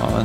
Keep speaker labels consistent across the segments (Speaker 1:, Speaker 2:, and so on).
Speaker 1: Ja,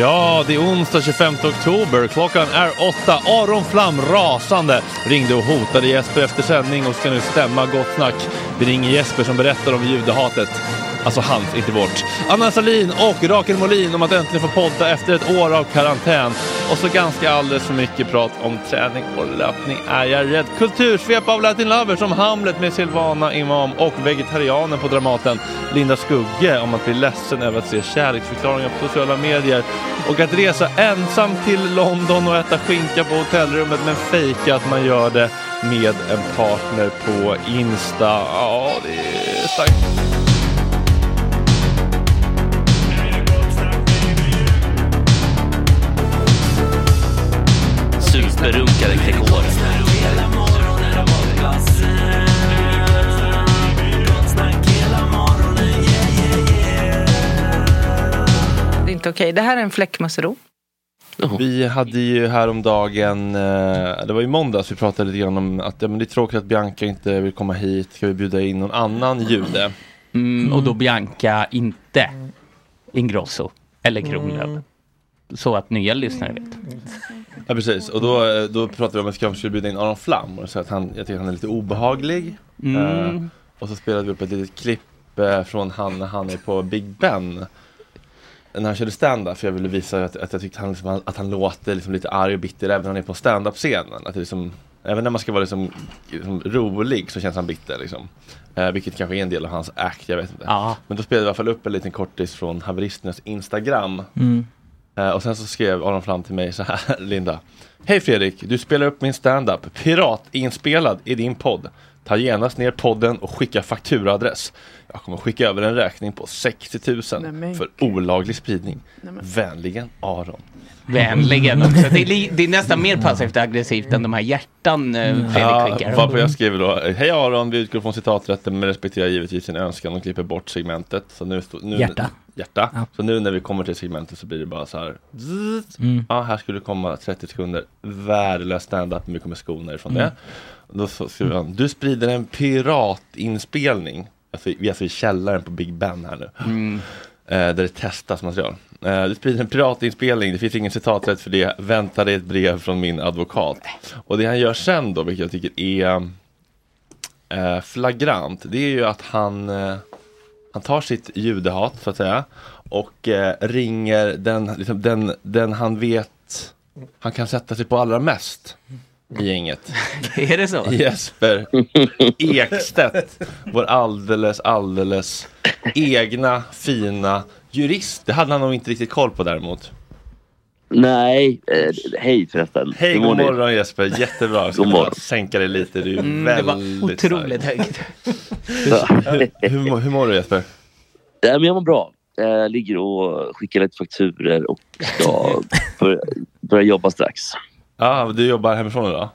Speaker 1: Ja, det är onsdag 25 oktober. Klockan är åtta. Aron Flam rasande ringde och hotade Jesper efter sändning och ska nu stämma Gott Snack. Vi ringer Jesper som berättar om judehatet. Alltså hans, inte vårt. Anna Salin och Rakel Molin om att äntligen få podda efter ett år av karantän. Och så ganska alldeles för mycket prat om träning och löpning är jag rädd. Kultursvep av Latin Lovers som Hamlet med Silvana Imam och vegetarianen på Dramaten Linda Skugge om att bli ledsen över att se kärleksförklaringar på sociala medier och att resa ensam till London och äta skinka på hotellrummet men fejka att man gör det med en partner på Insta. Ja, det är starkt.
Speaker 2: Superrunkare Gregor.
Speaker 3: Det är inte okej. Det här är en fläckmussero.
Speaker 1: Vi hade ju häromdagen, eh, det var i måndags vi pratade lite grann om att ja, men det är tråkigt att Bianca inte vill komma hit. Ska vi bjuda in någon annan jude?
Speaker 2: Mm, och då Bianca inte Ingrosso eller Kronlöf. Så att nya lyssnare vet.
Speaker 1: Ja precis, och då, eh, då pratade vi om att vi kanske skulle bjuda in Aron Flam och så att han, jag tycker han är lite obehaglig.
Speaker 2: Mm.
Speaker 1: Eh, och så spelade vi upp ett litet klipp eh, från han när han är på Big Ben. När han körde stand-up, för jag ville visa att, att jag tyckte han, liksom, att han låter liksom lite arg och bitter även när han är på stand-up-scenen. Att det liksom, även när man ska vara liksom, liksom, rolig så känns han bitter liksom. Eh, vilket kanske är en del av hans act, jag vet inte.
Speaker 2: Ja.
Speaker 1: Men då spelade vi i alla fall upp en liten kortis från haveristernas Instagram. Eh, Och sen så skrev Aron Flam till mig så här, Linda. Hej Fredrik, du spelar upp min standup, piratinspelad i din podd. Ta genast ner podden och skicka fakturaadress. Jag kommer skicka över en räkning på 60 000 för olaglig spridning. Vänligen Aron.
Speaker 2: Vänligen också. Det är, li- det är nästan mer passivt aggressivt än de här hjärtan eh, Fredrik
Speaker 1: Mm. Ja,
Speaker 2: skickar.
Speaker 1: varpå jag skriver då, hej Aron, vi utgår från citaträtten men respekterar givetvis din önskan och klipper bort segmentet. Så nu stå, nu,
Speaker 4: Hjärta.
Speaker 1: Hjärta.
Speaker 4: Ja.
Speaker 1: Så nu när vi kommer till segmentet så blir det bara så här. zzz. Ja, här skulle det komma 30 sekunder värdelös standup, men vi kommer skona ifrån det. Då så skriver han, du sprider en piratinspelning. Alltså, vi är alltså i källaren på Big Ben här nu. Eh, där det testas material. Eh, du sprider en piratinspelning, det finns ingen citaträtt för det. Vänta dig ett brev från min advokat. Och det han gör sen då, vilket jag tycker är eh, flagrant, det är ju att han, eh, han tar sitt judehat så att säga och eh, ringer den, liksom, den, den han vet han kan sätta sig på allra mest i gänget.
Speaker 2: Är det så?
Speaker 1: Jesper Ekstedt, vår alldeles, alldeles egna fina jurist. Det hade han nog inte riktigt koll på däremot.
Speaker 5: Nej, eh, hej förresten.
Speaker 1: Hej,
Speaker 5: Hur
Speaker 1: god
Speaker 5: mår ni?
Speaker 1: morgon Jesper, jättebra. Jag ska
Speaker 5: God
Speaker 1: bara
Speaker 5: morgon.
Speaker 1: sänka dig lite, du är
Speaker 2: Mm, det var
Speaker 1: väldigt
Speaker 2: otroligt högt.
Speaker 1: stark. Hur, mår- hur mår du Jesper?
Speaker 5: Nej, men jag mår bra. Jag ligger och skickar lite fakturer och ska börja, börja jobba strax.
Speaker 1: Ja, du jobbar hemifrån idag?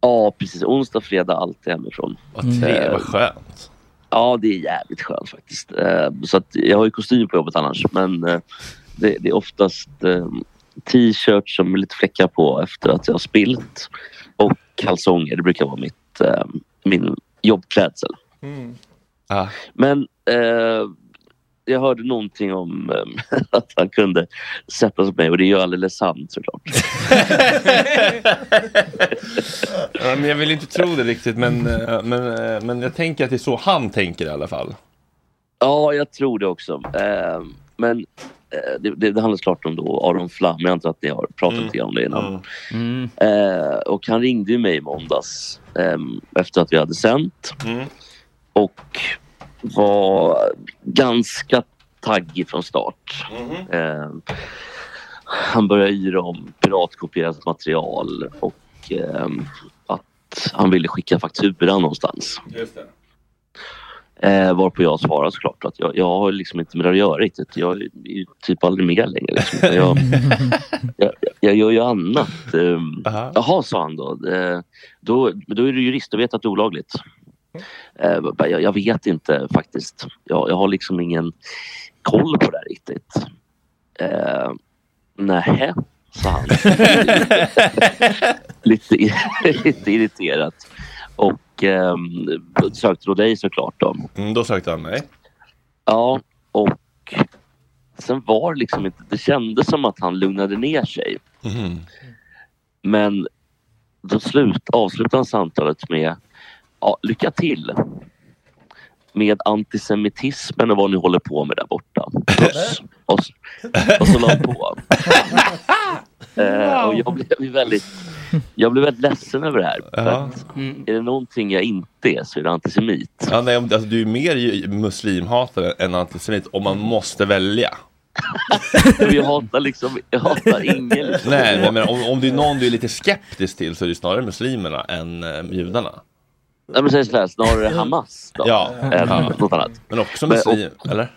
Speaker 5: Ja, precis. Onsdag, fredag, alltid hemifrån. Eh,
Speaker 1: Vad trevligt, vad skönt.
Speaker 5: Ja, det är jävligt skönt faktiskt. Eh, Så att jag har ju kostym på jobbet annars, men eh, det, det är oftast eh, t-shirt som är lite fläckar på efter att jag har spillt och kalsonger. Det brukar vara mitt, eh, min jobbklädsel.
Speaker 1: Ja.
Speaker 5: Men eh, jag hörde någonting om eh, att han kunde sätta sig på mig och det är ju alldeles sant såklart.
Speaker 1: Ja, men jag vill inte tro det riktigt, men, eh, men, eh, men jag tänker att det är så han tänker i alla fall.
Speaker 5: Ja, jag tror det också. Eh, men eh, det, det, det handlar såklart om då Aron Flam. Jag antar att ni har pratat lite grann om det innan.
Speaker 2: Mm.
Speaker 5: Eh, och han ringde ju mig i måndags ehm, efter att vi hade sänt.
Speaker 1: Mm.
Speaker 5: Och var ganska taggig från start. Ehm, han började yra om piratkopierat material och ehm, att han ville skicka fakturan någonstans.
Speaker 1: Just det.
Speaker 5: Eh, varpå jag svarade såklart att jag, jag har liksom inte med det att göra riktigt. Jag är ju typ aldrig med längre. Liksom. Jag, jag, jag gör ju annat. Ehm,
Speaker 1: Aha.
Speaker 5: Jaha, sa han då. Eh, Då, då är du jurist och vet att det är olagligt. Eh, jag bara, Jag, jag vet inte faktiskt. Jag, jag har liksom ingen koll på det här riktigt. Eh, Nähä, sa han. lite, lite irriterat. Och eh, sökte då dig såklart då.
Speaker 1: Mm, då sökte han mig.
Speaker 5: Ja, och sen var det liksom inte... Det kändes som att han lugnade ner sig.
Speaker 1: Mhm.
Speaker 5: Men då slut, avslutar han samtalet med ja, lycka till med antisemitismen och vad ni håller på med där borta. Puss. Och, så- och så la han på. Eh, och jag blev ju väldigt, jag blev väldigt ledsen över det här. För
Speaker 1: Ja.
Speaker 5: att Är det någonting jag inte är så är det antisemit.
Speaker 1: Ja, nej, om- alltså, du är mer ju- muslimhatare än antisemit om man måste välja.
Speaker 5: Men jag hatar liksom, jag hatar ingen liksom.
Speaker 1: Nej, nej, men om, om det är någon du är lite skeptisk till så är det snarare muslimerna än eh, judarna.
Speaker 5: Nej, men säg sådär, snarare Hamas då.
Speaker 1: Ja.
Speaker 5: Än
Speaker 1: Ja.
Speaker 5: något annat.
Speaker 1: Men också
Speaker 5: Men-
Speaker 1: muslimer, eller?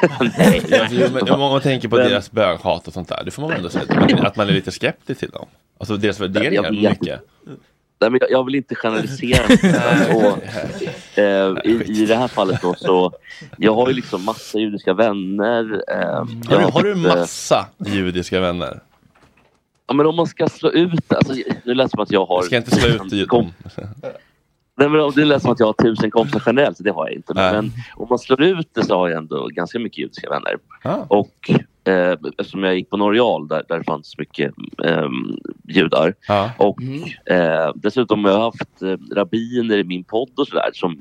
Speaker 5: Nej.
Speaker 1: Ja, jo, men om man tänker på
Speaker 5: Men-
Speaker 1: deras böghat och sånt där, det får man väl ändå säga. att man- Att man är lite skeptisk till dem. Alltså deras värderingar,
Speaker 5: vet.
Speaker 1: mycket.
Speaker 5: Nej, men jag, jag vill inte generalisera. och, eh, i, I det här fallet då så, jag har ju liksom massa judiska vänner. Eh,
Speaker 1: Har
Speaker 5: jag
Speaker 1: du, har du
Speaker 5: fått, eh,
Speaker 1: massa judiska vänner?
Speaker 5: Ja, men om man ska slå ut, alltså, nu lät det som att jag har...
Speaker 1: Jag ska inte slå ut ju-
Speaker 5: kom,
Speaker 1: dem.
Speaker 5: nej, men det lät som att jag har tusen kompisar generellt, så det har jag inte.
Speaker 1: Nej.
Speaker 5: Men, men om man slår ut det så har jag ändå ganska mycket judiska vänner.
Speaker 1: Ah.
Speaker 5: Och eh, eftersom jag gick på Norreal där, där det fanns mycket eh, judar.
Speaker 1: Ja.
Speaker 5: Och
Speaker 2: Mm-hmm.
Speaker 5: eh, dessutom har jag haft eh, rabbiner i min podd och sådär. som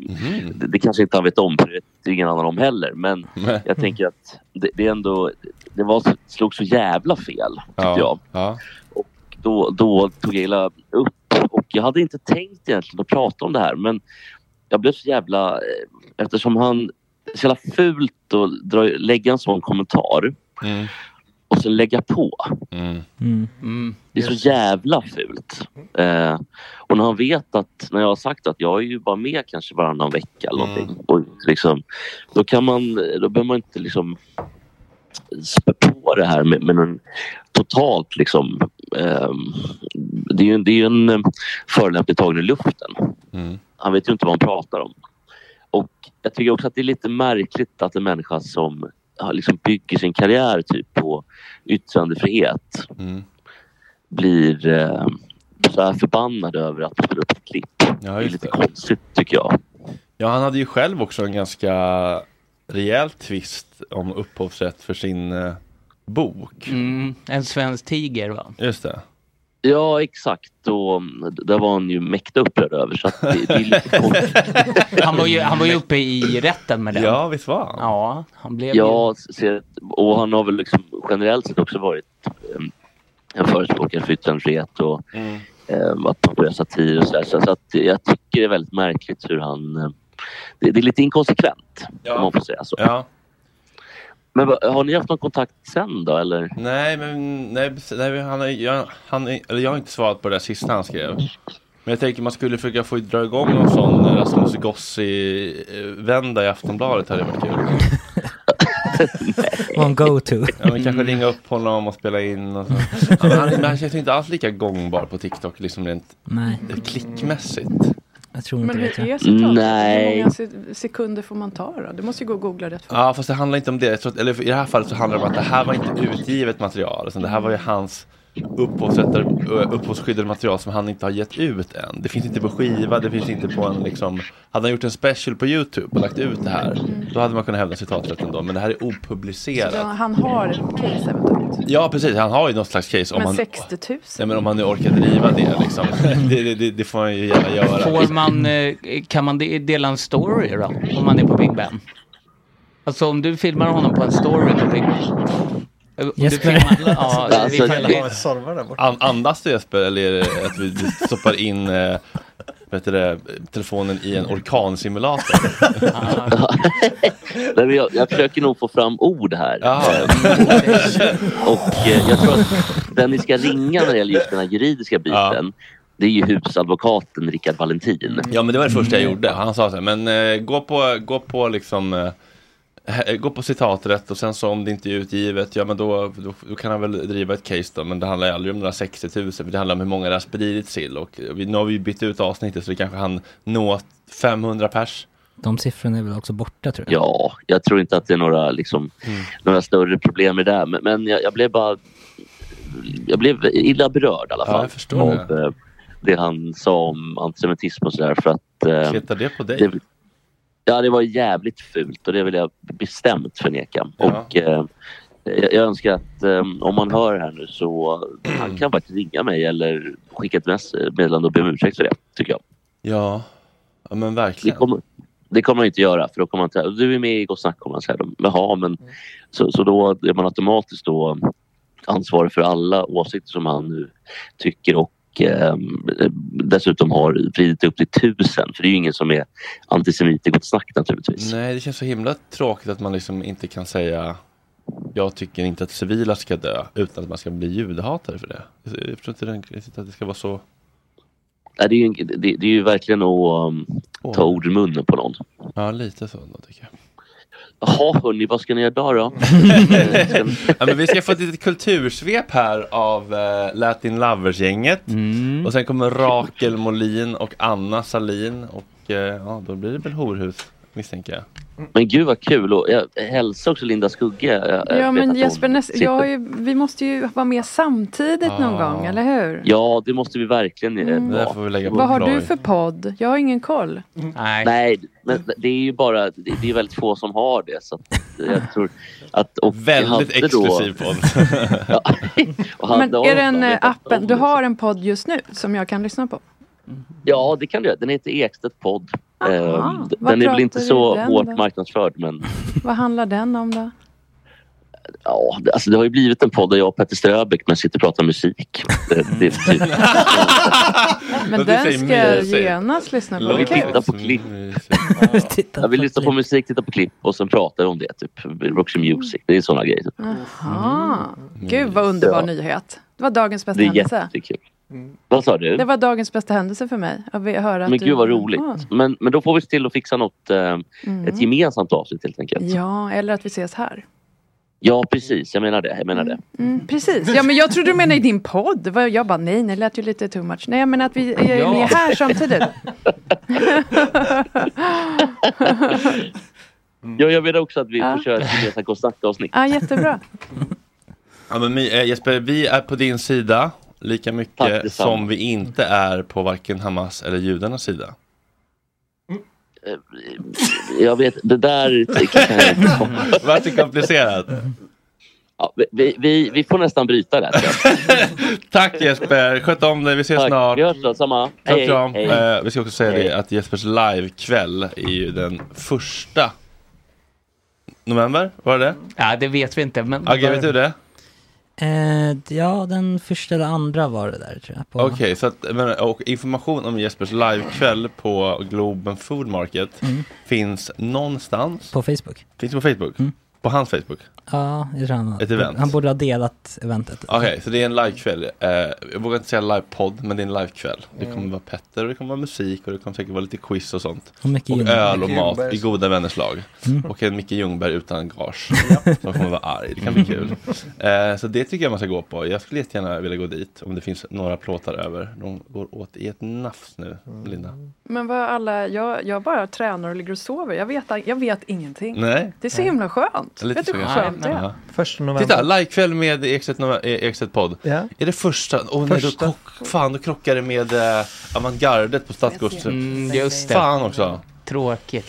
Speaker 5: Det, det kanske inte han vet om, för det vet ingen annan om heller. Men
Speaker 1: Nej.
Speaker 5: jag tänker att det, det är ändå, det var, så- slog så jävla fel, tyckte jag
Speaker 1: Ja. Ja.
Speaker 5: då, då tog jag illa upp och jag hade inte tänkt egentligen att prata om det här men jag blev så jävla... eh, Eftersom han... Det är så jävla fult att dra, lägga en sån kommentar
Speaker 1: Mm.
Speaker 5: och sen lägga på.
Speaker 1: Mm.
Speaker 4: Mm.
Speaker 2: Mm.
Speaker 5: Det är så jävla fult. Eh, och när han vet att, när jag har sagt att jag är ju bara med kanske varannan vecka eller
Speaker 1: Mm.
Speaker 5: någonting. Och liksom, då kan man, då behöver man inte liksom spä på det här med, med någon totalt liksom. ehm, det är ju det är ju en eh, förolämpning tagen i luften.
Speaker 1: Mm.
Speaker 5: Han vet ju inte vad han pratar om. Och jag tycker också att det är lite märkligt att en människa som ja, liksom bygger sin karriär typ på yttrandefrihet
Speaker 1: Mm.
Speaker 5: blir eh, så här förbannad över att man spelar upp ett klipp.
Speaker 1: Ja,
Speaker 5: det är
Speaker 1: just
Speaker 5: lite
Speaker 1: det.
Speaker 5: konstigt tycker jag.
Speaker 1: Ja, han hade ju själv också en ganska rejäl twist om upphovsrätt för sin eh, bok.
Speaker 2: Mm. En svensk tiger va?
Speaker 1: Just det.
Speaker 5: Ja, exakt. Och mm, det var han ju mäkta upprörd över. Så att det, det är lite konstigt.
Speaker 2: Han var, ju, han var ju uppe i rätten med den.
Speaker 1: Ja, visst var han?
Speaker 2: Ja, han blev ju...
Speaker 5: Ja, se, och han har väl liksom generellt sett också varit em, en förespråkare för yttrandefrihet och
Speaker 1: Mm.
Speaker 5: em, att man får göra satir och sådär. Så, så att jag tycker det är väldigt märkligt hur han... em, Det, det är lite inkonsekvent,
Speaker 1: Ja.
Speaker 5: om man får säga så.
Speaker 1: Ja.
Speaker 5: Men vad- har ni haft någon kontakt sen då, eller?
Speaker 1: Nej, men nej, precis. nej, men han, har- jag, han, eller jag har inte svarat på det där sista han skrev. Men jag tänker man skulle försöka få dra igång någon sån eh, Rasmus Gossi-vända i Aftonbladet hade varit kul.
Speaker 4: Någon go-to. Mm.
Speaker 1: Ja, men kanske ringa upp honom och spela in och så. Ja, men han, men han känns ju inte alls lika gångbar på TikTok, liksom rent
Speaker 4: Nej,
Speaker 1: klickmässigt.
Speaker 4: jag tror inte
Speaker 6: Men hur
Speaker 4: det. tror jag.
Speaker 6: är citatet?
Speaker 5: Nej.
Speaker 6: Hur många se- sekunder får man ta då? Du måste ju gå och googla rätt. för-
Speaker 1: Ja, fast det handlar inte om det. Jag tror att, eller i det här fallet så handlar det om att det här var inte utgivet material. Utan det här var ju hans upphovsrättar- ö, upphovsskyddade material som han inte har gett ut än. Det finns inte på skiva, det finns inte på en liksom... Hade han gjort en special på YouTube och lagt ut det här, då hade man kunnat hävda citaträtten då. Men det här är
Speaker 6: Så
Speaker 1: opublicerat.
Speaker 6: Han har ett case eventuellt.
Speaker 1: Ja, precis. Han har ju något slags case. Om
Speaker 6: Men
Speaker 1: han,
Speaker 6: 60 000?
Speaker 1: nej, men om han nu orkar driva det liksom. Det, det, det, det får han ju gärna göra.
Speaker 2: Får man, eh, kan man de- dela en story då? Om man är på Big Ben? Alltså om du filmar honom på en story på Big Ben. Eh, om du
Speaker 4: Jesper.
Speaker 2: filmar- Ja, vi
Speaker 5: Alltså,
Speaker 2: kan-
Speaker 5: jag-
Speaker 1: An, andas du Jesper eller är det att vi du stoppar in eh, vet du det, telefonen i en orkansimulator?
Speaker 5: Nej, men jag, jag försöker nog få fram ord här.
Speaker 1: Ja.
Speaker 5: Och eh, jag tror att den ni ska ringa när det gäller just den här juridiska biten, det är ju husadvokaten Rickard Valentin.
Speaker 1: Ja men det var det första jag gjorde. Han sa så här, men eh, gå på, gå på liksom eh, he- Gå på citaträtt och sen så om det inte är utgivet, ja men då, då, då kan han väl driva ett case då. Men det handlar ju aldrig om några 60 000, för det handlar om hur många det har spridits till. Och eh, vi, nu har vi ju bytt ut avsnittet så det kanske han nå 500 pers.
Speaker 4: De siffrorna är väl också borta tror jag.
Speaker 5: Ja, jag tror inte att det är några, liksom,
Speaker 1: Mm.
Speaker 5: några större problem med det där. Men, men jag, jag blev bara... Jag blev illa berörd i alla
Speaker 1: Ja,
Speaker 5: fall.
Speaker 1: jag förstår
Speaker 5: av eh, det han sa om antisemitism och sådär. För att... eh,
Speaker 1: Kletar det på dig?
Speaker 5: det, ja, det var jävligt fult och det vill jag bestämt förneka.
Speaker 1: Ja.
Speaker 5: Och, eh, jag, jag önskar att eh, om man hör här nu så han kan faktiskt ringa mig eller skicka ett mess- meddelande och be om ursäkt för det, tycker jag.
Speaker 1: Ja. ja, men
Speaker 5: Det
Speaker 1: verkligen.
Speaker 5: kommer, det kommer han inte göra för då kommer han säga du är med i Gott snack kommer han säga. då. Jaha, men
Speaker 1: Mm.
Speaker 5: så, så då är man automatiskt då ansvarig för alla åsikter som han nu tycker och eh, dessutom har vridit upp till tusen. För det är ju ingen som är antisemit i Gott snack naturligtvis.
Speaker 1: Nej, det känns så himla tråkigt att man liksom inte kan säga jag tycker inte att civila ska dö utan att man ska bli judehatare för det. Jag jag förstår inte den, jag tycker att det ska vara så.
Speaker 5: Nej, det, är ju, en- det, det är ju verkligen att um, ta ord i munnen på någon.
Speaker 1: Ja, lite så ändå tycker jag.
Speaker 5: Jaha hörni, vad ska ni göra idag då?
Speaker 1: ja, men vi ska få ett litet kultursvep här av eh, Latin Lovers-gänget. Och sen kommer Rakel Molin och Anna Salin och eh, ja, då blir det väl horhus misstänker jag.
Speaker 5: Men gud vad kul och jag hälsar också Linda Skugge. Jag, jag
Speaker 6: Ja
Speaker 5: vet
Speaker 6: men
Speaker 5: att
Speaker 6: Jesper,
Speaker 5: hon
Speaker 6: näst,
Speaker 5: Äh, sitter-
Speaker 6: jag har ju, vi måste ju vara med samtidigt någon
Speaker 5: Ah.
Speaker 6: gång, eller hur?
Speaker 5: Ja, det måste vi verkligen eh,
Speaker 6: Mm. Det där
Speaker 5: vara.
Speaker 1: får vi lägga
Speaker 6: Vad har du för podd? Jag har ingen koll.
Speaker 5: Nej, men det är ju bara det det är väldigt få som har det. Så att eh, jag tror att, och
Speaker 1: Väldigt
Speaker 5: hade då-
Speaker 1: exklusiv podd.
Speaker 5: ja, och hade
Speaker 6: Men är
Speaker 5: Aron
Speaker 6: den
Speaker 5: då
Speaker 6: eh,
Speaker 5: vetat
Speaker 6: appen,
Speaker 5: om
Speaker 6: du
Speaker 5: det,
Speaker 6: har en podd just nu som jag kan lyssna på?
Speaker 5: Ja, det kan du göra. Den heter Ekstedt podd. Ehm, d-
Speaker 6: Vad
Speaker 5: den är väl
Speaker 6: pratar
Speaker 5: inte
Speaker 6: vi
Speaker 5: så
Speaker 6: i den
Speaker 5: hårt
Speaker 6: då?
Speaker 5: marknadsförd men
Speaker 6: Vad handlar den om då?
Speaker 5: ja, det, alltså, det har ju blivit en podd där jag och Petter Ströbeck men sitter och pratar musik. Det, det, är typ,
Speaker 6: Men
Speaker 5: det
Speaker 6: den
Speaker 5: säger
Speaker 6: ska
Speaker 5: mig,
Speaker 6: jag
Speaker 5: jag säger.
Speaker 6: genast lyssna på.
Speaker 5: vi
Speaker 6: Vad kul.
Speaker 5: tittar på klipp. Ja, vi lyssnar på musik, tittar på klipp och sen pratar vi om det. Typ. Roxy
Speaker 6: Mm.
Speaker 5: Music, det är såna grejer. Typ.
Speaker 6: Aha. Gud vad underbar
Speaker 5: Ja.
Speaker 6: nyhet. Det var dagens bästa
Speaker 5: Det är
Speaker 6: händelse.
Speaker 5: jättekul. Vad sa du?
Speaker 6: Det var dagens bästa händelse för mig. Att vi- höra att
Speaker 5: Men
Speaker 6: du-
Speaker 5: gud vad roligt.
Speaker 6: Ja.
Speaker 5: Men, men då får vi se till att fixa något, eh,
Speaker 6: Mm.
Speaker 5: ett gemensamt avsnitt helt enkelt.
Speaker 6: Ja, eller att vi ses här.
Speaker 5: Ja precis, jag menar det. Jag menar det.
Speaker 6: Mm, precis. Ja, men jag trodde du menade i din podd. Vad- Jag bara, nej, det lät ju lite too much. Nej, men att vi är
Speaker 5: Ja.
Speaker 6: med här samtidigt.
Speaker 5: Ja, jag menar också att vi
Speaker 6: Mm. Ja.
Speaker 5: får köra ett gemensamt Gå och snacka-avsnitt.
Speaker 6: Ja, jättebra.
Speaker 1: Ja, men, My- eh, Jesper, vi är på din sida lika mycket
Speaker 5: detsamma.
Speaker 1: som vi inte är på varken Hamas eller judarnas sida.
Speaker 5: Jag vet, det där det kan jag inte ta.
Speaker 1: Vart det komplicerat?
Speaker 5: Ja, vi- vi, vi, vi får nästan bryta det.
Speaker 1: Tack Jesper, sköt om dig, vi ses snart.
Speaker 5: Vi hörs då, samma.
Speaker 1: Kram,
Speaker 5: Hej,
Speaker 1: kram.
Speaker 5: hej.
Speaker 1: Eh, vi ska också säga
Speaker 5: Hej.
Speaker 1: det att Jespers livekväll är ju den första november, var det
Speaker 2: Ja, det vet vi inte. Men
Speaker 1: Agge, vet du det?
Speaker 4: Eh, ja, den första eller andra var det där tror jag. På.
Speaker 1: Okej, så att, men, och information om Jespers livekväll på Globen Food Market
Speaker 2: Mm.
Speaker 1: finns någonstans.
Speaker 4: På Facebook.
Speaker 1: Finns det på Facebook?
Speaker 2: Mm.
Speaker 1: På hans Facebook?
Speaker 4: Ja, jag tror han har-
Speaker 1: Ett event.
Speaker 4: Han borde ha delat eventet.
Speaker 1: Okej, så det är en livekväll. Eh, jag vågar inte säga livepodd, men det är en livekväll. Det kommer vara Petter och det kommer vara musik och det kommer säkert vara lite quiz och sånt.
Speaker 4: Mm. Och Micke Ljungberg.
Speaker 1: öl och
Speaker 4: Micke
Speaker 1: mat
Speaker 4: Ljungberg.
Speaker 1: i goda vänners lag.
Speaker 4: Mm.
Speaker 1: Och en Micke Ljungberg utan gage. Som kommer vara arg, det kan bli kul. Eh, så det tycker jag man ska gå på. Jag skulle jättegärna vilja gå dit om det finns några plåtar över. De går åt i ett nafs nu,
Speaker 4: Mm.
Speaker 1: Linda.
Speaker 6: Men vad alla, jag, jag bara tränar och ligger och sover. Jag vet, jag vet ingenting.
Speaker 1: Nej.
Speaker 6: Det är så himla skönt.
Speaker 1: Lite
Speaker 6: vet du
Speaker 1: så
Speaker 6: hur
Speaker 1: kanske.
Speaker 6: skönt det är?
Speaker 1: Ja.
Speaker 7: Första
Speaker 1: Titta,
Speaker 7: november.
Speaker 1: livekväll med Ekstedt Nova- eh, Ekstedt podd.
Speaker 7: Ja.
Speaker 1: Är det första? Åh nej, då,
Speaker 7: Första.
Speaker 1: krock, fan, då krockar det med eh, avantgardet på Stadsgårds...
Speaker 2: Mm, just det.
Speaker 1: Fan också.
Speaker 2: Tråkigt.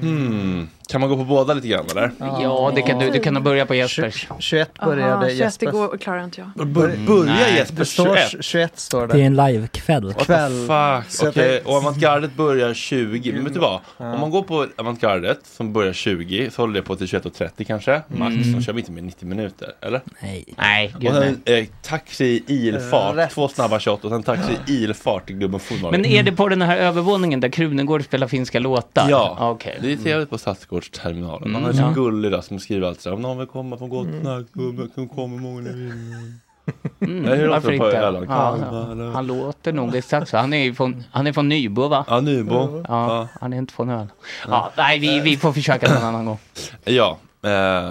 Speaker 1: Hmm. Kan man gå på båda lite grann eller?
Speaker 2: Ja, det kan du. Du kan börja på Jespers.
Speaker 7: 21
Speaker 6: Aha,
Speaker 7: började
Speaker 6: 21
Speaker 7: Jesper.
Speaker 6: igår klarar inte jag.
Speaker 1: Bör, börja
Speaker 7: Nej, det
Speaker 1: Jesper
Speaker 7: står
Speaker 1: 21.
Speaker 7: 21 står det.
Speaker 4: Det är en livekväll.
Speaker 1: What
Speaker 7: kväll.
Speaker 1: the fuck?
Speaker 7: Så
Speaker 1: Okej,
Speaker 7: att det-
Speaker 1: och avantgardet börjar 20. Men vet du vad? Om man går på avantgardet som börjar 20 så håller det på till 21.30 kanske. Max,
Speaker 2: Mm.
Speaker 1: de kör vi inte med 90 minuter, eller?
Speaker 4: Nej.
Speaker 2: Nej,
Speaker 1: Och
Speaker 2: gud nej.
Speaker 1: sen eh, taxi i ilfart,
Speaker 2: Rätt.
Speaker 1: två snabba shot och sen taxi i ilfart till Globen Food Market.
Speaker 2: Men är det på den här övervåningen där Krunegård spelar finska låtar?
Speaker 1: Mm. Ja,
Speaker 2: Ah, Okej.
Speaker 1: det är trevligt på Stadsgårdsterminalen. Man
Speaker 2: Mm.
Speaker 1: har en så
Speaker 2: Ja.
Speaker 1: gullig där som skriver alltid så här, om någon vill komma från
Speaker 8: Mm.
Speaker 1: Gotland, kom- kom- kommer många ni vill."
Speaker 2: Mm,
Speaker 1: Nej, hur låter
Speaker 2: varför
Speaker 1: det på
Speaker 2: inte?
Speaker 1: Öland?
Speaker 2: Ja,
Speaker 1: Kalmar,
Speaker 2: Han låter nog exakt så. Han är ju från, han är från Nybro va?
Speaker 1: Ja, Nybro.
Speaker 2: Ja, han är inte från Öland. Ja, nej, vi, vi får försöka någon annan gång.
Speaker 1: Ja, eh,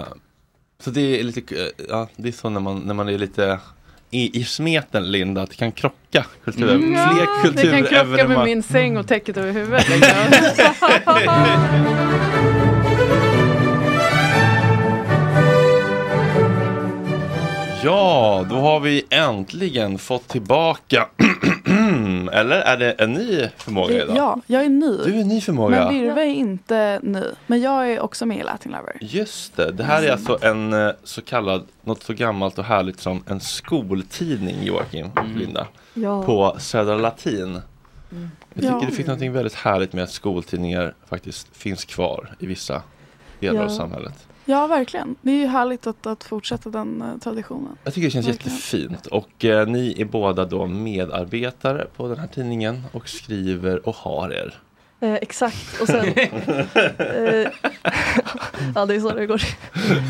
Speaker 1: så det är lite, eh, ja, det är så när man, när man är lite i, i smeten Linda, att det kan krocka kulturer. Fler
Speaker 6: Mm. Det kan krocka med
Speaker 1: kulturevenemang.
Speaker 6: min säng och täcket över huvudet. liksom.
Speaker 1: Ja, då har vi äntligen fått tillbaka, eller är det en ny förmåga idag?
Speaker 9: Ja, jag är ny.
Speaker 1: Du är en ny förmåga.
Speaker 9: Men Virve är inte ny. Men jag är också med i Latin Lover.
Speaker 1: Just det, det här är alltså en eh, så kallad, något så gammalt och härligt som en skoltidning Joakim och Linda.
Speaker 9: Ja.
Speaker 1: På Södra Latin. Jag tycker
Speaker 9: Ja.
Speaker 1: det finns något väldigt härligt med att skoltidningar faktiskt finns kvar i vissa delar
Speaker 9: Ja.
Speaker 1: av samhället.
Speaker 9: Ja, verkligen. Det är ju härligt att, att fortsätta den eh, traditionen.
Speaker 1: Jag tycker det känns
Speaker 9: Verkligen.
Speaker 1: jättefint och eh, ni är båda då medarbetare på den här tidningen och skriver och har er
Speaker 7: Eh, exakt. Och sen, eh, ja, det är så det går.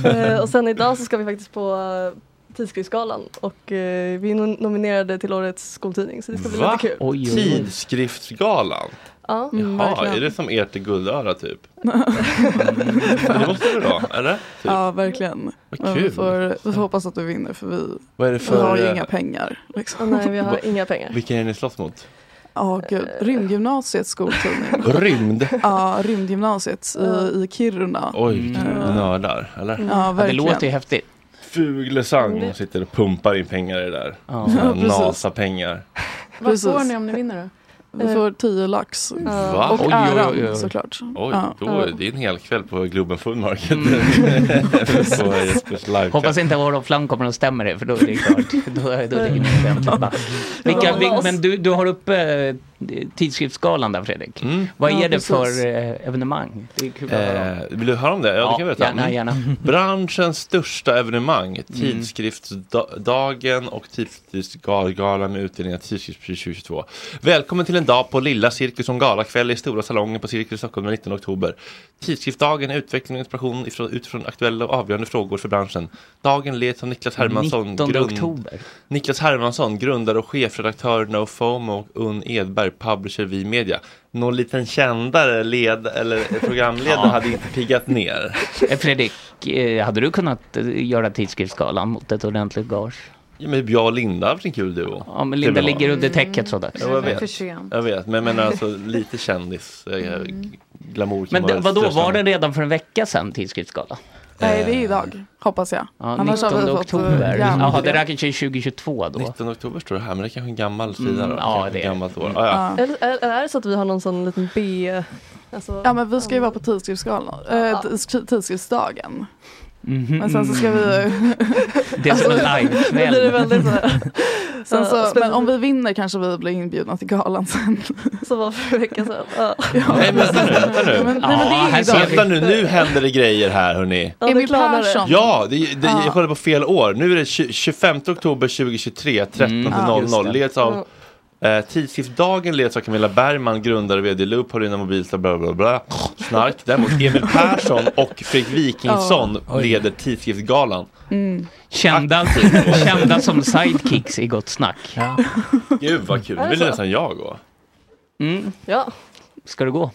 Speaker 7: eh, och sen idag så ska vi faktiskt på eh, Tidskriftsgalan och eh, vi är no- nominerade till årets skoltidning så det ska bli
Speaker 1: Va?
Speaker 7: lite kul.
Speaker 1: Tidskriftsgalan?
Speaker 7: Ja,
Speaker 9: Mm,
Speaker 1: Ja,
Speaker 7: verkligen.
Speaker 1: är det som ert guldöra typ? det måste det vara, eller? Typ.
Speaker 9: Ja, verkligen. Men Vi
Speaker 1: kul.
Speaker 9: får, vi får hoppas att du vinner för vi,
Speaker 1: Vad är det
Speaker 9: vi har
Speaker 1: för,
Speaker 9: ju
Speaker 1: eh,
Speaker 9: inga pengar. Liksom.
Speaker 7: nej, vi har inga pengar.
Speaker 1: Vilken är ni slåss mot?
Speaker 9: Ja, gud. Rymdgymnasiets skoltidning.
Speaker 1: Rymd?
Speaker 9: Ja, Rymdgymnasiet i, i Kiruna.
Speaker 1: Oj, vilka
Speaker 9: Mm.
Speaker 1: nördar, eller?
Speaker 9: Ja, Ja, det verkligen. låter ju
Speaker 2: häftigt.
Speaker 1: Fuglesang sitter och pumpar in pengar i det där.
Speaker 2: Ja.
Speaker 1: Såna
Speaker 9: Ja, precis.
Speaker 1: NASA-pengar.
Speaker 6: Vad får
Speaker 9: Precis.
Speaker 6: ni om ni vinner då?
Speaker 9: Vi får tio lax.
Speaker 1: Va?
Speaker 9: Och äran såklart.
Speaker 1: Oj,
Speaker 9: Ja.
Speaker 1: då är det en hel kväll på Globen Food Market. på Jespers live
Speaker 2: Mm. Hoppas inte Aron Flam kommer och stämmer det för då är det klart. då, då ligger ni ordentligt back. Vilka, vil, men du, du har uppe eh, tidskriftsgalan där Fredrik. Vad är
Speaker 1: Ja,
Speaker 2: det
Speaker 1: precis.
Speaker 2: för eh, evenemang? Det är kul att höra om.
Speaker 1: Mm. Eh, vill du höra om det? Ja,
Speaker 2: Ja,
Speaker 1: det kan vi berätta.
Speaker 2: gärna, Mm.
Speaker 1: Mm.
Speaker 2: gärna.
Speaker 1: Branschens största evenemang, tidskriftsdagen och tidskriftsgalan med utdelning av tidskriftspris 2022. Välkommen till en dag på Lilla Cirkus som galakväll i Stora Salongen på Cirkus i Stockholm den 19 oktober. Tidskriftsdagen är utveckling och inspiration ifrån, utifrån aktuella och avgörande frågor för branschen. Dagen leds av Niklas Hermansson,
Speaker 2: 19 oktober.
Speaker 1: Niklas Hermansson, grundare och chefredaktör No FOMO och Unn Edberg, publisher Vi Media. Någon liten kändare led, eller programledare
Speaker 2: Ja.
Speaker 1: hade inte piggat ner.
Speaker 2: Eh, Fredrik, eh, hade du kunnat eh, göra tidskriftsgalan mot ett ordentligt gage?
Speaker 1: Ja, men jag och Linda har haft en kul duo.
Speaker 2: Ja, men Linda ligger under täcket sådär.
Speaker 1: Ja, jag,
Speaker 2: För
Speaker 1: vet.
Speaker 2: sent.
Speaker 1: jag vet, men jag menar alltså lite kändis, eh, g- glamour kan
Speaker 2: Men
Speaker 1: vara
Speaker 2: det, vadå,
Speaker 1: största.
Speaker 2: var det redan för en vecka sedan tidskriftsgalan?
Speaker 9: Nej, det är idag, hoppas jag.
Speaker 2: Eh, Ja,
Speaker 9: Annars har vi
Speaker 2: 19
Speaker 9: fått, eh,
Speaker 2: oktober.
Speaker 9: järn-
Speaker 2: Jaha, det räknar till 2022 då.
Speaker 1: 19 oktober står det här, men det är kanske en gammal sida
Speaker 2: Mm,
Speaker 1: då.
Speaker 2: ja,
Speaker 1: Kanske
Speaker 2: det är
Speaker 1: ett
Speaker 2: det. Mm.
Speaker 1: gammalt år. Ah, ja.
Speaker 7: Eller, eller är det så att vi har någon sån liten B... Alltså,
Speaker 9: Ja men vi ska ju vara på tidskriftsgalan, eh, tids- tidskriftsdagen.
Speaker 2: Mhm.
Speaker 9: Men sen så ska vi...
Speaker 2: Det är som en
Speaker 7: Alltså,
Speaker 9: Då
Speaker 2: livekväll.
Speaker 9: blir det väldigt så här. Sen
Speaker 7: Ja,
Speaker 9: så,
Speaker 7: spännande.
Speaker 9: men om vi vinner kanske vi blir inbjudna till galan sen.
Speaker 7: Som var för en vecka sedan. Ja.
Speaker 1: Nej, men vänta nu, vänta nu.
Speaker 9: men- nej, men det är
Speaker 1: Ja, här
Speaker 9: idag.
Speaker 1: ser- Vänta nu, nu händer det grejer här hörni.
Speaker 7: Ja, det
Speaker 9: Emil
Speaker 7: klarnar det.
Speaker 9: Persson.
Speaker 1: Ja, det, det,
Speaker 9: Ja.
Speaker 1: jag kollade på fel år. Nu är det 20, 25 oktober
Speaker 2: Mm.
Speaker 1: 2023, 13.00.
Speaker 9: Ja.
Speaker 1: leds av eh, Tidskriftsdagen leds av Camilla Bergman, grundare och vd Loop, Paulina Mobilstad, bla bla bla. Snark. Däremot Emil Persson och Fredrik Wikingsson
Speaker 2: Ja.
Speaker 1: leder Tidskriftsgalan.
Speaker 2: Kända, kända som sidekicks i Gott Snack.
Speaker 1: Gud vad kul,
Speaker 2: Är
Speaker 1: nu
Speaker 2: det
Speaker 1: vill
Speaker 2: så?
Speaker 1: nästan jag gå.
Speaker 2: Mm.
Speaker 7: Ja.
Speaker 2: Ska du gå?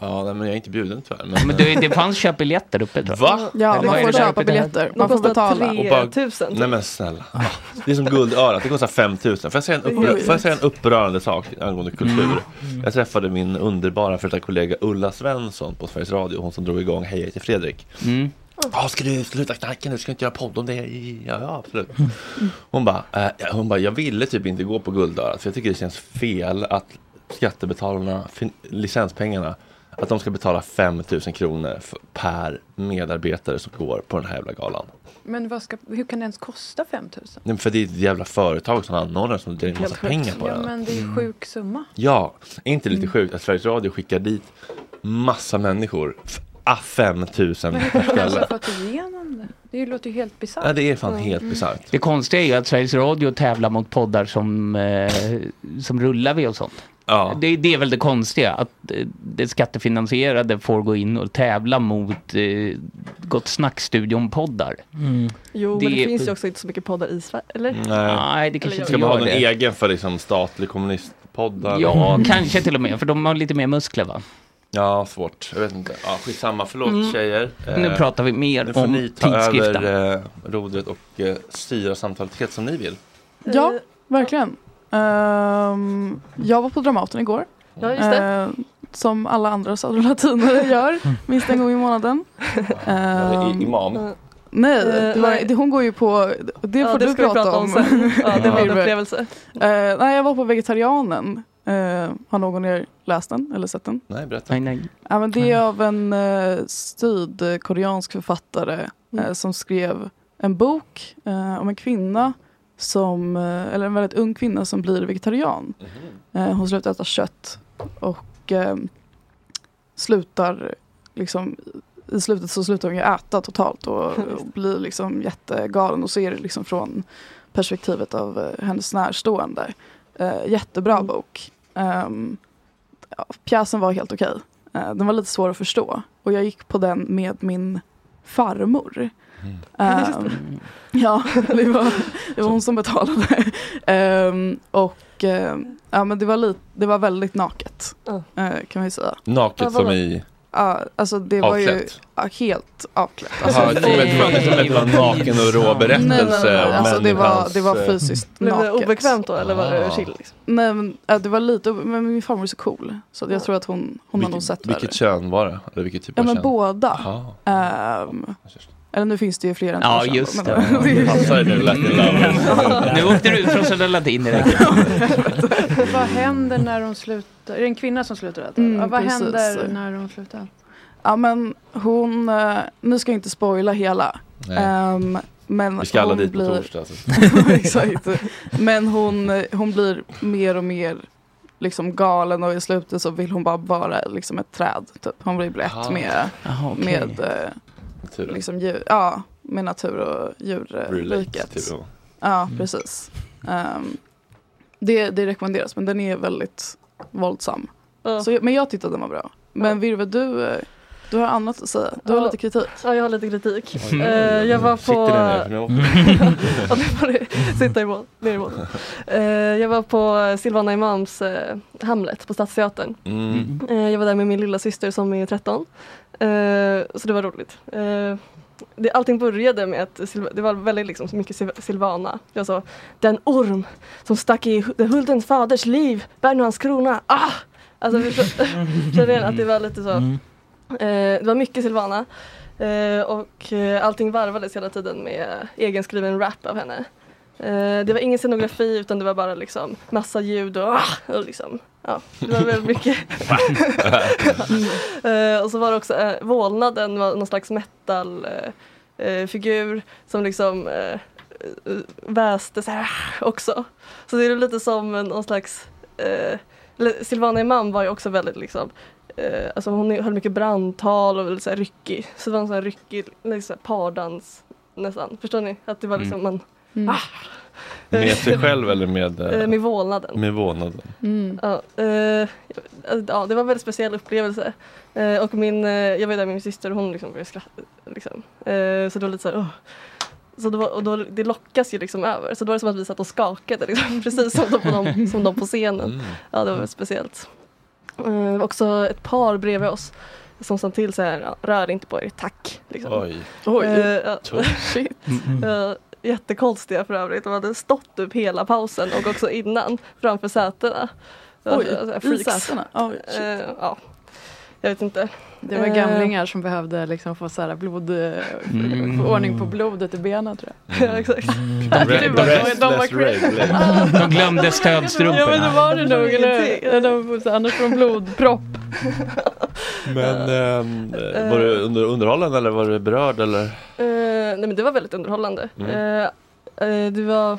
Speaker 1: Ja, nej, men jag är inte bjuden tyvärr.
Speaker 2: Men du, det fanns köpbiljetter uppe tror jag.
Speaker 1: Va?
Speaker 9: Ja, man får köpa biljetter. Man får betala.
Speaker 1: Och bara- Nej men snälla. Det är som guldörat, det kostar 5000. Får jag säga en, upprö-
Speaker 9: Oj.
Speaker 1: får jag säga en upprörande sak angående
Speaker 2: Mm.
Speaker 1: kultur? Jag träffade min underbara före detta kollega Ulla Svensson på Sveriges Radio, hon som drog igång Hej jag heter Fredrik.
Speaker 2: Mm.
Speaker 1: Ja, Ah, ska du sluta knacka nu? Ska du inte göra podd om det? Ja, ja absolut. Hon bara, eh, hon bara, jag ville typ inte gå på guldörat för jag tycker det känns fel att skattebetalarna, fin- licenspengarna, att de ska betala 5000 kronor för, per medarbetare som går på den här jävla galan.
Speaker 6: Men vad ska, hur kan det ens kosta 5 000?
Speaker 1: Nej, men för det är ett jävla företag som anordnar som drar in massa
Speaker 6: Helt sjukt.
Speaker 1: pengar på
Speaker 6: Ja,
Speaker 1: den.
Speaker 6: men det är ju sjuk summa.
Speaker 1: Ja, är inte lite sjukt att Sveriges Radio skickar dit massa människor, f- ah, 5 000
Speaker 6: Men hur kan
Speaker 1: per
Speaker 6: man ens ha
Speaker 1: ställe.
Speaker 6: fått igenom det? Det låter ju helt bisarrt.
Speaker 1: bisarrt.
Speaker 2: Det konstiga är ju att Sveriges Radio tävlar mot poddar som, eh, som Rullar-V och sånt.
Speaker 1: Ja.
Speaker 2: Det, det är väl det konstiga, att eh, det skattefinansierade får gå in och tävla mot eh, Gott Snack-studion-poddar.
Speaker 7: Jo, men
Speaker 2: Det-
Speaker 7: det finns ju också inte så mycket poddar i Sverige, eller?
Speaker 2: Nej, det kanske
Speaker 7: Eller
Speaker 2: inte
Speaker 1: Ska man ha
Speaker 2: gör
Speaker 1: någon
Speaker 2: det.
Speaker 1: egen för liksom statlig kommunistpodd? eller?
Speaker 2: Ja, kanske till och med, för de har lite mer muskler va?
Speaker 1: Ja, svårt. Jag vet inte. Ja, skitsamma, förlåt
Speaker 2: Mm.
Speaker 1: tjejer. Eh,
Speaker 2: Nu pratar vi mer
Speaker 1: nu får
Speaker 2: om
Speaker 1: ni ta
Speaker 2: tidskriften.
Speaker 1: över eh, rodret och eh, styra samtalet helt som ni vill.
Speaker 7: Eh,
Speaker 9: Ja, verkligen. Ehm, jag var på Dramaten igår.
Speaker 7: Ja, just det.
Speaker 9: Ehm, som alla andra södra latinare gör, minst en gång i månaden. Ehm,
Speaker 1: imam.
Speaker 9: Nej,
Speaker 7: Eh,
Speaker 9: det var,
Speaker 7: nej.
Speaker 9: det, hon går ju på, det
Speaker 7: Ja,
Speaker 9: får
Speaker 7: det
Speaker 9: du
Speaker 7: ska vi
Speaker 9: prata,
Speaker 7: prata om
Speaker 9: om.
Speaker 7: sen. Ja, det var en
Speaker 9: Wilbur.
Speaker 7: upplevelse.
Speaker 9: Eh, nej, jag var på Vegetarianen. Eh, har någon er läst den eller sett den?
Speaker 1: Nej, berätta.
Speaker 2: Nej, nej.
Speaker 9: Ja, men det är av en eh, sydkoreansk författare eh, som skrev en bok eh, om en kvinna som, eh, eller en väldigt ung kvinna som blir vegetarian. Eh, hon slutar äta kött och eh, slutar liksom i slutet så slutar hon ju äta totalt och, och blir liksom jättegalen och så är det liksom från perspektivet av eh, hennes närstående. Eh, jättebra bok. Ehm, ja, pjäsen var helt okej. Eh, Den var lite svår att förstå och jag gick på den med min farmor.
Speaker 7: Mm.
Speaker 9: Eh, ja, det var, det var hon som betalade. Ehm, och eh, ja, men det, var lite, det var väldigt naket eh, kan man ju säga.
Speaker 1: Naket som i...
Speaker 9: Ja, alltså det var ju
Speaker 1: Avklätt.
Speaker 9: ja, helt avklätt. Alltså,
Speaker 1: Jaha, det var inte som en jävla naken och rå berättelse
Speaker 9: Nej, nej, nej.
Speaker 1: om
Speaker 9: Alltså, det, var,
Speaker 1: människans,
Speaker 9: det var
Speaker 1: eh,
Speaker 9: fysiskt
Speaker 7: Blev det
Speaker 9: naket.
Speaker 7: obekvämt då eller var det
Speaker 1: Ah.
Speaker 7: chill? Liksom?
Speaker 9: Nej, men, ja, det var lite, ob- men min farmor är så cool. Så
Speaker 7: Ah.
Speaker 9: jag tror att hon, hon har nog
Speaker 1: Vilket,
Speaker 9: sett
Speaker 1: vilket kön var det? Eller vilket typ
Speaker 9: Ja
Speaker 1: av
Speaker 9: men
Speaker 1: kön?
Speaker 9: båda.
Speaker 1: Aha.
Speaker 9: Ehm, eller nu finns det ju fler än
Speaker 2: Ja,
Speaker 9: två kön,
Speaker 2: just
Speaker 9: men-
Speaker 2: det.
Speaker 1: Passar det nu, Latin Lovers?
Speaker 2: Nu åkte du ut från Södra Latin direkt.
Speaker 6: Mm. Vad händer när de slutar? Är det en kvinna som slutar äta?
Speaker 9: Mm,
Speaker 6: ja, vad
Speaker 9: precis.
Speaker 6: händer när de slutar äta?
Speaker 9: Ja men hon, eh, nu ska jag inte spoila hela.
Speaker 1: Nej.
Speaker 9: Ehm, men
Speaker 1: Vi ska alla
Speaker 9: hon
Speaker 1: dit på
Speaker 9: blir...
Speaker 1: torsdag, så.
Speaker 9: Exakt. Men hon, eh, hon blir mer och mer liksom galen och i slutet så vill hon bara vara liksom ett träd. Typ. Hon vill bli ett
Speaker 1: Aha.
Speaker 9: med,
Speaker 1: Aha, Ah. okej.
Speaker 9: med, eh,
Speaker 1: Naturen.
Speaker 9: liksom djur, ja, med natur och
Speaker 1: Relate
Speaker 9: djurriket.
Speaker 1: till dem.
Speaker 9: Ja,
Speaker 1: Mm.
Speaker 9: precis. Ehm, det, det rekommenderas men den är väldigt våldsam. Så, jag- men jag tyckte att den var bra. Men Virve, du, eh, du har annat att säga. Du har
Speaker 7: Ja.
Speaker 9: lite kritik.
Speaker 7: Ja, jag har lite kritik.
Speaker 9: Oj, oj, oj.
Speaker 7: Eh, jag var på...
Speaker 9: Sitter den ner? För nu
Speaker 7: ja, nu får du sitta i mål, ner i mål. Eh, jag var på Silvana Imams eh, Hamlet på Stadsteatern.
Speaker 1: Mm.
Speaker 7: Eh, jag var där med min lilla syster som är 13. Eh, så det var roligt. Eh, det, allting började med att Silva, det var väldigt liksom, så mycket Sil- Silvana. Jag sa den orm som stack i hu- den huldens faders liv bär nu hans krona. Ah! Alltså, förstår- känner igen att det var lite så. Eh, det var mycket Silvana. Eh, och eh, allting varvades hela tiden med egenskriven rap av henne. Eh, det var ingen scenografi utan det var bara liksom massa ljud och, ah, och liksom, ja, det var väldigt mycket. Eh, och så var det också eh, vålnaden var någon slags metal eh, eh, figur som liksom eh, eh, väste så här också. Så det är lite som en- någon slags eh, eller Silvana Imam var ju också väldigt liksom eh, alltså hon höll mycket brandtal och väldigt så här ryckig. Så det var en sån här ryckig liksom, pardans nästan. Förstår ni? Att det var liksom man ah,
Speaker 1: Med sig själv eller med... eh,
Speaker 7: eh, med vålnaden.
Speaker 1: Med vålnaden.
Speaker 7: Ja, eh, ja, det var en väldigt speciell upplevelse. Eh, och min, eh, jag var ju där med min syster och hon liksom började skratta. Liksom. Eh, så det var lite så här, "Åh." så då, och då, det lockas ju liksom över. Så då var det som att vi satt och skakade liksom, precis som de, på dem, som de på scenen. Ja, det var väldigt speciellt. Eh, också ett par bredvid oss som sa till så här, "Ja, rör inte på er, tack. Liksom.
Speaker 1: Oj. Mm,
Speaker 9: Oj.
Speaker 7: Eh, ja.
Speaker 1: Tufft.
Speaker 9: Shit.
Speaker 1: Mm.
Speaker 7: Eh, jättekonstiga för övrigt. De hade stått upp hela pausen och också innan framför sätena.
Speaker 9: Oj,
Speaker 7: så här
Speaker 9: i
Speaker 7: freaks.
Speaker 9: sätena? Oj, shit.
Speaker 7: Eh, ja, jag vet inte.
Speaker 6: Det var
Speaker 7: Eh,
Speaker 6: gamlingar som behövde liksom få så här blod,
Speaker 1: Mm.
Speaker 6: få ordning på blodet i benen tror jag.
Speaker 7: Ja, exakt.
Speaker 6: Det var-
Speaker 1: Restless
Speaker 6: de var-
Speaker 1: rave.
Speaker 2: De glömde
Speaker 6: Ja men det
Speaker 2: stödstrumporna.
Speaker 6: var det nog, eller de, så här, Annars får de blodpropp.
Speaker 1: Men
Speaker 9: Eh,
Speaker 1: ehm, var du under, underhållen eller var du berörd eller?
Speaker 7: Eh, nej men det var väldigt underhållande.
Speaker 1: Mm.
Speaker 7: Eh, eh, det var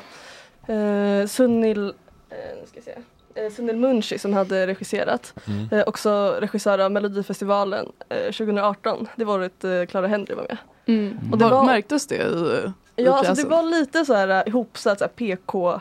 Speaker 7: eh, Sunil, eh, nu ska jag se. Eh, Sunil Munshi som hade regisserat.
Speaker 1: Mm.
Speaker 7: Eh, också regissör av Melodifestivalen eh, 2018. Det var ett eh, Clara Henry var med. Och det
Speaker 9: Var-
Speaker 7: Mm. var-
Speaker 9: Märktes det i, i
Speaker 7: Ja, alltså
Speaker 9: pjäsen?
Speaker 7: det var lite så här eh, ihopsatt så här PK,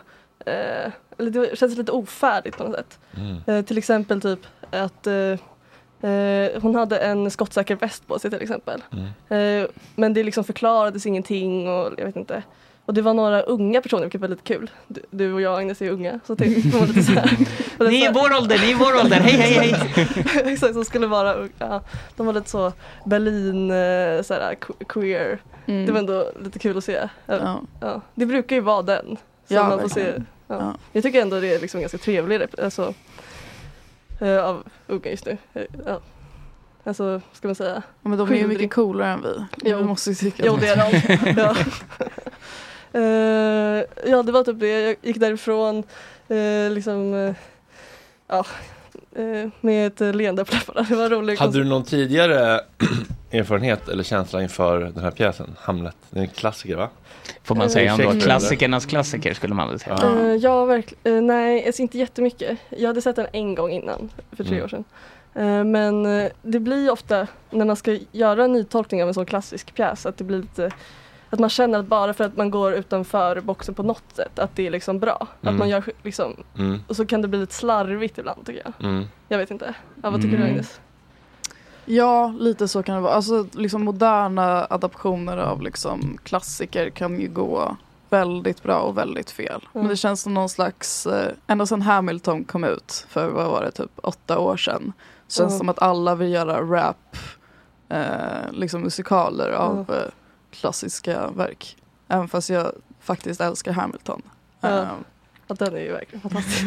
Speaker 7: eh, eller det känns lite ofärdigt på något sätt.
Speaker 2: Mm.
Speaker 7: Eh, till exempel typ att eh, eh, hon hade en skottsäker väst på sig till exempel.
Speaker 2: Mm.
Speaker 7: Eh, men det liksom förklarades ingenting och jag vet inte. Och det var några unga personer vilket var lite kul. Du, du och jag Agnes är ju unga. Så det var lite så här. Och det
Speaker 2: Ni är
Speaker 7: så-
Speaker 2: i vår ålder, ni är i vår ålder, hej hej hej!
Speaker 7: Exakt, som skulle vara unga. Ja, de var lite så Berlin, eh, så här, que- queer.
Speaker 9: Mm.
Speaker 7: Det var ändå lite kul att se.
Speaker 9: Ja.
Speaker 7: Ja. Det brukar ju vara den. Så
Speaker 9: Ja,
Speaker 7: man får se.
Speaker 9: verkligen.
Speaker 7: Ja. Jag tycker ändå det är liksom ganska trevlig rep- alltså, eh, av unga just nu. Eh, Ja. Alltså, ska man säga?
Speaker 9: Ja, men de är ju
Speaker 7: Skildring.
Speaker 9: mycket coolare än vi.
Speaker 7: Jo.
Speaker 9: Vi måste ju tycka
Speaker 7: Jo, det är de. ja. Eh, ja, det var typ det. Jag gick därifrån eh, liksom, eh, ja, eh, med ett eh, leende på läpparna. Det var roligt.
Speaker 1: Hade du någon tidigare erfarenhet eller känsla inför den här pjäsen, Hamlet? Det är en klassiker va?
Speaker 2: Får man säga ändå.
Speaker 1: Ursäkta,
Speaker 2: Klassikernas klassiker skulle man väl säga.
Speaker 7: Eh, ja, verkligen. nej, alltså inte jättemycket. Jag hade sett den en gång innan, för tre
Speaker 2: Mm.
Speaker 7: år sedan. Eh, men eh, det blir ju ofta, när man ska göra en nytolkning av en sån klassisk pjäs, att det blir lite att Att man känner att bara för att man går utanför boxen på något sätt, att det är liksom bra.
Speaker 1: Mm.
Speaker 7: Att man gör sk- liksom,
Speaker 1: Mm.
Speaker 7: och så kan det bli lite slarvigt ibland tycker jag.
Speaker 1: Mm.
Speaker 7: Jag vet inte. Ja, vad tycker
Speaker 9: Mm.
Speaker 7: du Agnes?
Speaker 9: Ja, lite så kan det vara. Alltså, liksom moderna adaptioner av liksom, klassiker kan ju gå väldigt bra och väldigt fel.
Speaker 7: Mm.
Speaker 9: Men det känns som någon slags, eh, ända sedan Hamilton kom ut för vad var det, typ åtta år sedan. Känns
Speaker 7: Mm.
Speaker 9: som att alla vill göra rap, eh, liksom musikaler av
Speaker 7: Mm.
Speaker 9: eh, klassiska verk. Även fast jag faktiskt älskar Hamilton.
Speaker 7: Ja.
Speaker 9: Eh,
Speaker 7: Att den är ju verkligen fantastisk.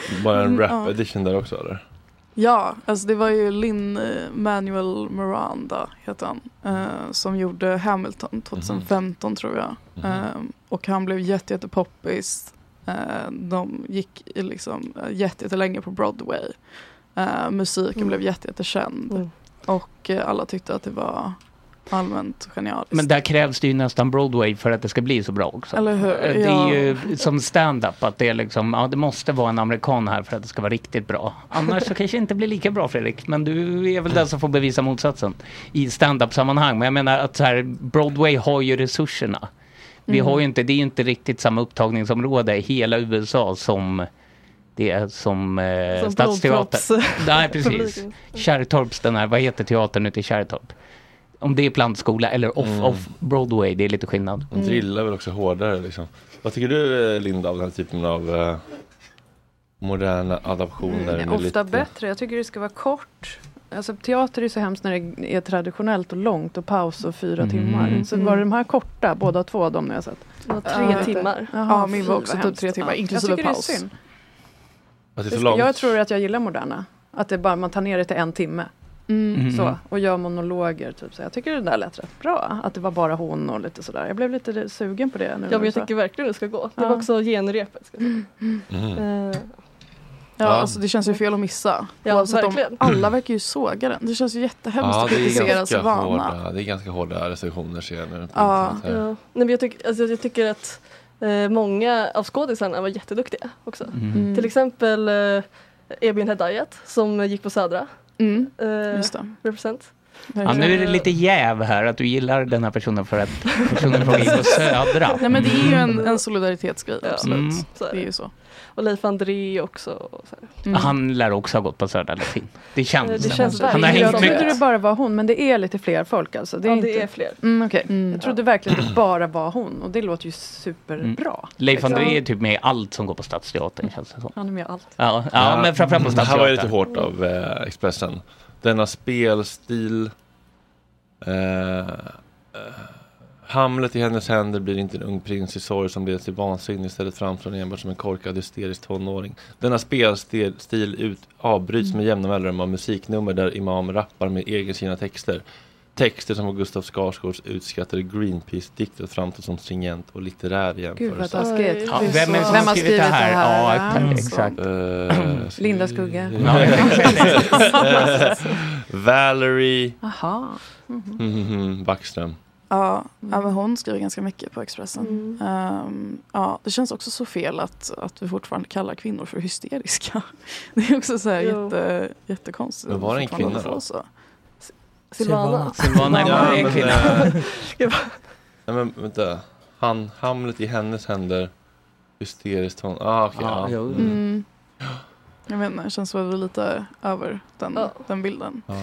Speaker 1: Bara en
Speaker 9: Mm,
Speaker 1: rap
Speaker 9: ja.
Speaker 1: edition där också eller?
Speaker 9: Ja, alltså det var ju Lin eh, Manuel Miranda heter han, eh, som gjorde Hamilton 2015 tror jag. Eh, och han blev jätte, jätte poppis. Eh, de gick i liksom eh, jätte, jättelänge på Broadway. Eh, musiken
Speaker 6: Mm.
Speaker 9: blev jätte, jättekänd.
Speaker 10: Mm.
Speaker 9: Och eh, alla tyckte att det var allmänt genialiskt.
Speaker 2: Men där krävs det ju nästan Broadway för att det ska bli så bra också.
Speaker 9: Eller hur?
Speaker 2: Eh, Det
Speaker 9: Ja.
Speaker 2: är ju som stand-up att det är liksom, ja det måste vara en amerikan här för att det ska vara riktigt bra. Annars så kanske det inte blir lika bra Fredrik, men du är väl den som får bevisa motsatsen i stand-up sammanhang. Men jag menar att så här, Broadway har ju resurserna. Vi
Speaker 10: Mm.
Speaker 2: har ju inte, det är ju inte riktigt samma upptagningsområde i hela USA som det är som, eh,
Speaker 10: Som
Speaker 2: Stadsteatern.
Speaker 10: Blomtorps-
Speaker 2: Nej, precis.
Speaker 10: publiken.
Speaker 2: Kärrtorps, den här, vad heter teatern ute i Kärrtorp? Om det är plantskola eller off,
Speaker 1: Mm.
Speaker 2: off Broadway, det är lite skillnad.
Speaker 1: De drillar väl också hårdare liksom. Vad tycker du eh, Linda av den här typen av eh, moderna adaptioner?
Speaker 10: Mm,
Speaker 1: med
Speaker 10: ofta
Speaker 1: lite-
Speaker 10: bättre. Jag tycker det ska vara kort. Alltså, teater är så hemskt när det är traditionellt och långt och paus och fyra
Speaker 9: Mm.
Speaker 10: timmar. Så
Speaker 9: Mm.
Speaker 10: var det de här korta, båda två av dem när jag sett?
Speaker 7: Det var tre timmar.
Speaker 9: Ja, min var också typ tre timmar, inklusive
Speaker 10: jag tycker
Speaker 9: paus.
Speaker 10: Det är synd.
Speaker 1: Att det är
Speaker 10: Det
Speaker 1: för
Speaker 10: sk-
Speaker 1: långt?
Speaker 10: Jag tror att jag gillar moderna. Att det bara, man tar ner det till en timme.
Speaker 1: Mm.
Speaker 10: Så, och gör monologer. Typ. Så jag tycker det där lät rätt bra. Att det var bara hon och lite sådär. Jag blev lite sugen på det. Nu
Speaker 7: Ja, men
Speaker 10: när du
Speaker 7: jag
Speaker 10: sa.
Speaker 7: tycker verkligen det ska gå. Det
Speaker 10: Ja.
Speaker 7: var också genrepet. Ska jag säga.
Speaker 10: Mm.
Speaker 7: Eh,
Speaker 9: Ja,
Speaker 7: Ja.
Speaker 9: alltså det känns ju fel att missa.
Speaker 7: Ja,
Speaker 9: Oavsett om-
Speaker 7: verkligen.
Speaker 9: alla verkar ju såga den. Det känns ju jättehemskt
Speaker 1: Ja,
Speaker 9: att
Speaker 1: det är,
Speaker 9: kritisera sig
Speaker 1: ganska
Speaker 9: vana.
Speaker 1: hårda, det är ganska hårda restriktioner ser jag nu. på
Speaker 9: Ja.
Speaker 1: internet
Speaker 7: Ja.
Speaker 1: här.
Speaker 7: Nej, men jag, tyck, alltså, jag tycker att eh, många av skådisarna var jätteduktiga också.
Speaker 1: Mm.
Speaker 7: Till exempel eh, Ebin Hedayat som gick på Södra.
Speaker 9: Mm.
Speaker 7: Eh,
Speaker 9: Just det.
Speaker 7: Represent.
Speaker 2: Ja, nu är det lite jäv här att du gillar den här personen för att personen från in på Södra.
Speaker 9: Nej men det är ju en, en solidaritetsgrej absolut.
Speaker 2: Mm.
Speaker 7: Mm. Så är
Speaker 9: Det är ju så. Mm.
Speaker 7: Och Leif André också. Och så här.
Speaker 2: Han lär också ha gått på Södra Latin. Det känns,
Speaker 10: Mm. Det känns
Speaker 2: Han har
Speaker 10: verkligen-
Speaker 2: hängt
Speaker 10: Jag
Speaker 2: med.
Speaker 10: trodde det bara var hon, men det är lite fler folk alltså. Det är
Speaker 7: Ja,
Speaker 10: inte...
Speaker 7: det är fler.
Speaker 10: Mm, okej. Jag trodde verkligen det bara var hon och det låter ju superbra.
Speaker 2: Mm. Leif
Speaker 10: Liksom.
Speaker 2: André är typ med i allt som går på Stadsteatern känns det som.
Speaker 10: Han är med i allt.
Speaker 2: Ja, ja, men framförallt på
Speaker 1: Det här var ju lite
Speaker 2: Stadsteatern.
Speaker 1: hårt av eh, Expressen. Denna spelstil. Eh, eh, Hamlet i hennes händer blir inte en ung prins i sorg som leds till vansinne. Istället framstår han enbart som en korkad hysterisk tonåring. Denna spelstil ut, avbryts med jämna mellanrum av musiknummer där Imam rappar med egenskrivna texter. Texter som av Gustav Skarsgårds utskrattade Greenpeace-dikter framstår som stringent och litterär i jämförelse.
Speaker 10: vad taskigt.
Speaker 2: Ja, vem är det som har skrivit det här? Ja,
Speaker 10: Ja.
Speaker 2: exakt.
Speaker 1: Eh,
Speaker 10: Linda Skugge.
Speaker 2: Ja, exakt.
Speaker 1: Valerie
Speaker 9: Aha.
Speaker 1: Mhm, Backström.
Speaker 9: Ja,
Speaker 7: Mm.
Speaker 9: ja, men hon skriver ganska mycket på Expressen. Ehm, ja, det känns också så fel att, att vi fortfarande kallar kvinnor för hysteriska. Det är också så här
Speaker 7: Jo.
Speaker 9: jätte, jättekonstigt.
Speaker 1: Men var det en
Speaker 9: att fortfarande
Speaker 1: kvinna
Speaker 9: få
Speaker 1: då?
Speaker 9: Så.
Speaker 7: Silvana.
Speaker 2: Silvana är en kvinna.
Speaker 1: eh, Nej men vänta. Han, Hamlet i hennes händer. Hysteriskt hon. Ah, okej.
Speaker 2: Ja,
Speaker 1: ja.
Speaker 2: jo.
Speaker 1: Mm.
Speaker 9: Mm. Jag vet inte, det känns som att vi är lite över den, den bilden.
Speaker 1: Ja.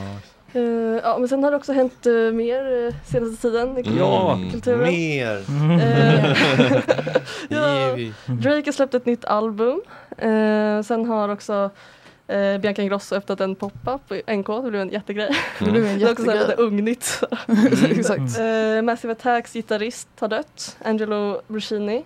Speaker 7: Eh, ja, men sen har det också hänt eh, mer eh, senaste tiden i kul-
Speaker 1: Ja,
Speaker 2: Mm.
Speaker 7: kulturen.
Speaker 1: mer.
Speaker 7: Mm. Eh, ja,
Speaker 1: Evie.
Speaker 9: Mm.
Speaker 7: Drake har släppt ett nytt album. Eh, sen har också eh, Bianca Ingrosso öppnat en pop-up i NK. Det blev en jättegrej.
Speaker 9: Det blev en
Speaker 7: Det är också så här
Speaker 9: jättegrej.
Speaker 7: lite ungnytt.
Speaker 1: Mm.
Speaker 9: Exakt.
Speaker 7: Eh, Massive Attacks gitarrist har dött. Angelo Brucini.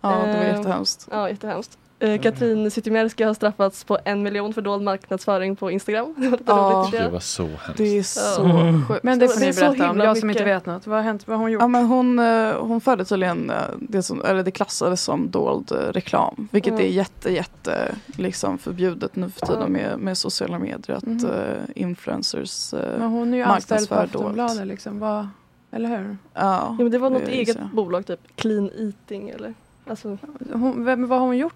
Speaker 9: Ja, det var
Speaker 7: Eh,
Speaker 9: jättehemskt.
Speaker 7: Ja, jättehemskt. Eh, Katrin Zytomierska har straffats på en miljon för dold marknadsföring på Instagram. Det var lite
Speaker 9: Ja.
Speaker 7: roligt tycker
Speaker 1: Det
Speaker 7: jag.
Speaker 1: var så hemskt.
Speaker 9: Det är så
Speaker 1: Mm.
Speaker 9: sjukt.
Speaker 10: Men det får
Speaker 7: Det
Speaker 10: ni
Speaker 7: är så
Speaker 10: berätta om,
Speaker 7: himla
Speaker 10: jag som
Speaker 7: mycket.
Speaker 10: inte vet något. Vad har hänt? Vad har hon gjort?
Speaker 9: Ja, men hon, eh, hon förde tydligen eh, det som, eller det klassades som dold eh, reklam. Vilket
Speaker 10: Mm.
Speaker 9: är jätte, jätte liksom förbjudet nu för tiden
Speaker 10: Mm.
Speaker 9: med, med sociala medier. Att
Speaker 10: Mhm.
Speaker 9: eh, influencers eh,
Speaker 10: Men hon är ju anställd på
Speaker 9: marknadsför dolt.
Speaker 10: Aftonbladet liksom. Vad, eller hur?
Speaker 9: Ja,
Speaker 7: Ja, men det var något
Speaker 9: det är
Speaker 7: eget
Speaker 9: så.
Speaker 7: bolag typ, Clean Eating eller? Alltså,
Speaker 10: Hon, vem, vad har hon gjort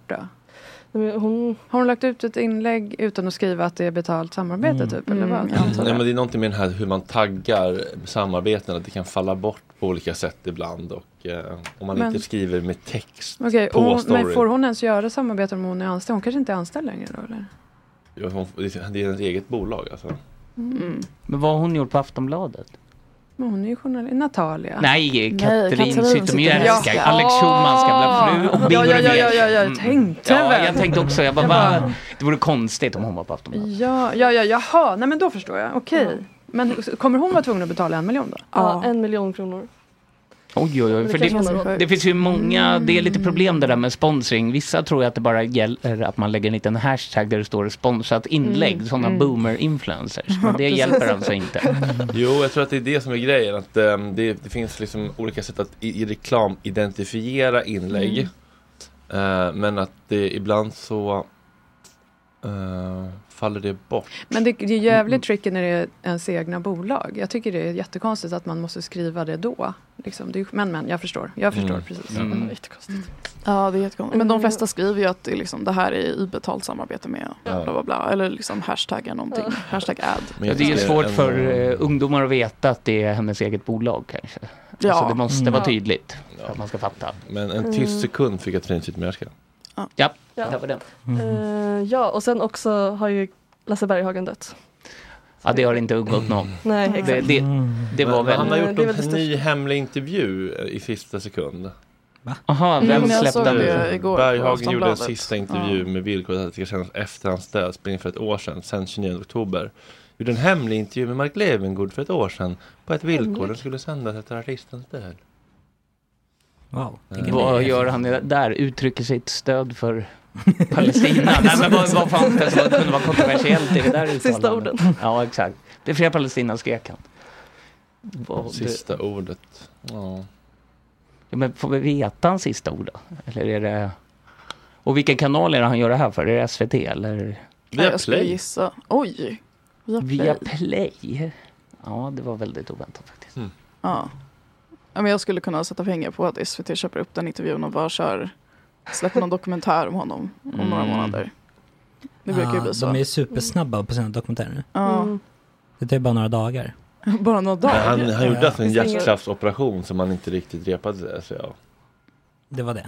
Speaker 10: då?
Speaker 6: Har hon lagt ut ett inlägg utan att skriva att det är betalt
Speaker 2: Mm.
Speaker 6: samarbete typ? Eller vad? Jag antar
Speaker 1: Nej,
Speaker 6: det.
Speaker 1: men det är någonting med den här hur man taggar samarbeten, att det kan falla bort på olika sätt ibland. Och eh, om man
Speaker 6: Men-
Speaker 1: inte skriver med text
Speaker 6: Okej,
Speaker 1: på
Speaker 6: och hon,
Speaker 1: storyn.
Speaker 6: men får hon ens göra samarbete om hon är anställd? Hon kanske inte är anställd längre då eller?
Speaker 1: Ja, hon- Det är hennes eget bolag alltså.
Speaker 6: Mm.
Speaker 2: Men vad har hon gjort på Aftonbladet?
Speaker 6: Men hon är ju journalist. Natalia.
Speaker 2: Nej, Katrin
Speaker 6: Zytomierska.
Speaker 2: Zytomierska. Alex Schulman ska bli fru och
Speaker 6: Ja, ja,
Speaker 2: Bingo
Speaker 6: ja, ja, ja,
Speaker 2: Rimér.
Speaker 6: jag tänkte
Speaker 2: Ja,
Speaker 6: väl.
Speaker 2: jag tänkte också. Jag bara,
Speaker 6: Jag bara-
Speaker 2: va? Det vore konstigt om hon var på Aftonbladet.
Speaker 6: Ja, ja, ja, jaha. Nej men då förstår jag. Okej. Men så- kommer hon vara tvungen att betala en miljon då?
Speaker 7: Ja, en miljon kronor.
Speaker 2: Oj, oj, oj.
Speaker 7: det
Speaker 2: För
Speaker 7: kanske
Speaker 2: det,
Speaker 7: hon har
Speaker 2: det,
Speaker 7: råd.
Speaker 2: finns ju många, det är lite problem det där med sponsring. Vissa tror ju att det bara gäller att man lägger en liten hashtag där det står sponsrat inlägg,
Speaker 1: Mm.
Speaker 2: sådana
Speaker 1: Mm.
Speaker 2: boomer-influencers. Men det hjälper alltså inte.
Speaker 1: Jo, jag tror att det är det som är grejen. Att, ehm, det, det finns liksom olika sätt att i, i reklam identifiera inlägg.
Speaker 2: Mm.
Speaker 1: Eh, men att det ibland så eh, faller det bort.
Speaker 6: Men det, det är
Speaker 2: Mm.
Speaker 6: jävligt tricky när det är ens egna bolag. Jag tycker det är jättekonstigt att man måste skriva det då. Liksom, det är, ju- men men, jag förstår. Jag förstår
Speaker 9: Mm.
Speaker 6: precis.
Speaker 9: Mm. Mm.
Speaker 6: Jättekonstigt.
Speaker 9: Ja, det är jättekonstigt.
Speaker 4: Mm.
Speaker 9: Men de flesta skriver ju att det, är liksom, det här är i betalt samarbete med
Speaker 2: Ja.
Speaker 9: bla bla bla. Eller liksom hashtaggar någonting. Hashtag ad.
Speaker 2: Men det är ju svårt för eh, ungdomar att veta att det är hennes eget bolag kanske.
Speaker 9: Ja.
Speaker 2: Alltså, det måste
Speaker 9: Mm.
Speaker 2: vara
Speaker 9: Ja.
Speaker 2: tydligt för att man ska fatta.
Speaker 1: Men en
Speaker 7: Mm.
Speaker 1: tyst sekund för Katrin Zytomierska.
Speaker 9: Ja,
Speaker 7: Ja.
Speaker 2: det var den.
Speaker 7: Eh, ja, och sen också har ju Lasse Berghagen dött.
Speaker 2: Ja, det har inte undgått någon.
Speaker 7: Nej, exakt.
Speaker 2: Mm. Det, det, det var
Speaker 1: Men
Speaker 2: väl...
Speaker 1: Han har
Speaker 7: Det är väl
Speaker 1: gjort
Speaker 7: det
Speaker 1: en
Speaker 7: största.
Speaker 1: ny hemlig intervju eh, i sista sekund.
Speaker 2: Aha,
Speaker 9: vem Mm, jag släppte såg den? det igår på
Speaker 1: Berghagen gjorde en
Speaker 9: Aftonbladet.
Speaker 1: sista intervju med villkoret att det ska kännas efter hans död, spela in för ett år sedan, sen 29 oktober. Gjorde en hemlig intervju med Mark Levengood för ett år sedan på ett villkor. Den skulle sändas efter artistens död.
Speaker 4: Wow.
Speaker 1: Ingen
Speaker 2: Vad
Speaker 4: Mm.
Speaker 1: idé.
Speaker 2: gör han där? Uttrycker sitt stöd för Palestina? Nej, men vad, vad fan det som kunde vara kontroversiellt i det där uttalandet?
Speaker 7: Sista orden.
Speaker 2: Ja, exakt. Det är fria Palestina skrek han. Vad-
Speaker 1: Sista ordet. Ja.
Speaker 2: Ja, men får vi veta hans sista ord då? Eller är det... Och vilken kanal är det han gör det här för? Är det SVT eller?
Speaker 9: Ja, jag skulle gissa. Oj! Via play.
Speaker 2: Via Play? Ja, det var väldigt oväntat faktiskt.
Speaker 9: Ja. Ja, men jag skulle kunna sätta pengar på att SVT köper upp den intervjun och bara kör, släpper någon dokumentär om honom om några
Speaker 4: Mm.
Speaker 9: månader. Det brukar ju
Speaker 4: Ah,
Speaker 9: bli så. Mm.
Speaker 4: De är ju supersnabba på sina dokumentärer nu.
Speaker 9: Ja.
Speaker 4: Det tar ju bara några dagar.
Speaker 9: Bara några
Speaker 1: Men
Speaker 9: dagar.
Speaker 1: han, han gjorde
Speaker 4: Ja.
Speaker 1: alltså en
Speaker 4: Finns det ingen-
Speaker 1: hjärtklaffsoperation som han inte riktigt repade sig. Så ja.
Speaker 4: Det var det.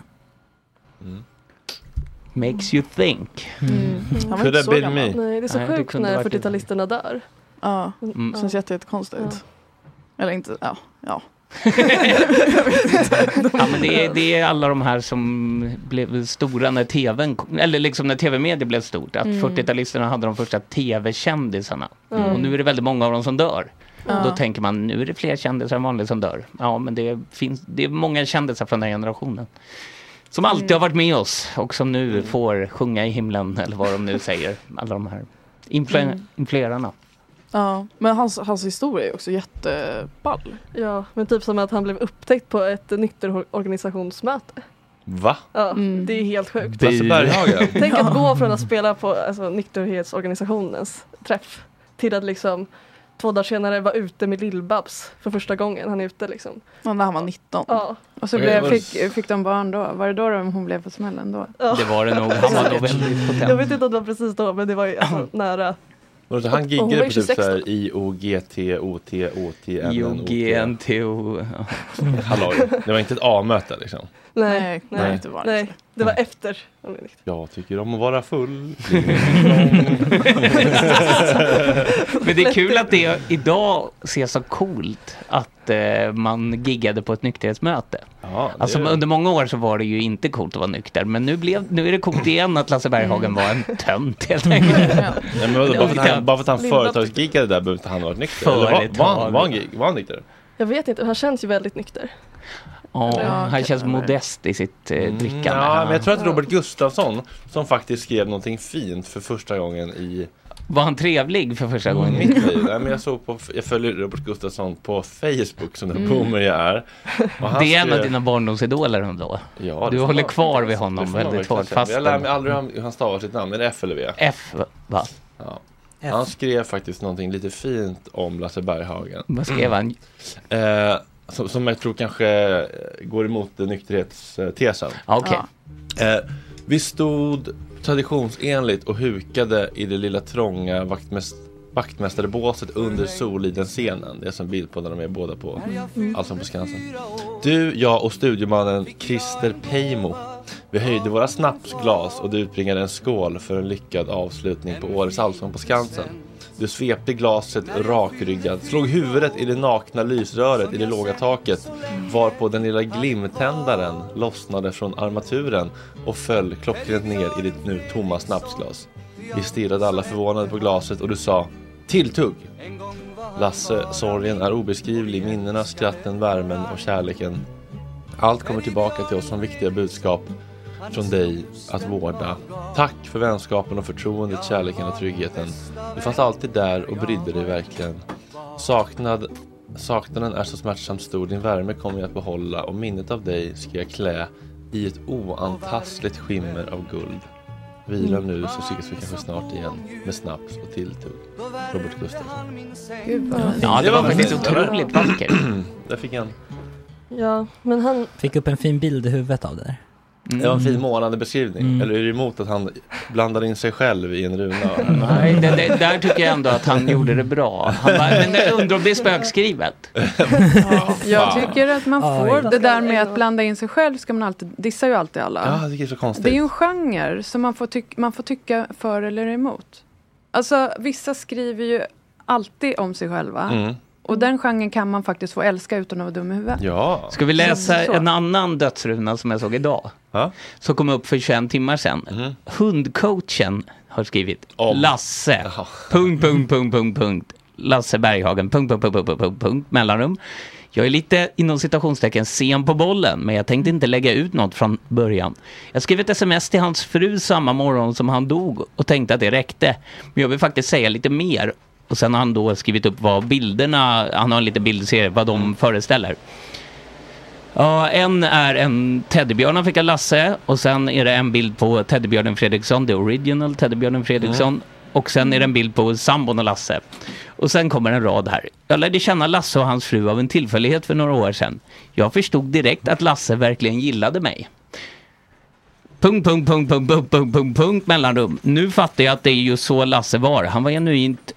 Speaker 2: Makes you think.
Speaker 9: Han var Mm. inte så gammal.
Speaker 7: Nej, det är så
Speaker 2: Nej,
Speaker 7: sjukt
Speaker 2: kunde
Speaker 7: när
Speaker 2: varit-
Speaker 7: 40-talisterna dör.
Speaker 9: Ja,
Speaker 2: Mm.
Speaker 9: det känns jätte- jättekonstigt. Eller inte, ja. ja.
Speaker 2: Ja, men det, är, det är alla de här som blev stora när tvn kom- eller liksom när tv-media blev stort. Att
Speaker 9: Mm.
Speaker 2: 40-talisterna hade de första tv-kändisarna.
Speaker 9: Mm.
Speaker 2: Och nu är det väldigt många av dem som dör.
Speaker 9: Ja.
Speaker 2: Då tänker man, nu är det fler kändisar än vanligt som dör. Ja, men det, finns, det är många kändisar från den generationen. Som alltid
Speaker 9: Mm.
Speaker 2: har varit med oss och som nu får sjunga i himlen eller vad de nu säger. Alla de här influ-
Speaker 9: Mm.
Speaker 2: influerarna.
Speaker 9: ja. Men hans, hans historia är också jätteball.
Speaker 7: Ja, men typ som att han blev upptäckt på ett nykterorganisationsmöte.
Speaker 1: Va?
Speaker 7: Ja,
Speaker 6: Mm.
Speaker 7: det är helt sjukt.
Speaker 1: Lasse Berghagen?
Speaker 7: Tänk att gå från att spela på alltså, nykterhetsorganisationens träff till att liksom två dagar senare vara ute med Lill-Babs för första gången han är ute liksom.
Speaker 9: Ja, när han var 19.
Speaker 7: Ja.
Speaker 6: Och så blev, fick, fick de barn då? Var det då de- hon blev på smällen då?
Speaker 7: Ja.
Speaker 2: Det var det nog. Han var nog väldigt
Speaker 7: Jag vet
Speaker 2: potent.
Speaker 7: inte om det var precis då men det var ju alltså, nära.
Speaker 1: Och så Han
Speaker 7: Och- och hon var
Speaker 1: giggade på
Speaker 7: ju
Speaker 1: typ
Speaker 7: 26
Speaker 1: såhär I-O-G-T-O-T-O-T-N-N-O-T.
Speaker 2: IOGNTO.
Speaker 1: Hallå, det var inte ett A-möte liksom.
Speaker 7: Nej,
Speaker 9: Nej,
Speaker 1: nej,
Speaker 7: det
Speaker 9: det
Speaker 7: var,
Speaker 9: var
Speaker 7: nej, det var efter. om det är riktigt.
Speaker 1: Jag tycker om att vara full.
Speaker 2: Men det är kul att det idag ses så coolt att eh, man giggade på ett nykterhetsmöte.
Speaker 1: det
Speaker 2: alltså
Speaker 1: är-
Speaker 2: under många år så var det ju inte coolt att vara nykter men nu, blev, nu är det coolt igen att Lasse Berghagen var en tönt helt enkelt.
Speaker 1: Nej, men vadå, bara, för att han, bara för att han
Speaker 7: Lindblad.
Speaker 1: företagsgiggade där behöver inte han ha varit nykter. Eller var, var, han, var, han, gig- var han nykter?
Speaker 7: Jag vet inte, han känns ju väldigt nykter.
Speaker 2: Ja,
Speaker 7: Ja,
Speaker 2: han känns modest i sitt eh, drickande.
Speaker 1: Mm, Ja, men jag tror att
Speaker 7: Ja.
Speaker 1: Robert Gustafsson som faktiskt skrev någonting fint för första gången i
Speaker 2: Var han trevlig för första gången?
Speaker 1: mitt liv. Nej, men jag, såg på, jag följer Robert Gustafsson på Facebook som den
Speaker 2: Mm.
Speaker 1: boomer jag är. Och han
Speaker 2: Det är en av
Speaker 1: skrev-
Speaker 2: dina barndomsidoler ändå.
Speaker 1: Ja, det
Speaker 2: du
Speaker 1: får
Speaker 2: håller
Speaker 1: man-
Speaker 2: kvar vid
Speaker 1: det får
Speaker 2: honom
Speaker 1: man
Speaker 2: väldigt
Speaker 1: verkligen
Speaker 2: hårt.
Speaker 1: säga.
Speaker 2: Fast
Speaker 1: Jag lär mig aldrig hur han- hur han stavar sitt namn. Är det F eller V?
Speaker 2: F, va?
Speaker 1: Ja. Han skrev faktiskt någonting lite fint om Lasse Berghagen.
Speaker 2: Vad skrev han?
Speaker 1: Eh, som, som jag tror kanske eh, går emot eh, nykterhetstesen.
Speaker 2: Okej.
Speaker 1: Eh, vi stod traditionsenligt och hukade i det lilla trånga vaktmäst vaktmästarebåset under Soliden-scenen. Det är som bild på när de är båda på
Speaker 11: Mm.
Speaker 1: Allsång på Skansen. Du, jag och studiomannen Christer Peimo. Vi höjde våra snapsglas och du utbringade en skål för en lyckad avslutning på årets Allsång på Skansen. Du svepte glaset rakryggad, slog huvudet i det nakna lysröret i det låga taket varpå den lilla glimtändaren lossnade från armaturen och föll klockrent ner i ditt nu tomma snapsglas. Vi stirrade alla förvånade på glaset och du sa Tilltugg! Lasse, sorgen är obeskrivlig, minnena, skratten, värmen och kärleken. Allt kommer tillbaka till oss som viktiga budskap från dig att vårda. Tack för vänskapen och förtroendet, kärleken och tryggheten. Du fanns alltid där och brydde dig verkligen. Saknad, saknaden är så smärtsamt stor, din värme kommer jag att behålla och minnet av dig ska jag klä i ett oantastligt skimmer av guld. Vila
Speaker 9: Mm.
Speaker 1: nu så ses vi kanske snart igen med snaps och tilltugg. Robert Gustafsson.
Speaker 6: Gud, vad fint.
Speaker 2: Ja, det var faktiskt
Speaker 1: fint.
Speaker 2: otroligt vackert.
Speaker 1: Där fick han.
Speaker 7: Ja, men han,
Speaker 4: Fick upp en fin bild i huvudet av det där.
Speaker 2: Mm.
Speaker 1: Det var en fin målande beskrivning. Eller är du emot att han blandar in sig själv i en runa?
Speaker 2: Nej, det, det, där tycker jag ändå att han gjorde det bra. Han bara, men jag undrar om det är spökskrivet.
Speaker 6: Jag tycker att man
Speaker 2: Oj.
Speaker 6: får det där med att blanda in sig själv ska man alltid, dissar ju alltid alla.
Speaker 1: Ja, jag tycker det är så konstigt.
Speaker 6: Det är ju en genre som man får, tyck- man får tycka för eller emot. Alltså vissa skriver ju alltid om sig själva.
Speaker 2: Mm.
Speaker 6: Och den genren kan man faktiskt få älska utan att vara dum i huvudet.
Speaker 1: Ja.
Speaker 2: Ska vi läsa
Speaker 6: Så.
Speaker 2: en annan dödsruna som jag såg idag? Som kom upp för 21 timmar sedan. Hundcoachen har skrivit Lasse. Punkt, punkt, punkt, punkt, punkt. Lasse Berghagen. Punkt, punkt, punkt, punkt, punkt, punkt, punkt. Mellanrum. Jag är lite inom citationstecken sen på bollen, men jag tänkte inte lägga ut något från början. Jag skrev ett sms till hans fru samma morgon som han dog och tänkte att det räckte. Men jag vill faktiskt säga lite mer. Och sen har han då skrivit upp vad bilderna, han har en liten bildserie, vad de föreställer. Ja, en är en teddybjörn han fick av Lasse och sen är det en bild på teddybjörnen Fredriksson, the original teddybjörnen Fredriksson.
Speaker 12: Mm.
Speaker 2: Och sen är det en bild på sambon och Lasse. Och sen kommer en rad här. Jag lärde känna Lasse och hans fru av en tillfällighet för några år sedan. Jag förstod direkt att Lasse verkligen gillade mig. Punkt, punkt, punkt, punkt, punkt, punkt, punkt, punkt, mellanrum. Nu fattar jag att det är ju så Lasse var. Han var genuint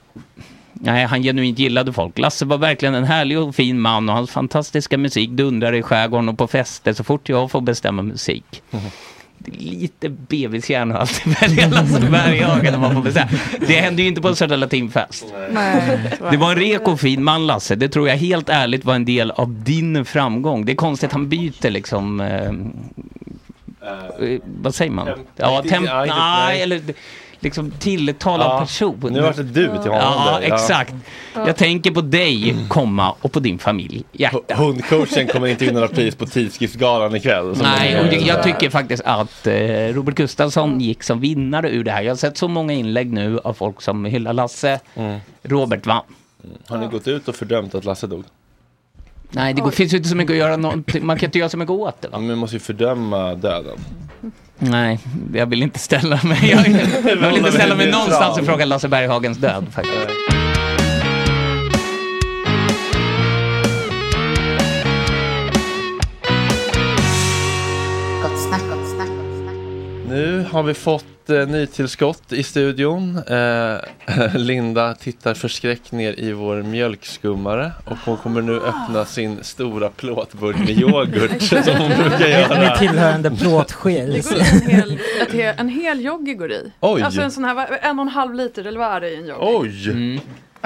Speaker 2: Nej, han genuint gillade folk. Lasse var verkligen en härlig och fin man och hans fantastiska musik dundrade i skärgården och på fester så fort jag får bestämma musik. Det är lite bebishjärna att alltid välja Lasse Berghagen om man får bestämma. Det hände ju inte på en Södra Latinfest. Det var en rek och fin man Lasse. Det tror jag helt ärligt var en del av din framgång. Det är konstigt, han byter liksom... Eh, eh, vad säger man?
Speaker 1: temp-
Speaker 2: ja,
Speaker 1: nej,
Speaker 2: temp...
Speaker 1: inte- nej,
Speaker 2: Nej,
Speaker 1: inte- nej.
Speaker 2: eller liksom tilltal av
Speaker 1: Ja,
Speaker 2: person.
Speaker 1: nu vart det du till honom
Speaker 2: Ja,
Speaker 1: där, ja.
Speaker 2: exakt.
Speaker 1: Ja.
Speaker 2: Jag tänker på dig, komma, och på din familj, hjärta.
Speaker 1: Hundcoachen kommer inte in några pris på tidskriftsgalan ikväll. som
Speaker 2: Nej,
Speaker 1: många
Speaker 2: och jag,
Speaker 1: gör.
Speaker 2: jag tycker faktiskt att eh, Robert Gustafsson gick som vinnare ur det här. Jag har sett så många inlägg nu av folk som hyllar Lasse. Robert vann.
Speaker 1: Mm. Har ni gått ut och fördömt att Lasse dog?
Speaker 2: Nej, det går, finns ju inte så mycket att göra någonting. Man kan inte göra så mycket åt det. Va?
Speaker 1: Men vi måste ju fördöma döden.
Speaker 2: Nej, jag vill inte ställa mig. Jag, jag vill inte ställa mig någonstans och fråga Lasse Berghagens död faktiskt.
Speaker 13: Gott snack, gott snack.
Speaker 1: Nu har vi fått eh, nytillskott i studion. Eh, Linda tittar förskräckt ner i vår mjölkskummare och hon kommer nu öppna sin stora plåtburk med yoghurt som hon brukar göra.
Speaker 4: Med tillhörande plåtsked. liksom.
Speaker 6: Det går en hel, ett he, en hel joggi går i.
Speaker 1: Oj.
Speaker 6: Alltså en sån här, vad- en och en halv liter eller vad är det i en joggi?
Speaker 1: Oj!
Speaker 7: Mm.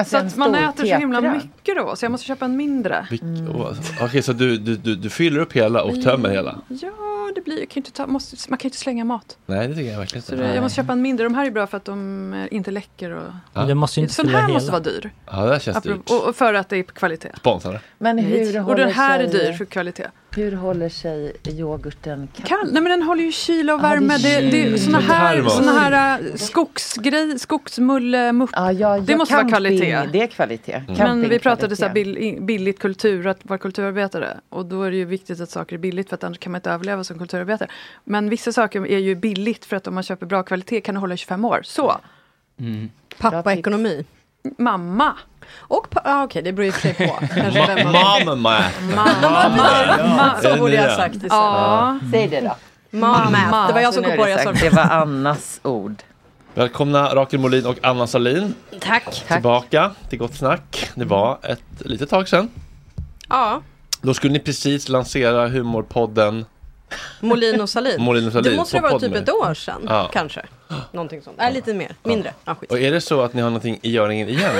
Speaker 6: Så att man
Speaker 7: Alltså, stor
Speaker 6: äter så himla
Speaker 7: tetra.
Speaker 6: mycket då, så jag måste köpa en mindre.
Speaker 1: Vilk- åh, Okej, så du, du, du, du fyller upp hela och tömmer
Speaker 7: Mm.
Speaker 1: hela?
Speaker 6: Ja, det blir, jag kan ju inte ta, måste, man kan ju inte slänga mat.
Speaker 1: Nej, det tycker jag verkligen
Speaker 6: Så det, jag måste köpa en mindre. De här är bra för att de eh, inte läcker. Och...
Speaker 1: Ja. Men du måste ju inte
Speaker 6: Sån här
Speaker 1: fylla hela.
Speaker 6: måste vara dyr.
Speaker 1: Ja, det här känns
Speaker 6: Apropå-
Speaker 1: dyrt.
Speaker 6: Och, och för att det är på kvalitet.
Speaker 1: Sponsrade.
Speaker 13: Men hur
Speaker 6: och
Speaker 13: håller
Speaker 6: den här är
Speaker 13: sig-
Speaker 6: dyr för kvalitet.
Speaker 13: Hur håller sig yoghurten kall?
Speaker 6: Kall. Nej men den håller ju kyla och värme.
Speaker 13: det
Speaker 6: det,
Speaker 13: är
Speaker 6: det, är
Speaker 13: kyl.
Speaker 6: såna
Speaker 13: Som
Speaker 6: här,
Speaker 13: termos.
Speaker 6: såna här äh, skogsgrej, skogsmulle, mupp. det
Speaker 13: ja,
Speaker 6: måste vara
Speaker 13: camping,
Speaker 6: kvalitet. Mm.
Speaker 13: det är kvalitet. Mm.
Speaker 6: Men vi pratade
Speaker 13: Campingkvalitet.
Speaker 6: så här bill, i- billigt kultur, att vara kulturarbetare. Och då är det ju viktigt att saker är billigt för att annars kan man inte överleva som kulturarbetare. Men vissa saker är ju billigt för att om man köper bra kvalitet kan det hålla i 25 år. Så,
Speaker 2: Mm.
Speaker 7: pappaekonomi.
Speaker 6: Mamma.
Speaker 7: Och, pa- ah, okej det beror ju i och för sig på. Kanske
Speaker 1: Ma-
Speaker 7: vem man-
Speaker 1: Mamma!
Speaker 7: Mamma.
Speaker 1: Ja,
Speaker 7: Så
Speaker 1: det
Speaker 7: borde jag
Speaker 1: nya.
Speaker 7: ha sagt istället.
Speaker 6: Ja.
Speaker 13: Säg det då.
Speaker 6: Mamma. Det var jag som kom på det. Jag sa
Speaker 13: Det var Annas ord.
Speaker 1: Välkomna Rakel Molin och Anna Salin
Speaker 11: Tack.
Speaker 1: tillbaka till Gott Snack. Det var ett litet tag sedan.
Speaker 11: Ja,
Speaker 1: Då skulle ni precis lansera humorpodden
Speaker 11: Molin och Salin.
Speaker 1: Molin och Sahlin
Speaker 11: Det måste det
Speaker 1: på
Speaker 11: vara typ
Speaker 1: Podme.
Speaker 11: ett år sedan,
Speaker 1: Ja.
Speaker 11: kanske. Någonting sånt. Äh, lite mer, mindre. Ja, skit.
Speaker 1: Och är det så att ni har någonting i göringen igen?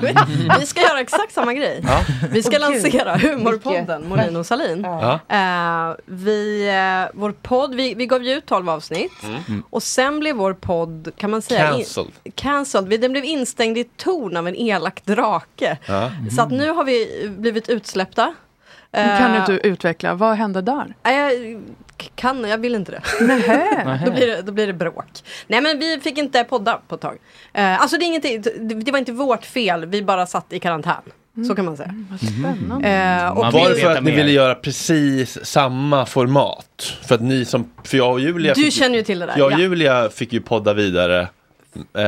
Speaker 11: Vi ska göra exakt samma grej.
Speaker 1: Ja.
Speaker 11: Vi ska
Speaker 6: Åh, gud.
Speaker 11: lansera humorpodden Molin och Salin.
Speaker 1: Ja.
Speaker 11: vi, eh, vår podd, vi, vi gav ju ut 12 avsnitt.
Speaker 1: Mm.
Speaker 11: Och sen blev vår podd, kan man säga,
Speaker 1: Cancelled.
Speaker 11: In, cancelled. Vi- Den blev instängd i ett torn av en elak drake.
Speaker 1: Ja.
Speaker 11: Så att nu har vi blivit utsläppta. Eh,
Speaker 6: Men Mm. kan inte du
Speaker 11: utveckla, vad hände där? Jag k- kan, jag vill inte det.
Speaker 6: Nähä.
Speaker 11: då, blir det då blir det bråk. Nej men vi fick inte podda på ett tag. Eh, alltså det, är ingenting, det, det var inte vårt fel, vi bara satt i karantän.
Speaker 6: Mm.
Speaker 11: Så kan man säga. Eh, och
Speaker 1: Och
Speaker 11: vi-
Speaker 1: var det för att ni ville göra precis samma format? För att ni som, för jag och Julia
Speaker 11: Du
Speaker 1: fick,
Speaker 11: känner ju till det där.
Speaker 1: Jag och
Speaker 11: ja.
Speaker 1: Julia fick ju podda vidare eh,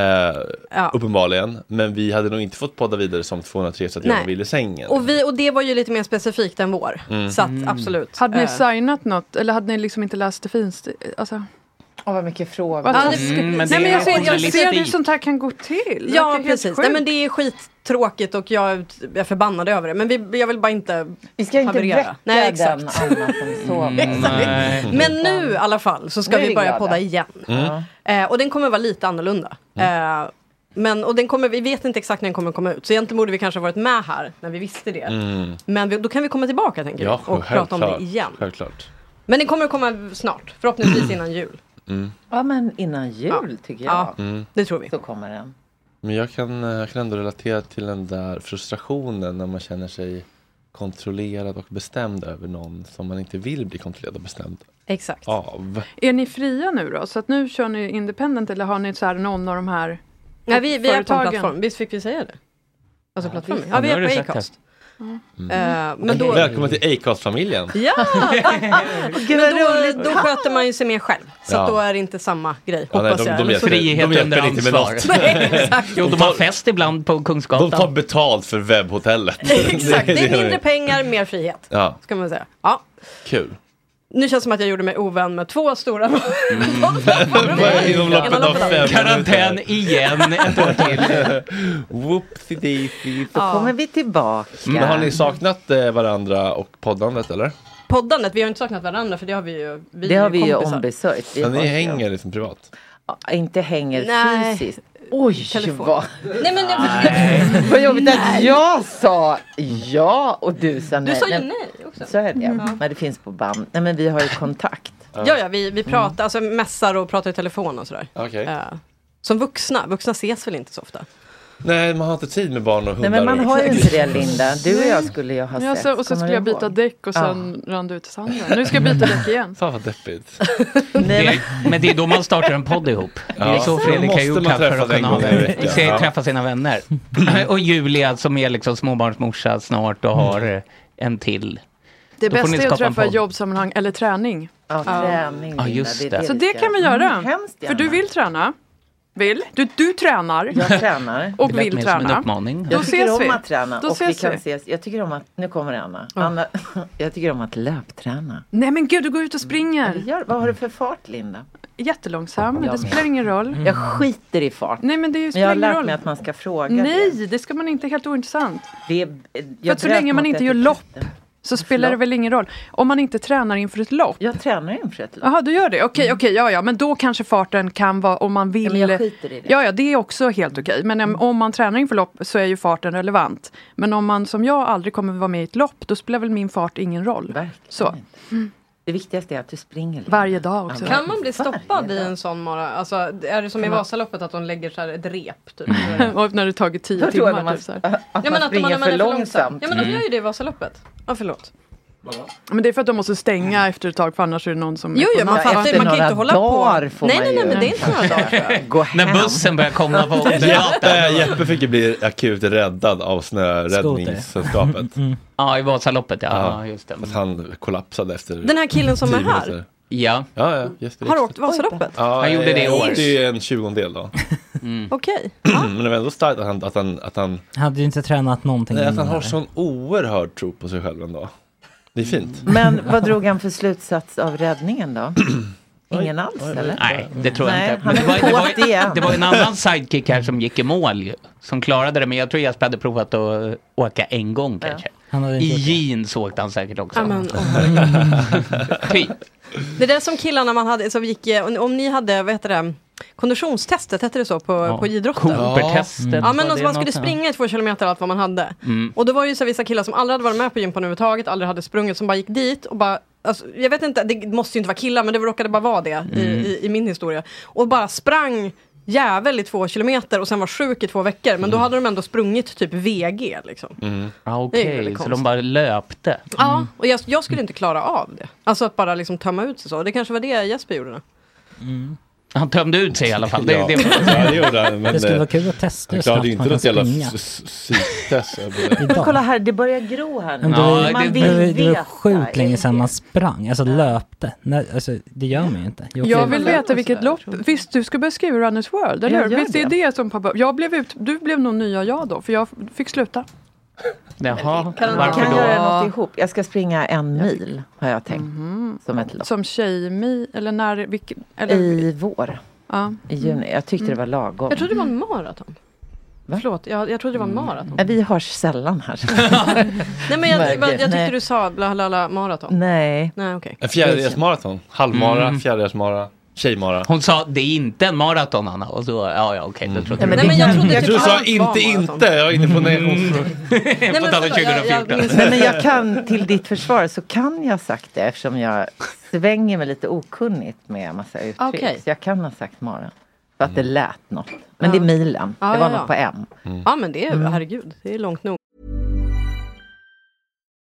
Speaker 11: Ja.
Speaker 1: Uppenbarligen, men vi hade nog inte fått podda vidare som 203 så att
Speaker 11: Nej.
Speaker 1: jag ville sängen.
Speaker 11: Och, vi, och det var ju lite mer specifikt än vår.
Speaker 1: Mm.
Speaker 11: Så att
Speaker 1: Mm.
Speaker 11: absolut.
Speaker 6: Hade ni
Speaker 11: Eh,
Speaker 6: signat något? Eller hade ni liksom inte läst det finst? Alltså...
Speaker 13: Åh, vad mycket frågor.
Speaker 6: Vad
Speaker 11: Ja, det-
Speaker 6: taskigt.
Speaker 11: Mm, men
Speaker 6: Nej,
Speaker 11: det
Speaker 6: men jag
Speaker 11: är
Speaker 6: ser, jag ser hur
Speaker 11: journalistik.
Speaker 6: sånt här kan gå till. Det verkar
Speaker 11: Ja
Speaker 6: helt
Speaker 11: precis,
Speaker 6: sjukt.
Speaker 11: Nej, men det är skittråkigt och jag är- jag är förbannad över det. Men vi, jag vill bara inte Vi ska
Speaker 13: inte väcka
Speaker 11: Nej,
Speaker 13: den
Speaker 11: exakt.
Speaker 13: Anna som
Speaker 2: Mm.
Speaker 13: sover.
Speaker 11: Nej. Men nu i alla fall så ska
Speaker 13: Nu är
Speaker 11: vi
Speaker 13: vi
Speaker 11: börja
Speaker 13: glada.
Speaker 11: podda igen. Eh, och den kommer vara lite annorlunda.
Speaker 1: Mm.
Speaker 11: Eh, men, och den kommer, vi vet inte exakt när den kommer komma ut. Så egentligen borde vi kanske ha varit med här när vi visste det.
Speaker 1: Mm.
Speaker 11: Men vi, då kan vi komma tillbaka tänker
Speaker 1: Ja,
Speaker 11: vi och prata om det
Speaker 1: självklart.
Speaker 11: igen.
Speaker 1: Självklart.
Speaker 11: Men den kommer komma snart, förhoppningsvis innan jul.
Speaker 1: Mm.
Speaker 13: Ja, men innan jul tycker jag.
Speaker 11: Ja,
Speaker 1: Mm.
Speaker 11: det tror vi.
Speaker 13: Så kommer den.
Speaker 1: Men jag kan, eh, jag kan ändå relatera till den där frustrationen när man känner sig kontrollerad och bestämd över någon som man inte vill bli kontrollerad och bestämd
Speaker 11: Exakt.
Speaker 1: av.
Speaker 6: Är ni fria nu då? Så att nu kör ni independent eller har ni så här någon av de här
Speaker 11: Nej, vi, vi är på en
Speaker 6: företagen?
Speaker 11: plattform, visst fick vi säga det? Alltså plattformen?
Speaker 1: Ja,
Speaker 11: Ja, vi
Speaker 1: nu har du
Speaker 11: är på
Speaker 1: sagt
Speaker 11: Acast.
Speaker 1: Mm.
Speaker 11: Eh, men då...
Speaker 1: Välkommen till Acast-familjen.
Speaker 11: Ja! men då, då sköter man ju sig mer själv. Så att
Speaker 1: Ja.
Speaker 11: då är det inte samma grej,
Speaker 1: Ja, nej,
Speaker 11: hoppas
Speaker 1: de-
Speaker 11: jag.
Speaker 1: de
Speaker 11: Eller
Speaker 1: hjälper
Speaker 11: så-
Speaker 1: dig.
Speaker 2: Frihet
Speaker 1: De hjälper
Speaker 2: under
Speaker 1: inte med
Speaker 2: ansvar.
Speaker 1: något.
Speaker 11: Nej, exakt.
Speaker 2: Jo, de
Speaker 1: De
Speaker 2: har
Speaker 1: tar-
Speaker 2: fest ibland på
Speaker 1: De
Speaker 2: Kungsgatan.
Speaker 1: tar betalt för webbhotellet.
Speaker 11: Exakt, det är mindre
Speaker 1: pengar.
Speaker 11: pengar, mer frihet.
Speaker 1: Ja,
Speaker 11: Ska man säga. Ja.
Speaker 1: kul.
Speaker 11: Nu känns det som att jag gjorde mig ovän med två stora Mm.
Speaker 1: Inom loppet av fem
Speaker 2: Karantän igen ett år
Speaker 1: till. Whoopsie-daisy.
Speaker 13: Då kommer vi tillbaka.
Speaker 1: Men har ni saknat eh, varandra och poddandet eller?
Speaker 11: Poddandet, vi har ju inte saknat varandra för det har vi ju. Vi
Speaker 13: Det
Speaker 11: är
Speaker 13: har vi ju
Speaker 11: kompisar.
Speaker 13: ombesörjt.
Speaker 1: Men ni
Speaker 13: har-
Speaker 1: hänger liksom privat?
Speaker 13: Ja, Inte hänger
Speaker 11: Nej.
Speaker 13: fysiskt. Oj,
Speaker 11: Telefon.
Speaker 13: vad...
Speaker 11: Nej men jag,
Speaker 13: Vad jobbigt att jag sa ja och du sa nej.
Speaker 11: du sa ju
Speaker 13: Men-
Speaker 11: nej också.
Speaker 13: Så är det.
Speaker 6: Mm.
Speaker 11: Ja.
Speaker 13: Men det finns på band. Nej men vi har ju kontakt.
Speaker 11: Ja, ja, vi, vi pratar, alltså mässar och pratar i telefon och sådär.
Speaker 1: Okej.
Speaker 11: Eh, som vuxna, vuxna ses väl inte så ofta?
Speaker 1: Nej, man har inte tid med barn och hundar.
Speaker 13: Nej men man
Speaker 1: och-
Speaker 13: har ju inte det Linda. Du och jag skulle ju ha
Speaker 6: Ja,
Speaker 13: sett.
Speaker 6: så, och så
Speaker 13: Kommer
Speaker 6: skulle
Speaker 13: du
Speaker 6: jag byta
Speaker 13: ihåg?
Speaker 6: däck och sen rann det ut i sanden. Nu ska jag byta däck igen.
Speaker 1: Fan vad deppigt.
Speaker 2: Det, men det är då man startar en podd ihop.
Speaker 1: Ja.
Speaker 2: Det är så
Speaker 1: Så
Speaker 2: Fredrik har
Speaker 1: måste
Speaker 2: gjort
Speaker 1: man
Speaker 2: här för
Speaker 1: träffas
Speaker 2: att kunna
Speaker 1: en
Speaker 2: ha
Speaker 1: gång i
Speaker 2: det.
Speaker 1: veckan.
Speaker 2: Se-
Speaker 1: Ja.
Speaker 2: Träffa sina vänner. Och Julia som är liksom småbarnsmorsa snart
Speaker 1: Mm.
Speaker 2: och har eh, en till.
Speaker 6: Det
Speaker 2: Då får
Speaker 6: bästa
Speaker 2: ni
Speaker 6: är att
Speaker 2: skapa en
Speaker 6: träffa i
Speaker 2: podd.
Speaker 6: jobbsammanhang eller träning.
Speaker 13: Ja, träning,
Speaker 2: Ja, Linda, just det är det det.
Speaker 6: Så det kan vi göra.
Speaker 13: Mm, hemskt
Speaker 6: För du vill träna. Vill. Du, du tränar.
Speaker 13: Jag tränar.
Speaker 6: Och vill träna. Då
Speaker 13: Jag tycker
Speaker 6: ses
Speaker 13: om
Speaker 6: vi.
Speaker 13: att träna.
Speaker 6: Då
Speaker 13: och vi
Speaker 6: ses
Speaker 13: kan
Speaker 6: vi.
Speaker 13: ses. Jag tycker om att, nu kommer Anna. Anna jag tycker om att löpträna.
Speaker 6: Nej men gud, du går ut och springer.
Speaker 13: vad har du för fart Linda?
Speaker 6: Jättelångsam,
Speaker 13: Jag
Speaker 6: det
Speaker 13: med.
Speaker 6: spelar ingen roll.
Speaker 13: Jag skiter i fart.
Speaker 6: Nej men det
Speaker 13: Men jag
Speaker 6: spelar
Speaker 13: har
Speaker 6: ingen
Speaker 13: lärt
Speaker 6: roll.
Speaker 13: mig att man ska fråga.
Speaker 6: Nej, det ska man inte, helt ointressant.
Speaker 13: Det, är-
Speaker 6: För
Speaker 13: jag
Speaker 6: att så
Speaker 13: bröt
Speaker 6: länge man
Speaker 13: mot
Speaker 6: inte gör
Speaker 13: etiketten.
Speaker 6: lopp så spelar det väl ingen roll. Om man inte tränar inför ett lopp.
Speaker 13: Jag tränar inför ett lopp.
Speaker 6: Jaha, du gör det? Okej, okej, ja, ja, men då kanske farten kan vara om man vill.
Speaker 13: Mm. men jag skiter i det. Mm.
Speaker 6: Ja, ja, det är också helt okej. Men äm, om man tränar inför lopp så är ju farten relevant. Men om man som jag aldrig kommer vara med i ett lopp, då spelar väl min fart ingen roll. Så.
Speaker 13: Det viktigaste är att du springer. Linda.
Speaker 6: Varje dag också.
Speaker 11: Kan man bli stoppad i en sån mara? Alltså, är det som i Vasaloppet att de lägger så här ett rep? Typ?
Speaker 6: och när det tagit tio
Speaker 13: Vadå,
Speaker 6: timmar.
Speaker 13: när man-
Speaker 6: typ, så här.
Speaker 11: Ja, men att man- när man är för långsam. Ja men de
Speaker 6: Mm.
Speaker 11: gör ju det i Vasaloppet. Ja förlåt.
Speaker 6: Men det är för att de måste
Speaker 13: Mm.
Speaker 6: stänga efter ett tag för annars är det någon som...
Speaker 11: Jo, jo,
Speaker 6: är på
Speaker 11: man
Speaker 6: natt.
Speaker 11: fattar ju, man kan ju inte hålla på. Nej, nej, nej, nej, det är inte några dagar.
Speaker 2: När bussen börjar komma på
Speaker 1: Jeppe, Jeppe fick ju bli akut räddad av Snöräddningssällskapet.
Speaker 4: Mm.
Speaker 2: Ja, i Vasaloppet, ja.
Speaker 1: Ja,
Speaker 2: ja just det.
Speaker 1: Att han kollapsade efter
Speaker 11: Den här killen som
Speaker 1: tio
Speaker 11: är här?
Speaker 1: minuter.
Speaker 2: Ja.
Speaker 1: Ja, ja, Jesper
Speaker 11: Har du
Speaker 1: Ekstedt.
Speaker 11: åkt Vasaloppet?
Speaker 1: Ja,
Speaker 2: Han gjorde det i
Speaker 1: jag
Speaker 2: år. Mm.
Speaker 1: åkte ju en tjugondel då.
Speaker 11: Okej.
Speaker 1: Men det var ändå starkt att han, att han, att han,
Speaker 4: Han hade ju inte tränat någonting
Speaker 1: nej, att han
Speaker 4: innan
Speaker 1: har
Speaker 4: det.
Speaker 1: sån oerhörd tro på sig själv ändå. Det är fint.
Speaker 13: Men vad drog han för slutsats av räddningen då? Ingen alls eller?
Speaker 2: Nej, det tror jag
Speaker 13: Nej,
Speaker 2: inte.
Speaker 13: han
Speaker 2: Men det, var,
Speaker 13: är
Speaker 2: det,
Speaker 13: kåt igen.
Speaker 2: var, det var en annan sidekick här som gick i mål ju, som klarade det. Men jag tror Jesper hade provat att åka en gång kanske. I jeans åkte han säkert också.
Speaker 11: Ja, men,
Speaker 2: typ.
Speaker 11: Det där som killarna man hade, som gick, eh, om- om ni hade, vad heter det, konditionstestet, hette det så på,
Speaker 2: Ja.
Speaker 11: på idrotten?
Speaker 2: Cooper-testet,
Speaker 11: Ja, men
Speaker 2: var
Speaker 11: alltså,
Speaker 2: det
Speaker 11: man skulle
Speaker 2: något, ja.
Speaker 11: springa i två kilometer allt vad man hade.
Speaker 2: Mm.
Speaker 11: Och det var ju så här, vissa killar som aldrig hade varit med på gympan överhuvudtaget, aldrig hade sprungit, som bara gick dit och bara Alltså, jag vet inte, det måste ju inte vara killar, men det råkade bara vara det i,
Speaker 12: Mm.
Speaker 11: i, i min historia. Och bara sprang jävel i två kilometer och sen var sjuk i två veckor. Men då hade de ändå sprungit typ VG liksom.
Speaker 2: Mm. Ah,
Speaker 11: Det är
Speaker 2: Okej,
Speaker 11: väldigt
Speaker 2: så de
Speaker 11: konstigt.
Speaker 2: bara löpte.
Speaker 11: Ja, och jag, jag skulle inte klara av det. Alltså att bara liksom tömma ut sig så. Det kanske var det Jesper gjorde. då.
Speaker 2: Mm. Han tömde ut sig i alla fall. Det,
Speaker 1: Ja.
Speaker 2: det,
Speaker 1: Ja, det gjorde han, men Det skulle det- vara
Speaker 4: kul att testa
Speaker 1: Han
Speaker 4: hur
Speaker 1: klarade ju
Speaker 4: snabbt
Speaker 1: inte
Speaker 4: man kan
Speaker 1: något jävla
Speaker 4: springa.
Speaker 1: psyktest.
Speaker 13: Men kolla här, det börjar gro här nu.
Speaker 4: Men det, var,
Speaker 13: Man
Speaker 4: det,
Speaker 13: vill
Speaker 4: var, det var
Speaker 13: veta.
Speaker 4: sjukt länge sedan man sprang, alltså löpte. Nej, alltså, det gör man ju inte. Jo,
Speaker 6: Jag
Speaker 4: okej.
Speaker 6: vill veta vilket lopp. Visst, du ska börja skriva Runners World, eller
Speaker 4: Jag
Speaker 6: hur?
Speaker 4: gör
Speaker 6: Visst det är
Speaker 4: det.
Speaker 6: det som pappa... Jag blev ut... Du blev nog nya jag då, för jag fick sluta.
Speaker 2: Jaha,
Speaker 13: Kan,
Speaker 2: varför
Speaker 13: kan
Speaker 2: då?
Speaker 13: göra något ihop. Jag ska springa en mil har jag tänkt.
Speaker 6: Mhm.
Speaker 13: Som ett lopp.
Speaker 6: Som tjejmi, eller när... Vilken, eller...
Speaker 13: I vår.
Speaker 6: Ja.
Speaker 13: I juni. Jag tyckte det var lagom.
Speaker 11: Mm. Jag trodde det var en maraton. Förlåt, jag, jag trodde det var en maraton.
Speaker 13: Nej, Vi hörs sällan här.
Speaker 11: Nej men jag, jag, jag tyckte
Speaker 13: Nej.
Speaker 11: du sa bla bla bla maraton.
Speaker 13: Nej.
Speaker 11: Nej okej.
Speaker 1: En fjärilsmaraton. Halvmara, fjärilsmara, tjejmara.
Speaker 2: Mm. Hon sa det är inte en maraton Anna. Och så, ja, ja okej, då trodde
Speaker 1: Nej, men det kan- Mm.
Speaker 11: typ
Speaker 1: Jag tror du sa inte, inte. Jag var inne på
Speaker 2: Mm.
Speaker 1: Mm.
Speaker 2: På tal om
Speaker 13: förlåt, jag- jag
Speaker 2: 2014.
Speaker 13: Nej, men jag kan, till ditt försvar så kan jag ha sagt det eftersom jag svänger mig lite okunnigt med massa uttryck.
Speaker 11: Okej.
Speaker 13: Så jag kan ha sagt mara. För att det
Speaker 2: Mm.
Speaker 13: lät något. Men det är milen.
Speaker 11: Ja,
Speaker 13: det var
Speaker 11: ja, ja.
Speaker 13: något på M.
Speaker 11: Ja men det är,
Speaker 13: Mm.
Speaker 11: herregud, det är långt nog.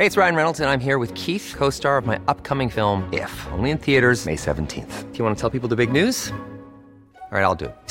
Speaker 8: Hey, it's Ryan Reynolds, and I'm here with Keith, co star of my upcoming film, If, only in theaters, May 17th. Do you want to tell people the big news? All right, I'll do it.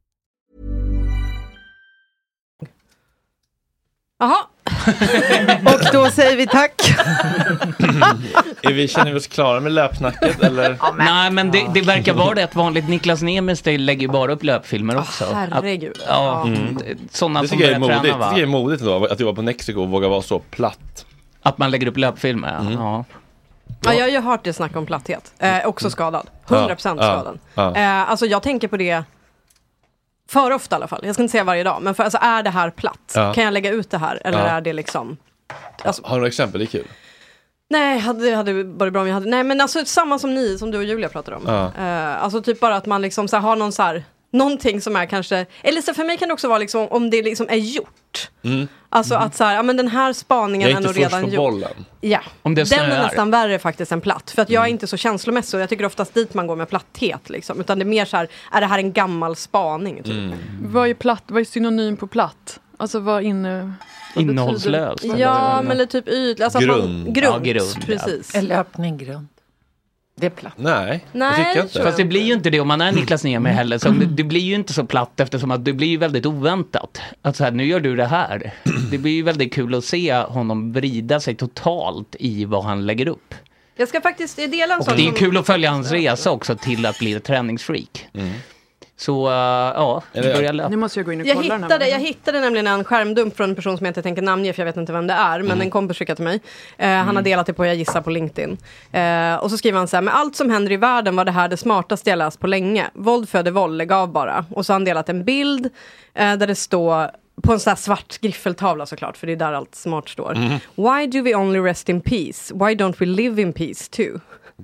Speaker 11: Jaha,
Speaker 13: Och då säger vi tack.
Speaker 1: Är vi, känner vi oss klara med löpsnacket eller?
Speaker 2: Nej, men det, det verkar vara rätt vanligt. Niklas Nemes det lägger ju bara upp löpfilmer också.
Speaker 11: herregud.
Speaker 2: Att, ja,
Speaker 1: Mm.
Speaker 2: sådana
Speaker 1: Det
Speaker 2: som
Speaker 1: tycker jag är
Speaker 2: börjar
Speaker 1: modigt.
Speaker 2: träna
Speaker 1: Det
Speaker 2: va?
Speaker 1: tycker jag är modigt då, att jobba på Nexiko och våga vara så platt.
Speaker 2: Att man lägger upp löpfilmer,
Speaker 1: Mm.
Speaker 2: ja.
Speaker 11: Ja, jag har ju hört det snack om platthet. Eh, också skadad. 100%
Speaker 2: Ja, ja,
Speaker 11: skadad.
Speaker 2: ja.
Speaker 11: Eh, alltså jag tänker på det för ofta i alla fall. Jag ska inte säga varje dag, men för, alltså, är det här platt?
Speaker 1: Ja.
Speaker 11: Kan jag lägga ut det här? Eller
Speaker 1: Ja.
Speaker 11: är det liksom... Alltså,
Speaker 1: Har du några exempel? Det är kul.
Speaker 11: nej, hade- det hade varit bra om jag hade... Nej, men alltså samma som ni, som du och Julia pratade om.
Speaker 1: Ja.
Speaker 11: Eh, alltså typ bara att man liksom så här, har någon så här, någonting som är kanske... Eller så för mig kan det också vara liksom, om det liksom är gjort.
Speaker 1: Mm.
Speaker 11: Alltså att så här, ja men den här spaningen
Speaker 1: Jag är
Speaker 11: är, nog
Speaker 1: inte först
Speaker 11: redan
Speaker 1: på
Speaker 11: gjord.
Speaker 1: bollen.
Speaker 11: Ja,
Speaker 1: Om det
Speaker 11: den är
Speaker 1: snöar.
Speaker 11: nästan värre faktiskt än platt. För att
Speaker 1: Mm.
Speaker 11: jag är inte så känslomässig och jag tycker oftast dit man går med platthet. Liksom. Utan det är mer så här, är det här en gammal spaning? Typ.
Speaker 2: Mm.
Speaker 6: Vad är platt? Vad är synonym på platt? Alltså vad inne... vad betyder-
Speaker 2: Innehållslös.
Speaker 11: Ja, men eller typ ytlig. Alltså Att man,
Speaker 2: Grund.
Speaker 11: grund.
Speaker 2: Ja, grund, ja.
Speaker 11: precis.
Speaker 13: Är löpning grund? Det är platt.
Speaker 1: Nej,
Speaker 11: Nej, tycker jag det inte. tror jag
Speaker 2: Fast det blir ju inte det om man är Niklas Niemi heller. Så det, det blir ju inte så platt eftersom att det blir ju väldigt oväntat. Att så här, nu gör du det här. Det blir ju väldigt kul att se honom vrida sig totalt i vad han lägger upp.
Speaker 11: Jag ska faktiskt dela en
Speaker 2: Och
Speaker 11: sak
Speaker 2: det är
Speaker 11: som...
Speaker 2: kul att följa hans resa också till att bli ett träningsfreak. Så eh, ja,
Speaker 1: Mm. Eller-
Speaker 2: börja löpa.
Speaker 6: Nu måste jag gå in och
Speaker 11: Jag
Speaker 6: kolla den här.
Speaker 11: hittade, jag hittade nämligen en skärmdump från en person som jag inte tänker namnge för jag vet inte vem det är. Men
Speaker 6: Mm.
Speaker 11: en kompis skickade till mig. Eh, Han
Speaker 1: Mm.
Speaker 11: har delat det på, jag gissar, på LinkedIn. Eh, och så skriver han så här, med allt som händer i världen var det här det smartaste jag läst på länge. Våld föder våld, lägg av bara. Och så har han delat en bild eh, där det står på en sån här svart griffeltavla såklart, för det är där allt smart står.
Speaker 1: Mm.
Speaker 11: Why do we only rest in peace? Why don't we live in peace too?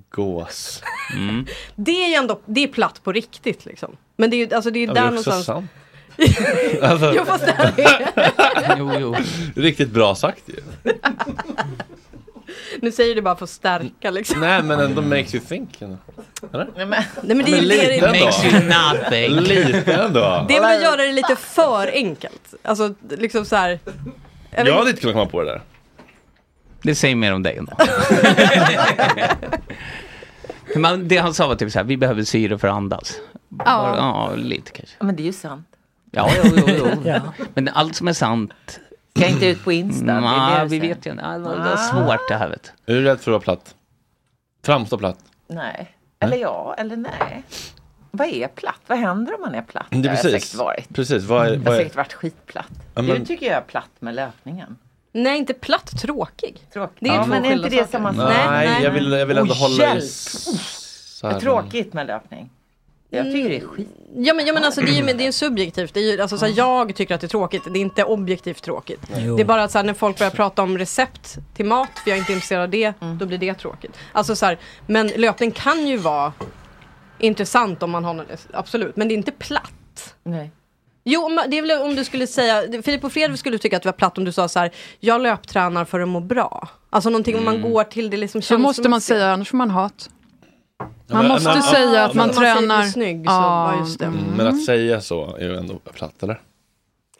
Speaker 1: Gås.
Speaker 2: Mm.
Speaker 11: Det är ju ändå, det är platt på riktigt liksom. Men det är ju, alltså det är ju
Speaker 1: Ja, men det
Speaker 11: där
Speaker 1: är också
Speaker 11: någonstans.
Speaker 1: sant. Alltså-
Speaker 11: Jo fast det här är...
Speaker 2: jo, jo.
Speaker 1: Riktigt bra sagt ju.
Speaker 11: Nu säger du bara för att
Speaker 1: Mm.
Speaker 11: stärka liksom.
Speaker 1: Nej men ändå makes you think. ändå. Eller?
Speaker 13: Nej, men,
Speaker 11: Nej, men det är ju det
Speaker 1: lite
Speaker 11: det
Speaker 1: ändå. Lite ändå.
Speaker 11: Det är väl att göra det lite för enkelt. Alltså liksom så här. Jag vet
Speaker 1: Jag hade
Speaker 11: inte.
Speaker 1: inte kunnat komma på det där.
Speaker 2: Det säger mer om dig ändå. Men det han sa var typ så här, vi behöver syre för att andas.
Speaker 13: Ja.
Speaker 2: Bara, ja lite kanske.
Speaker 13: Ja, men det är ju sant.
Speaker 2: Ja, jo, jo, jo. Men allt som är sant.
Speaker 13: Ska inte ut på Insta? det är det
Speaker 2: Nej,
Speaker 13: du
Speaker 2: vi
Speaker 13: säger.
Speaker 2: vet ju inte. Ja, Det var det var
Speaker 13: Ah.
Speaker 2: svårt det här vet
Speaker 1: Är du rädd för att vara platt? Framstå platt?
Speaker 13: Nej. Eller ja, eller nej. Vad är platt? Vad händer om man är platt?
Speaker 1: Det är
Speaker 13: Jag har
Speaker 1: precis.
Speaker 13: säkert varit.
Speaker 1: Precis. Vad är,
Speaker 13: Jag
Speaker 11: Mm.
Speaker 13: har
Speaker 1: vad är...
Speaker 13: säkert varit skitplatt.
Speaker 1: Ja,
Speaker 13: Du
Speaker 1: men-
Speaker 13: tycker jag är platt med löpningen.
Speaker 11: Nej, inte platt, tråkig.
Speaker 13: Tråkig.
Speaker 11: Det är ju
Speaker 13: ja,
Speaker 11: två
Speaker 13: men är inte
Speaker 11: skilda
Speaker 13: det
Speaker 11: saker.
Speaker 13: samma sak?
Speaker 1: Nej, jag vill, jag vill ändå
Speaker 13: Åh,
Speaker 1: hålla
Speaker 13: hjälp!
Speaker 1: i s- så
Speaker 13: Vad
Speaker 1: här.
Speaker 13: tråkigt med löpning. Jag tycker det är skit.
Speaker 11: Ja men, ja, men alltså, det, är ju, men det är ju subjektivt. Det är ju, alltså, så här, jag tycker att det är tråkigt. Det är inte objektivt tråkigt.
Speaker 13: Nej.
Speaker 11: Det är bara att så här, när folk börjar prata om recept till mat, för jag är inte intresserad av det, då blir det tråkigt. Alltså, så här, men löpning kan ju vara intressant om man har någon, absolut. Men det är inte platt.
Speaker 13: Nej.
Speaker 11: Jo, om- det är väl om du skulle säga, Filip och Fredrik skulle tycka att det var platt om du sa så här, jag löptränar för att må bra. Alltså någonting om man
Speaker 6: Mm.
Speaker 11: går till det liksom
Speaker 6: Så måste man säga, annars får man hat. Man
Speaker 1: men-
Speaker 6: måste
Speaker 1: men-
Speaker 6: säga
Speaker 1: ah,
Speaker 6: att man
Speaker 1: men-
Speaker 11: Om man säger
Speaker 6: tränar...
Speaker 11: du är snygg, så,
Speaker 6: Ja.
Speaker 11: ja, just det.
Speaker 1: Mm, Men att säga så är ju ändå platt, eller?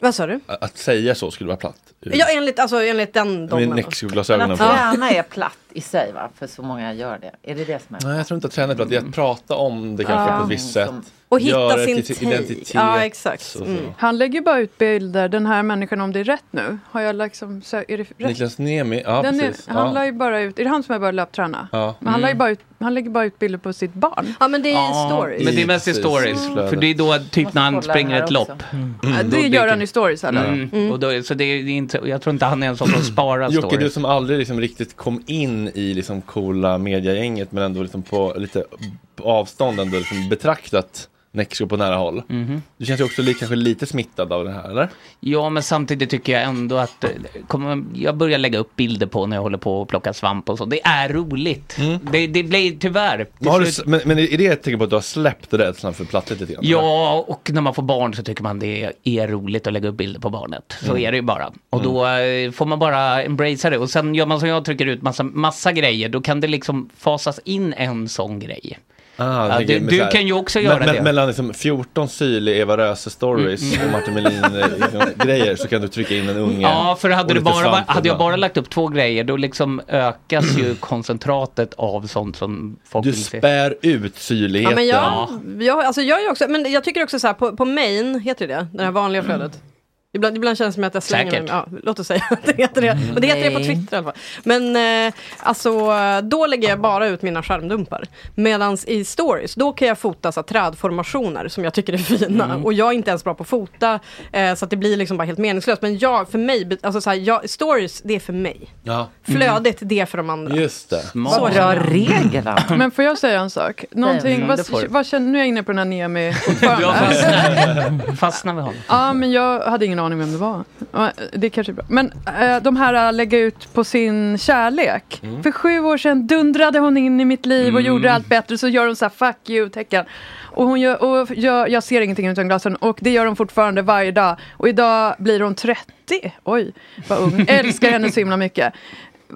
Speaker 11: Vad sa du?
Speaker 1: Att säga så skulle vara platt.
Speaker 11: Ja, enligt, alltså, enligt den
Speaker 1: Min
Speaker 11: domen.
Speaker 13: Men
Speaker 1: Nexiglasögonen.
Speaker 13: att träna är platt i sig va? För så många gör det. Är det det som är
Speaker 1: Nej, jag tror inte att träna är platt. Det är att prata om det kanske
Speaker 6: Ja.
Speaker 1: på ett visst sätt.
Speaker 6: Och hitta
Speaker 1: Göra det
Speaker 6: sin
Speaker 1: till
Speaker 6: take.
Speaker 1: identitet.
Speaker 6: Ja, exakt. Mm.
Speaker 1: och så.
Speaker 6: Han lägger bara ut bilder, den här människan om det är rätt nu. Har jag liksom... Så, är det rätt?
Speaker 1: Niklas Niemi, ja
Speaker 6: den är,
Speaker 1: precis.
Speaker 6: han
Speaker 1: ja.
Speaker 6: la ju bara ut... Är det han som har börjat löpträna?
Speaker 1: Ja.
Speaker 6: Men han, la ju
Speaker 1: Mm.
Speaker 6: bara ut, han lägger bara ut bilder på sitt barn.
Speaker 11: Ja, men det
Speaker 2: Men det är mest i
Speaker 1: Precis, Mm.
Speaker 2: stories.
Speaker 1: flödet.
Speaker 2: För det är då typ när han
Speaker 6: kolla
Speaker 2: springer
Speaker 6: här
Speaker 2: ett
Speaker 6: också.
Speaker 2: lopp. Mm,
Speaker 6: Ja,
Speaker 2: Då
Speaker 6: det
Speaker 2: dyker-
Speaker 6: gör han i stories eller?
Speaker 2: Mm. Och då, så det är det är inte, jag tror inte han är en sån som sparar
Speaker 1: Mm. Jocke, du
Speaker 2: stories.
Speaker 1: som aldrig liksom riktigt kom in i liksom coola mediagänget men ändå liksom på lite avstånd ändå liksom betraktat Nexgo på nära håll. Du känns ju också li- kanske lite smittad av det här eller?
Speaker 2: Ja, men samtidigt tycker jag ändå att eh, kommer, jag börjar lägga upp bilder på när jag håller på att plocka svamp och så. Det är roligt. Det, det blir tyvärr.
Speaker 1: Men, Mm. har du, s- men, men är det ett tecken på att du har släppt rädslan för plattigt lite grann?
Speaker 2: Ja, och när man får barn så tycker man det är roligt att lägga upp bilder på barnet. Så
Speaker 1: Mm.
Speaker 2: är det ju bara. Och då eh, får man bara embracea det. Och sen gör man som jag, trycker ut massa, massa grejer. Då kan det liksom fasas in en sån grej.
Speaker 1: Ah,
Speaker 2: Ja,
Speaker 1: jag tänker
Speaker 2: du-
Speaker 1: med
Speaker 2: du
Speaker 1: så här-
Speaker 2: kan ju också
Speaker 1: me-
Speaker 2: göra
Speaker 1: me-
Speaker 2: det.
Speaker 1: Mellan liksom 14 syrlig Eva Röse-stories
Speaker 2: Mm.
Speaker 1: och Martin Melin-grejer liksom, grejer, så kan du trycka in en unge.
Speaker 2: Ja, för
Speaker 1: och
Speaker 2: hade, du
Speaker 1: lite
Speaker 2: bara,
Speaker 1: svamp
Speaker 2: hade jag
Speaker 1: ibland.
Speaker 2: bara lagt upp två grejer då liksom ökas ju koncentratet av sånt som folk
Speaker 1: Du
Speaker 2: vill se.
Speaker 1: spär ut syrligheten.
Speaker 11: Ja, men jag, jag, alltså jag, är också, men jag tycker också så här, på, på main, heter det det? Det här vanliga flödet? Ibland, ibland känns det som att jag slänger
Speaker 2: Säkert.
Speaker 11: mig. Ja, låt oss säga att det heter det. Men det heter det på
Speaker 2: Nej.
Speaker 11: Twitter i alla fall. Men eh, alltså, då lägger jag bara ut mina skärmdumpar. Medan i stories, då kan jag fota så här, trädformationer som jag tycker är fina.
Speaker 6: Mm.
Speaker 11: Och jag är inte ens bra på att fota, eh, så att det blir liksom bara helt meningslöst. Men jag, för mig, be- alltså, så här, jag, stories, det är för mig.
Speaker 1: Ja.
Speaker 11: Flödigt, det är för de andra.
Speaker 1: Just det.
Speaker 11: Så Vad bra känner jag.
Speaker 6: Men får jag säga en sak? Någonting,
Speaker 2: Mm, det
Speaker 6: vad,
Speaker 2: får du.
Speaker 6: vad känner, nu är jag inne på den här Niemi
Speaker 2: Jag fastnar, fastnar vid honom.
Speaker 6: Ja, men jag hade ingen aning vem det var. Ja, Det kanske är bra. Men eh, de här äh, lägga ut på sin kärlek.
Speaker 2: Mm.
Speaker 6: För sju år sedan dundrade hon in i mitt liv och
Speaker 2: Mm.
Speaker 6: gjorde allt bättre. Så gör hon så här fuck you-tecken. Och, hon gör, och jag, jag ser ingenting utan glasen. Och det gör hon fortfarande varje dag. Och idag blir hon 30. Oj, vad ung. Älskar henne så himla mycket.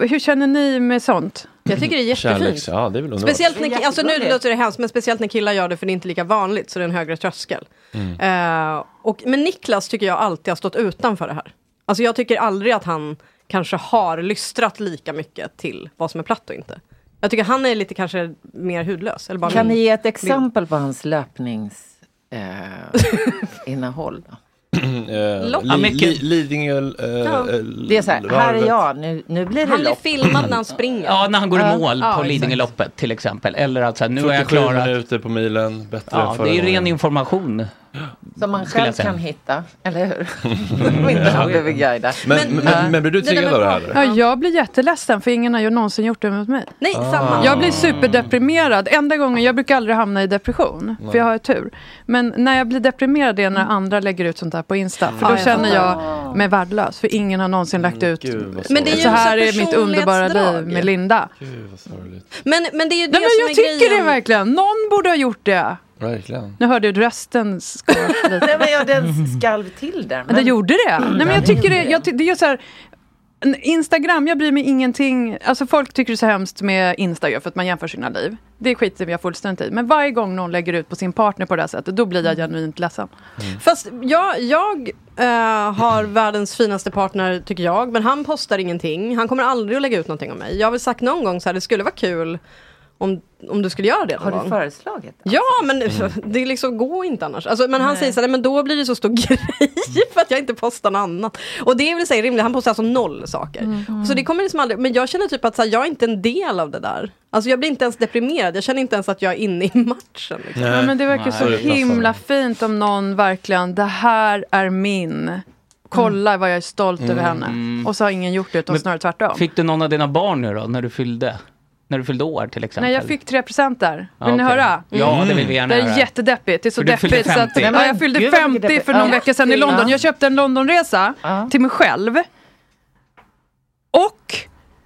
Speaker 6: Hur känner ni med sånt?
Speaker 11: Jag tycker det är jättefint.
Speaker 1: Kärleks, ja, det är väl underbart.
Speaker 11: Speciellt när, alltså nu låter det hemskt, men speciellt när killar gör det för det är inte lika vanligt så det är en högre tröskel.
Speaker 1: Mm.
Speaker 11: Eh, och, men Niklas tycker jag alltid har stått utanför det här. Alltså jag tycker aldrig att han kanske har lystrat lika mycket till vad som är platt och inte. Jag tycker han är lite kanske mer hudlös. Eller bara
Speaker 13: Kan
Speaker 11: min
Speaker 13: ni ge ett
Speaker 11: bild.
Speaker 13: exempel på hans löpningsinnehåll? Eh, innehåll då?
Speaker 1: eh,
Speaker 11: Lopp.
Speaker 1: Li-
Speaker 11: Ja, mycket.
Speaker 1: Li- Lidingö... eh,
Speaker 11: Ja.
Speaker 1: eh,
Speaker 13: Det är så här, här är jag, nu, nu blir det
Speaker 11: Han blir
Speaker 13: lopp.
Speaker 11: filmad när han springer.
Speaker 2: Ja, när han går i mål
Speaker 11: ja,
Speaker 2: på
Speaker 11: exakt.
Speaker 2: Lidingöloppet till exempel. Eller att så här, nu är jag
Speaker 1: 47
Speaker 2: klar.
Speaker 1: minuter på milen, bättre
Speaker 2: Ja,
Speaker 1: än förra
Speaker 2: det är
Speaker 1: gången.
Speaker 2: ren information.
Speaker 13: Som man
Speaker 2: skulle
Speaker 13: själv
Speaker 2: jag säga.
Speaker 13: kan hitta, eller hur? Om inte han behöver guida.
Speaker 1: Men- men-
Speaker 13: Ja.
Speaker 1: men blir du Det där triggad med av det här, eller?
Speaker 6: Ja, jag blir jätteledsen för ingen har ju någonsin gjort det mot mig.
Speaker 11: Nej,
Speaker 1: Ah. samma.
Speaker 6: Jag blir superdeprimerad. Enda gången, jag brukar aldrig hamna i depression,
Speaker 1: Nej.
Speaker 6: för jag har ju tur. Men när jag blir deprimerad det är när andra lägger ut sånt här på Insta. För då
Speaker 11: Ja, jag
Speaker 6: känner jag
Speaker 11: fattar.
Speaker 6: mig värdelös, för ingen har någonsin lagt ut Men
Speaker 1: Mm, vad
Speaker 6: det är
Speaker 11: sorgligt.
Speaker 6: så här är mitt underbara
Speaker 11: personlighetsdrag
Speaker 6: liv
Speaker 11: ju.
Speaker 6: med Linda.
Speaker 1: Gud, vad sorgligt.
Speaker 11: Men, men det är ju det
Speaker 6: Nej, men
Speaker 11: som
Speaker 6: jag
Speaker 11: är
Speaker 6: tycker
Speaker 11: grejen.
Speaker 6: det verkligen. Någon borde ha gjort det.
Speaker 1: Verkligen.
Speaker 6: Nu hörde jag rösten skavs lite.
Speaker 13: Nej, men jag, den skalv till där.
Speaker 6: Men det gjorde det. Nej, men jag tycker det, jag, ty- det är så här, en Instagram, jag bryr mig ingenting. Alltså folk tycker det är så hemskt med Instagram för att man jämför sina liv. Det skiter jag fullständigt i. Men varje gång någon lägger ut på sin partner på det här sättet, då blir jag genuint ledsen.
Speaker 11: Fast jag, jag eh, har världens finaste partner tycker jag, men han postar ingenting. Han kommer aldrig att lägga ut någonting om mig. Jag har väl sagt någon gång så här, det skulle vara kul om, om du skulle göra det någon
Speaker 13: Har
Speaker 11: gång.
Speaker 13: du föreslagit?
Speaker 11: Ja, men det liksom går inte annars. Alltså, men han säger så här, "Nej, men då blir det så stor grej för att jag inte postar något annat. Och det är väl i sig rimligt, han postar alltså noll saker.
Speaker 7: Mm.
Speaker 11: Så det kommer liksom aldrig, men jag känner typ att så här, jag är inte en del av det där. Alltså jag blir inte ens deprimerad, jag känner inte ens att jag är inne i matchen. Liksom.
Speaker 6: Nej, men det verkar så himla fint om någon verkligen, det här är min. Kolla vad jag är stolt över
Speaker 2: Mm.
Speaker 6: henne. Och så har ingen gjort det, utan
Speaker 2: Men
Speaker 6: snarare tvärtom.
Speaker 2: Fick du någon av dina barn nu då, när du fyllde? När du fyllde år till exempel?
Speaker 6: Nej, jag fick tre presenter. Vill
Speaker 2: Ja,
Speaker 6: ni
Speaker 2: Ah, okej.
Speaker 6: höra? Mm.
Speaker 2: Ja, det vill vi gärna
Speaker 6: Det är
Speaker 2: höra.
Speaker 6: jättedeppigt. Det är så
Speaker 2: För du fyllde
Speaker 6: deppigt. Så att,
Speaker 2: 50.
Speaker 6: ja, jag fyllde
Speaker 2: Gud, vad mycket
Speaker 6: 50 för
Speaker 2: deppigt.
Speaker 6: någon
Speaker 2: Ja.
Speaker 6: vecka sedan i London. Jag köpte en Londonresa till mig själv. Och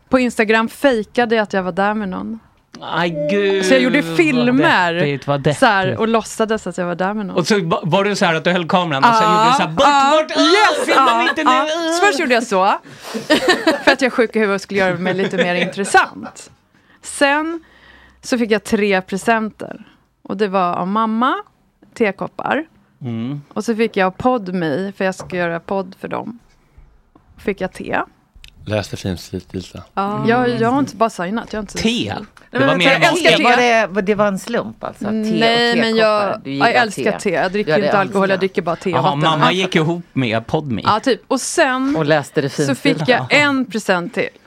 Speaker 6: på Instagram fejkade jag att jag var där med någon.
Speaker 2: Aj, gud.
Speaker 6: Så jag gjorde
Speaker 2: vad
Speaker 6: filmer
Speaker 2: deppigt, vad deppigt.
Speaker 6: så här, och låtsades att jag var där med någon.
Speaker 2: Och så ba- var du så här att du höll kameran och sen
Speaker 6: Ja,
Speaker 2: gjorde du så här, bort,
Speaker 6: ja,
Speaker 2: bort, ah,
Speaker 6: yes,
Speaker 2: filma
Speaker 6: ja,
Speaker 2: mig inte nu.
Speaker 6: ja. Så Först gjorde jag så, för att jag är sjuk i huvudet och skulle göra mig lite mer intressant. Sen så fick jag tre presenter. Och det var av mamma, tekoppar.
Speaker 2: Mm.
Speaker 6: Och så fick jag av Podme, för jag ska göra podd för dem. Fick jag te.
Speaker 1: Läs det fint, slit, Lisa.
Speaker 6: Jag, jag har inte bara signat. Jag har inte
Speaker 2: Te?
Speaker 6: Det var mer
Speaker 13: jag
Speaker 6: än vad-
Speaker 13: älskar te.
Speaker 6: Var
Speaker 13: Var det, det var en slump alltså? Te
Speaker 6: Mm, Nej,
Speaker 13: och
Speaker 6: men jag, jag älskar te. Jag dricker inte alkohol, jag dricker bara te och
Speaker 2: Jaha,
Speaker 6: vatten.
Speaker 2: mamma gick ihop med Podme.
Speaker 6: Ja, typ. Och sen
Speaker 13: Och läste det
Speaker 6: så fick jag en present till.
Speaker 13: Ja,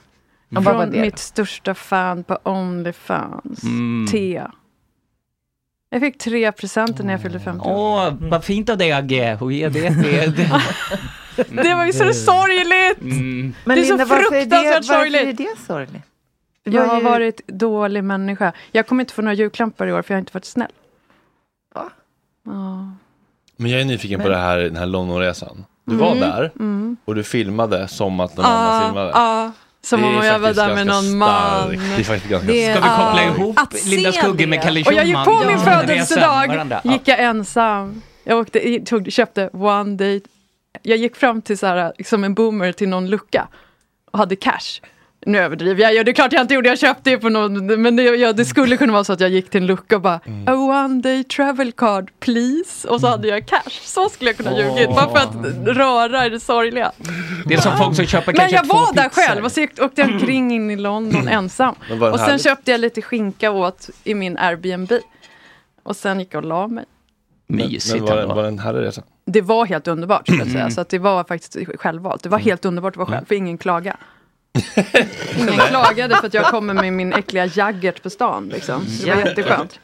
Speaker 13: vad var
Speaker 6: Från
Speaker 13: det då?
Speaker 6: mitt största fan på Onlyfans.
Speaker 2: Mm.
Speaker 6: T. Jag fick tre presenter när jag fyllde 50.
Speaker 2: Åh, vad fint av dig Agge, att ge det till...
Speaker 6: Det var ju så sorgligt!
Speaker 2: Mm.
Speaker 13: Men
Speaker 6: det är
Speaker 13: Linda,
Speaker 6: så
Speaker 13: varför är det-
Speaker 6: fruktansvärt
Speaker 13: varför är
Speaker 6: sorgligt.
Speaker 13: det sorgligt? Det
Speaker 6: Jag
Speaker 13: var
Speaker 6: har
Speaker 13: ju-
Speaker 6: varit dålig människa. Jag kommer inte få några julklappar i år för jag har inte varit snäll.
Speaker 13: Va?
Speaker 6: Ja.
Speaker 1: Men jag är nyfiken på
Speaker 6: Men-
Speaker 1: det här, den här Londonresan. Du var
Speaker 6: Mm,
Speaker 1: där
Speaker 6: mm.
Speaker 1: och du filmade som att någon
Speaker 6: Ah,
Speaker 1: annan filmade.
Speaker 6: ah, som
Speaker 1: Det
Speaker 6: om
Speaker 1: är
Speaker 6: jag var
Speaker 1: faktiskt
Speaker 6: där med
Speaker 1: ganska
Speaker 6: någon man.
Speaker 1: starkt. Det är faktiskt ganska
Speaker 6: Det är-
Speaker 2: Ska vi koppla
Speaker 6: ah.
Speaker 2: ihop
Speaker 6: Att
Speaker 2: Linda
Speaker 6: se
Speaker 2: Skugge
Speaker 6: det.
Speaker 2: med Kalle
Speaker 6: Och jag gick på
Speaker 2: Schulman?
Speaker 6: min
Speaker 2: Ja.
Speaker 6: födelsedag.
Speaker 2: Varandra. Ja.
Speaker 6: Gick jag ensam. Jag åkte, i- tog, köpte one day. Jag gick fram till så här, som en boomer till någon lucka. Och hade cash. Nu överdriver jag. ju. Det är klart jag inte gjorde. Jag köpte ju på någon. Men det, jag, det skulle kunna vara så att jag gick till en lucka och bara.
Speaker 2: Mm.
Speaker 6: A one day travel card please. Och så hade jag cash. Så skulle jag kunna ljugit.
Speaker 2: Åh.
Speaker 6: Bara för att röra i det sorgliga.
Speaker 2: Det är som folk som köper
Speaker 6: Men
Speaker 2: kanske
Speaker 6: jag
Speaker 2: två
Speaker 6: var där
Speaker 2: pizzor. Mm.
Speaker 6: själv och så gick- åkte jag omkring in i London ensam.
Speaker 2: Men var det
Speaker 6: Och sen
Speaker 2: härligt?
Speaker 6: köpte jag lite skinka åt i min Airbnb. Och sen gick jag och la mig.
Speaker 1: Mysigt men, men var, det- var det en härlig resa?
Speaker 6: Det var helt underbart skulle jag säga.
Speaker 1: Mm.
Speaker 6: Så att det var faktiskt självvalt. Det var
Speaker 2: Mm.
Speaker 6: helt underbart att vara själv, för ingen klaga. Ingen
Speaker 1: Nej.
Speaker 6: klagade för att jag kommer med min äckliga jaggert på stan. Liksom. Så det var
Speaker 13: Jaggert.
Speaker 6: jätteskönt.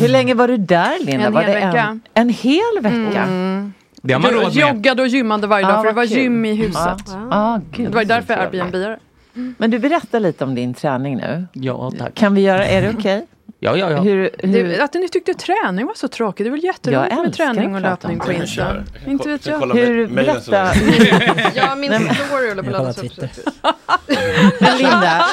Speaker 13: Hur länge var du där Linda?
Speaker 6: En
Speaker 13: var
Speaker 6: hel
Speaker 13: det
Speaker 6: vecka.
Speaker 13: En, en hel vecka? Ah,
Speaker 2: Det har man råd med.
Speaker 6: Joggade och gymmade varje dag, för det var gym i huset.
Speaker 13: Ja. Ah, gud,
Speaker 6: Det var ju
Speaker 13: så
Speaker 6: därför jag
Speaker 13: trevligt.
Speaker 6: Airbnb -are.
Speaker 13: Men du berättar lite om din träning nu.
Speaker 2: Ja, tack.
Speaker 13: Kan vi göra, är det okej?
Speaker 2: Ja, ja, ja.
Speaker 13: Hur, hur...
Speaker 6: Det, att ni tyckte träning var så tråkigt. Det är väl jätteroligt
Speaker 13: Jag
Speaker 6: med
Speaker 13: älskar
Speaker 6: träning och
Speaker 13: att prata
Speaker 6: löpning
Speaker 13: om
Speaker 6: på
Speaker 13: det.
Speaker 6: Insta. Inte vet jag.
Speaker 13: kolla Hur- med- mejlen så berätta- länge.
Speaker 6: ja, min
Speaker 13: Nej, men-
Speaker 6: story håller på
Speaker 13: Jag
Speaker 6: att
Speaker 13: kollar
Speaker 6: laddas upp.
Speaker 13: Men Linda.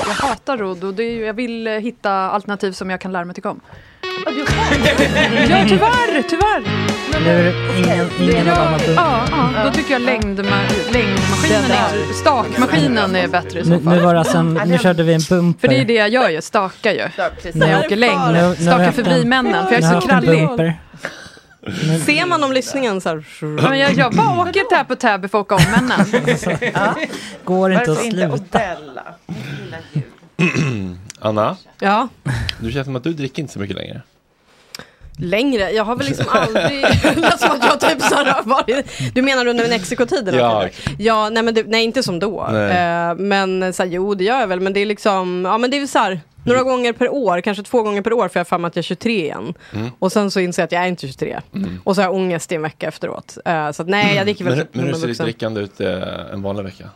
Speaker 6: Jag hatar rodd och det är ju, jag vill eh, hitta alternativ som jag kan lära mig tycka om. Ja, tyvärr, tyvärr.
Speaker 4: Nu är typ. det ingen, ingen av dem
Speaker 6: Ja, ja, då tycker jag längdma- längdmaskinen, är, stakmaskinen är bättre i så
Speaker 4: nu,
Speaker 6: fall.
Speaker 4: nu var det alltså en, nu körde vi en bumper.
Speaker 6: För det är det jag gör ju, stakar ju. När jag åker längd,
Speaker 4: Nu- nu har vi
Speaker 6: stakar
Speaker 4: haft
Speaker 6: förbi
Speaker 4: en-
Speaker 6: männen,
Speaker 4: nu
Speaker 6: för jag
Speaker 4: har
Speaker 6: är
Speaker 4: vi
Speaker 6: så
Speaker 4: haft en
Speaker 6: krallig.
Speaker 4: bumper.
Speaker 11: Ser man om lyssningen så här...
Speaker 6: Ja, men jag, jag bara åker tär på tär för att åka om männen.
Speaker 4: Går inte att
Speaker 6: Varför inte
Speaker 4: sluta.
Speaker 1: Anna,
Speaker 11: Ja,
Speaker 1: du känns som att du dricker inte så mycket längre.
Speaker 11: längre. Jag har väl liksom aldrig... Det som att jag typ så här har varit... Du menar under Mexikotiden?
Speaker 1: Ja,
Speaker 11: eller? ja nej, men det, nej, inte som då.
Speaker 1: Nej.
Speaker 11: Eh, men så här, jo, det gör jag väl. Men det är liksom... Ja, men det är väl så här, några
Speaker 1: Mm.
Speaker 11: gånger per år, kanske två gånger per år, för jag har för mig att jag är 23 igen.
Speaker 1: Mm.
Speaker 11: Och sen så inser jag att jag är inte 23. Och så har jag ångest i en vecka efteråt. Eh, så att, nej, jag dricker väl
Speaker 1: men,
Speaker 11: typ
Speaker 1: men
Speaker 11: när
Speaker 1: hur
Speaker 11: man
Speaker 1: ser
Speaker 11: är
Speaker 1: ditt
Speaker 11: vuxen.
Speaker 1: drickande ut eh, en vanlig vecka?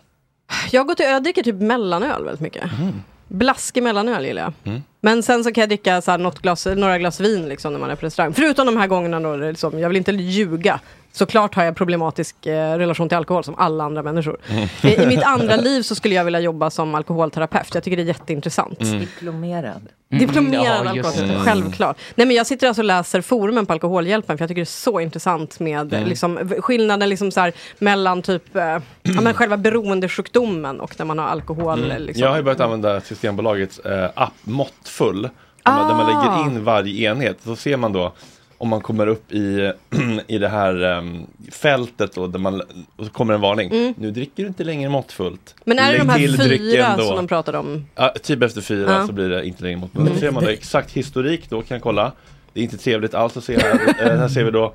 Speaker 11: Jag, går till, jag dricker typ mellanöl väldigt mycket.
Speaker 2: Mm.
Speaker 11: Blaskig mellanöl gillar jag.
Speaker 1: Mm.
Speaker 11: Men sen så kan jag dricka så här något glas, några glas vin liksom när man är på restaurang. Förutom de här gångerna då, det är liksom, jag vill inte ljuga. Såklart har jag problematisk eh, relation till alkohol som alla andra människor. I, I mitt andra liv så skulle jag vilja jobba som alkoholterapeut. Jag tycker det är jätteintressant.
Speaker 13: Mm. Diplomerad.
Speaker 1: Mm,
Speaker 11: Diplomerad alkoholterapeut, självklart. Nej men jag sitter alltså och läser forumen på Alkoholhjälpen för jag tycker det är så intressant med
Speaker 13: Mm.
Speaker 11: mm. liksom, v- skillnaden liksom så här, mellan typ eh, ja, men själva beroendesjukdomen och när man har alkohol.
Speaker 1: Mm.
Speaker 11: Liksom.
Speaker 1: Jag har ju börjat använda Systembolagets eh, app Måttfull. Där, man, där man
Speaker 11: Ah.
Speaker 1: lägger in varje enhet. Så ser man då om man kommer upp i, i det här em, fältet då, där man, och så kommer en varning.
Speaker 11: Mm.
Speaker 1: Nu dricker du inte längre måttfullt.
Speaker 11: Men är det
Speaker 1: Lägg
Speaker 11: de här
Speaker 1: till
Speaker 11: fyra
Speaker 1: drycken då.
Speaker 11: som de pratade om?
Speaker 1: Ja, typ efter fyra
Speaker 11: Ja.
Speaker 1: så blir det inte längre mot munnen.
Speaker 11: Mm.
Speaker 1: Då ser man då exakt historik då, kan jag kolla. Det är inte trevligt alls att se här. Eh, här ser vi då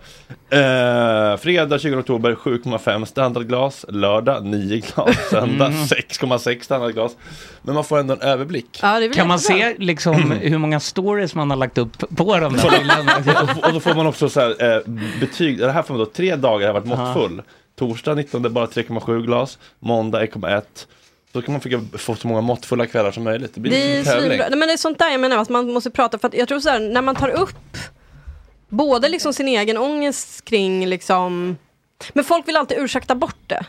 Speaker 1: eh, Fredag 20 oktober 7,5 standardglas Lördag 9 glas Söndag
Speaker 2: Mm.
Speaker 1: 6,6 standardglas Men man får ändå en överblick
Speaker 2: Kan man se liksom hur många stories man har lagt upp på de
Speaker 1: Så-
Speaker 2: där bilderna?
Speaker 1: och, och då får man också så här, eh, betyg, det här får man då tre dagar har varit måttfull. Torsdag 19 bara 3,7 glas, måndag 1,1. Då kan man försöka få så många måttfulla kvällar som möjligt. Det blir
Speaker 11: Det är,
Speaker 1: liksom en tävling.
Speaker 11: svinbra. Nej, men det är sånt där jag menar att man måste prata för att jag tror så här, när man tar upp både liksom sin egen ångest kring liksom men folk vill alltid ursäkta bort det.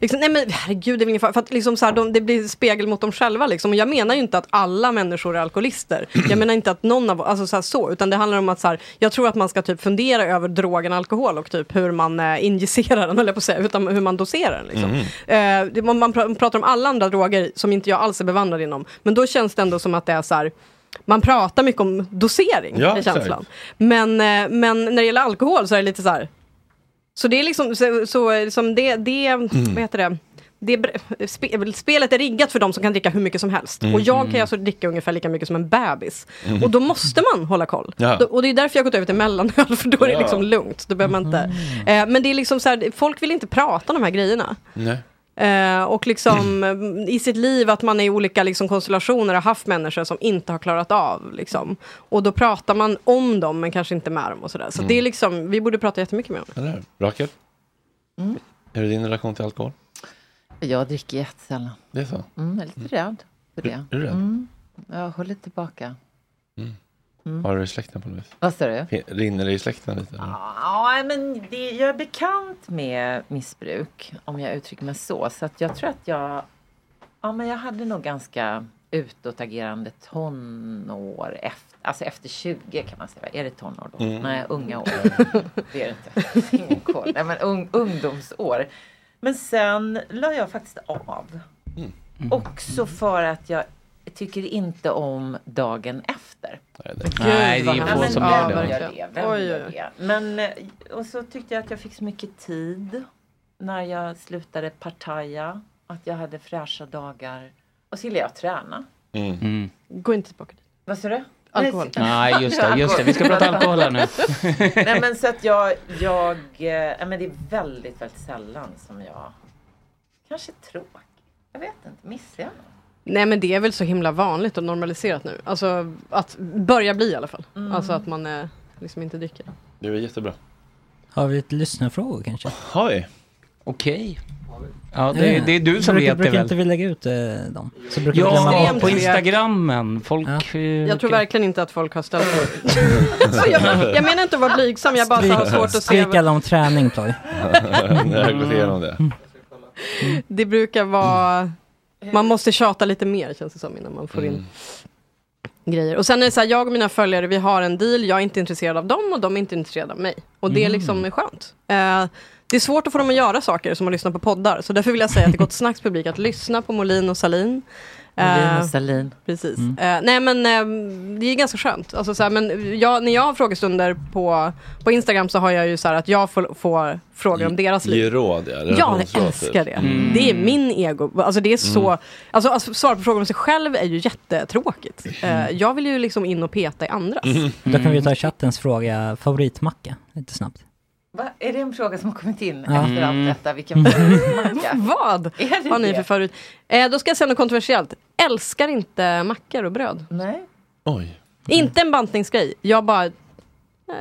Speaker 11: Liksom, nej men herregud, det är väl ingen fara. För att liksom så här, de, det blir spegel mot dem själva. Liksom. Och jag menar ju inte att alla människor är alkoholister. Jag menar inte att någon av alltså så, här, så. Utan det handlar om att så här, jag tror att man ska typ fundera över drogen alkohol och typ hur man eh, injicerar den, höll jag på att säga, utan hur man doserar den. Liksom. Eh, det, man, man pra- pratar om alla andra droger som inte jag alls är bevandrad inom. Men då känns det ändå som att det är så här, man pratar mycket om dosering,
Speaker 14: Ja,
Speaker 11: är känslan.
Speaker 14: exakt.
Speaker 11: Men, eh, men när det gäller alkohol så är det lite så här, så det är liksom, så, så är liksom det, det
Speaker 14: Mm.
Speaker 11: vad heter det? Det, är br- spe, spelet är riggat för de som kan dricka hur mycket som helst.
Speaker 14: Mm.
Speaker 11: Och jag kan
Speaker 14: Mm.
Speaker 11: ju alltså dricka ungefär lika mycket som en bebis.
Speaker 14: Mm.
Speaker 11: Och då måste man hålla koll.
Speaker 14: Ja.
Speaker 11: Då, och det är därför jag har gått över till mellanöl, för då
Speaker 14: Ja.
Speaker 11: är
Speaker 14: Mm.
Speaker 11: det liksom lugnt. Då behöver man inte. Eh, men det är liksom så här, folk vill inte prata om de här grejerna.
Speaker 1: Nej.
Speaker 11: Eh, och liksom eh, i sitt liv att man i olika liksom, konstellationer har haft människor som inte har klarat av. Liksom. Och då pratar man om dem men kanske inte med dem och sådär. Så
Speaker 1: Mm.
Speaker 11: det är liksom, vi borde prata jättemycket med dem.
Speaker 1: Eller hur? Rakel?
Speaker 13: Mm.
Speaker 1: Hur är din relation till alkohol?
Speaker 13: Jag dricker jättesällan.
Speaker 1: Det är så?
Speaker 13: Mm, jag är lite rädd för
Speaker 1: Är-
Speaker 13: det.
Speaker 1: är du rädd?
Speaker 13: Mm. Jag håller tillbaka. Mm.
Speaker 1: Har du det i släkten på något vis?
Speaker 13: Vad sa du? Ah.
Speaker 1: Fin- Rinner det i släkten lite? eller?
Speaker 13: Ja, men det, jag är bekant med missbruk, om jag uttrycker mig så. Så att jag tror att jag... Ja, men jag hade nog ganska utåtagerande tonår. Efter, alltså efter 20 kan man säga. Är det tonår då?
Speaker 14: Mm.
Speaker 13: Nej, unga år.
Speaker 1: Mm.
Speaker 13: det är det inte. Ingen koll. Nej, men ung, ungdomsår. Men sen la jag faktiskt av.
Speaker 2: Mm.
Speaker 13: Också för att jag tycker inte om dagen efter.
Speaker 2: Nej, det är få som gör det.
Speaker 13: Gör det. Vem
Speaker 2: Oj,
Speaker 13: gör
Speaker 2: oj.
Speaker 13: det? Men, eh, och så tyckte jag att jag fick så mycket tid när jag slutade partaja. Att jag hade fräscha dagar. Och så gillade jag att träna.
Speaker 2: Mm.
Speaker 11: Gå inte tillbaka dit.
Speaker 13: Vad sa du?
Speaker 11: Alkohol.
Speaker 2: Nej, just det, just det. Vi ska prata alkohol här nu.
Speaker 13: Nej men så att jag, jag, eh, ja, men det är väldigt, väldigt sällan som jag, kanske tråkigt, jag vet inte, missar jag något?
Speaker 11: Nej men det är väl så himla vanligt och normaliserat nu. Alltså att börja bli i alla fall.
Speaker 13: Mm.
Speaker 11: Alltså att man eh, liksom inte dricker.
Speaker 1: Det är jättebra.
Speaker 4: Har vi ett lyssnarfrågor kanske? Eh,
Speaker 1: Har vi?
Speaker 2: Okej. Ja, det, det är du som
Speaker 4: brukar,
Speaker 2: vet det
Speaker 4: Brukar inte
Speaker 2: väl?
Speaker 4: vi lägga ut eh, dem? Så brukar vi glömma
Speaker 2: Ja,
Speaker 4: bort
Speaker 2: på
Speaker 4: dem.
Speaker 2: Instagrammen. Folk... eh,
Speaker 11: Jag tror verkligen inte att folk har ställt Så jag, jag menar inte att vara blygsam, jag bara har svårt att se.
Speaker 4: Stryk alla om träning Ploy.
Speaker 1: Jag har gått igenom det.
Speaker 11: Det brukar vara... Man måste tjata lite mer känns det som innan man får in grejer. Och sen är det så här, jag och mina följare, vi har en deal, jag är inte intresserad av dem och de är inte intresserade av mig. Och det är liksom
Speaker 7: Mm.
Speaker 11: skönt. Eh, det är svårt att få dem att göra saker som att lyssna på poddar, så därför vill jag säga till Gott Snacks publik att lyssna på Molin och Salin. Eh,
Speaker 13: Molin och Salin.
Speaker 11: Precis.
Speaker 13: Mm.
Speaker 11: Eh, nej men eh, det är ganska skönt. Alltså, så här, men jag, när jag har frågestunder på, på Instagram så har jag ju så här att jag får, får frågor om deras liv.
Speaker 1: Ge råd ja.
Speaker 11: Ja, jag älskar det. Det är min ego. Alltså det är så...
Speaker 1: Mm.
Speaker 11: Alltså att svara på frågor om sig själv är ju jättetråkigt. Eh, jag vill ju liksom in och peta i andras.
Speaker 4: Då kan vi ta chattens fråga, favoritmacka, lite snabbt.
Speaker 13: Va? Är det en fråga som har kommit in
Speaker 4: Ja.
Speaker 13: efter
Speaker 4: Mm.
Speaker 13: allt detta? Vilken favoritmacka?
Speaker 11: Vad
Speaker 13: Är det
Speaker 11: har ni
Speaker 13: det?
Speaker 11: för förut? Eh, då ska jag säga något kontroversiellt. Älskar inte mackor och bröd.
Speaker 13: Nej.
Speaker 1: Oj.
Speaker 11: Inte en bantningsgrej. Jag bara...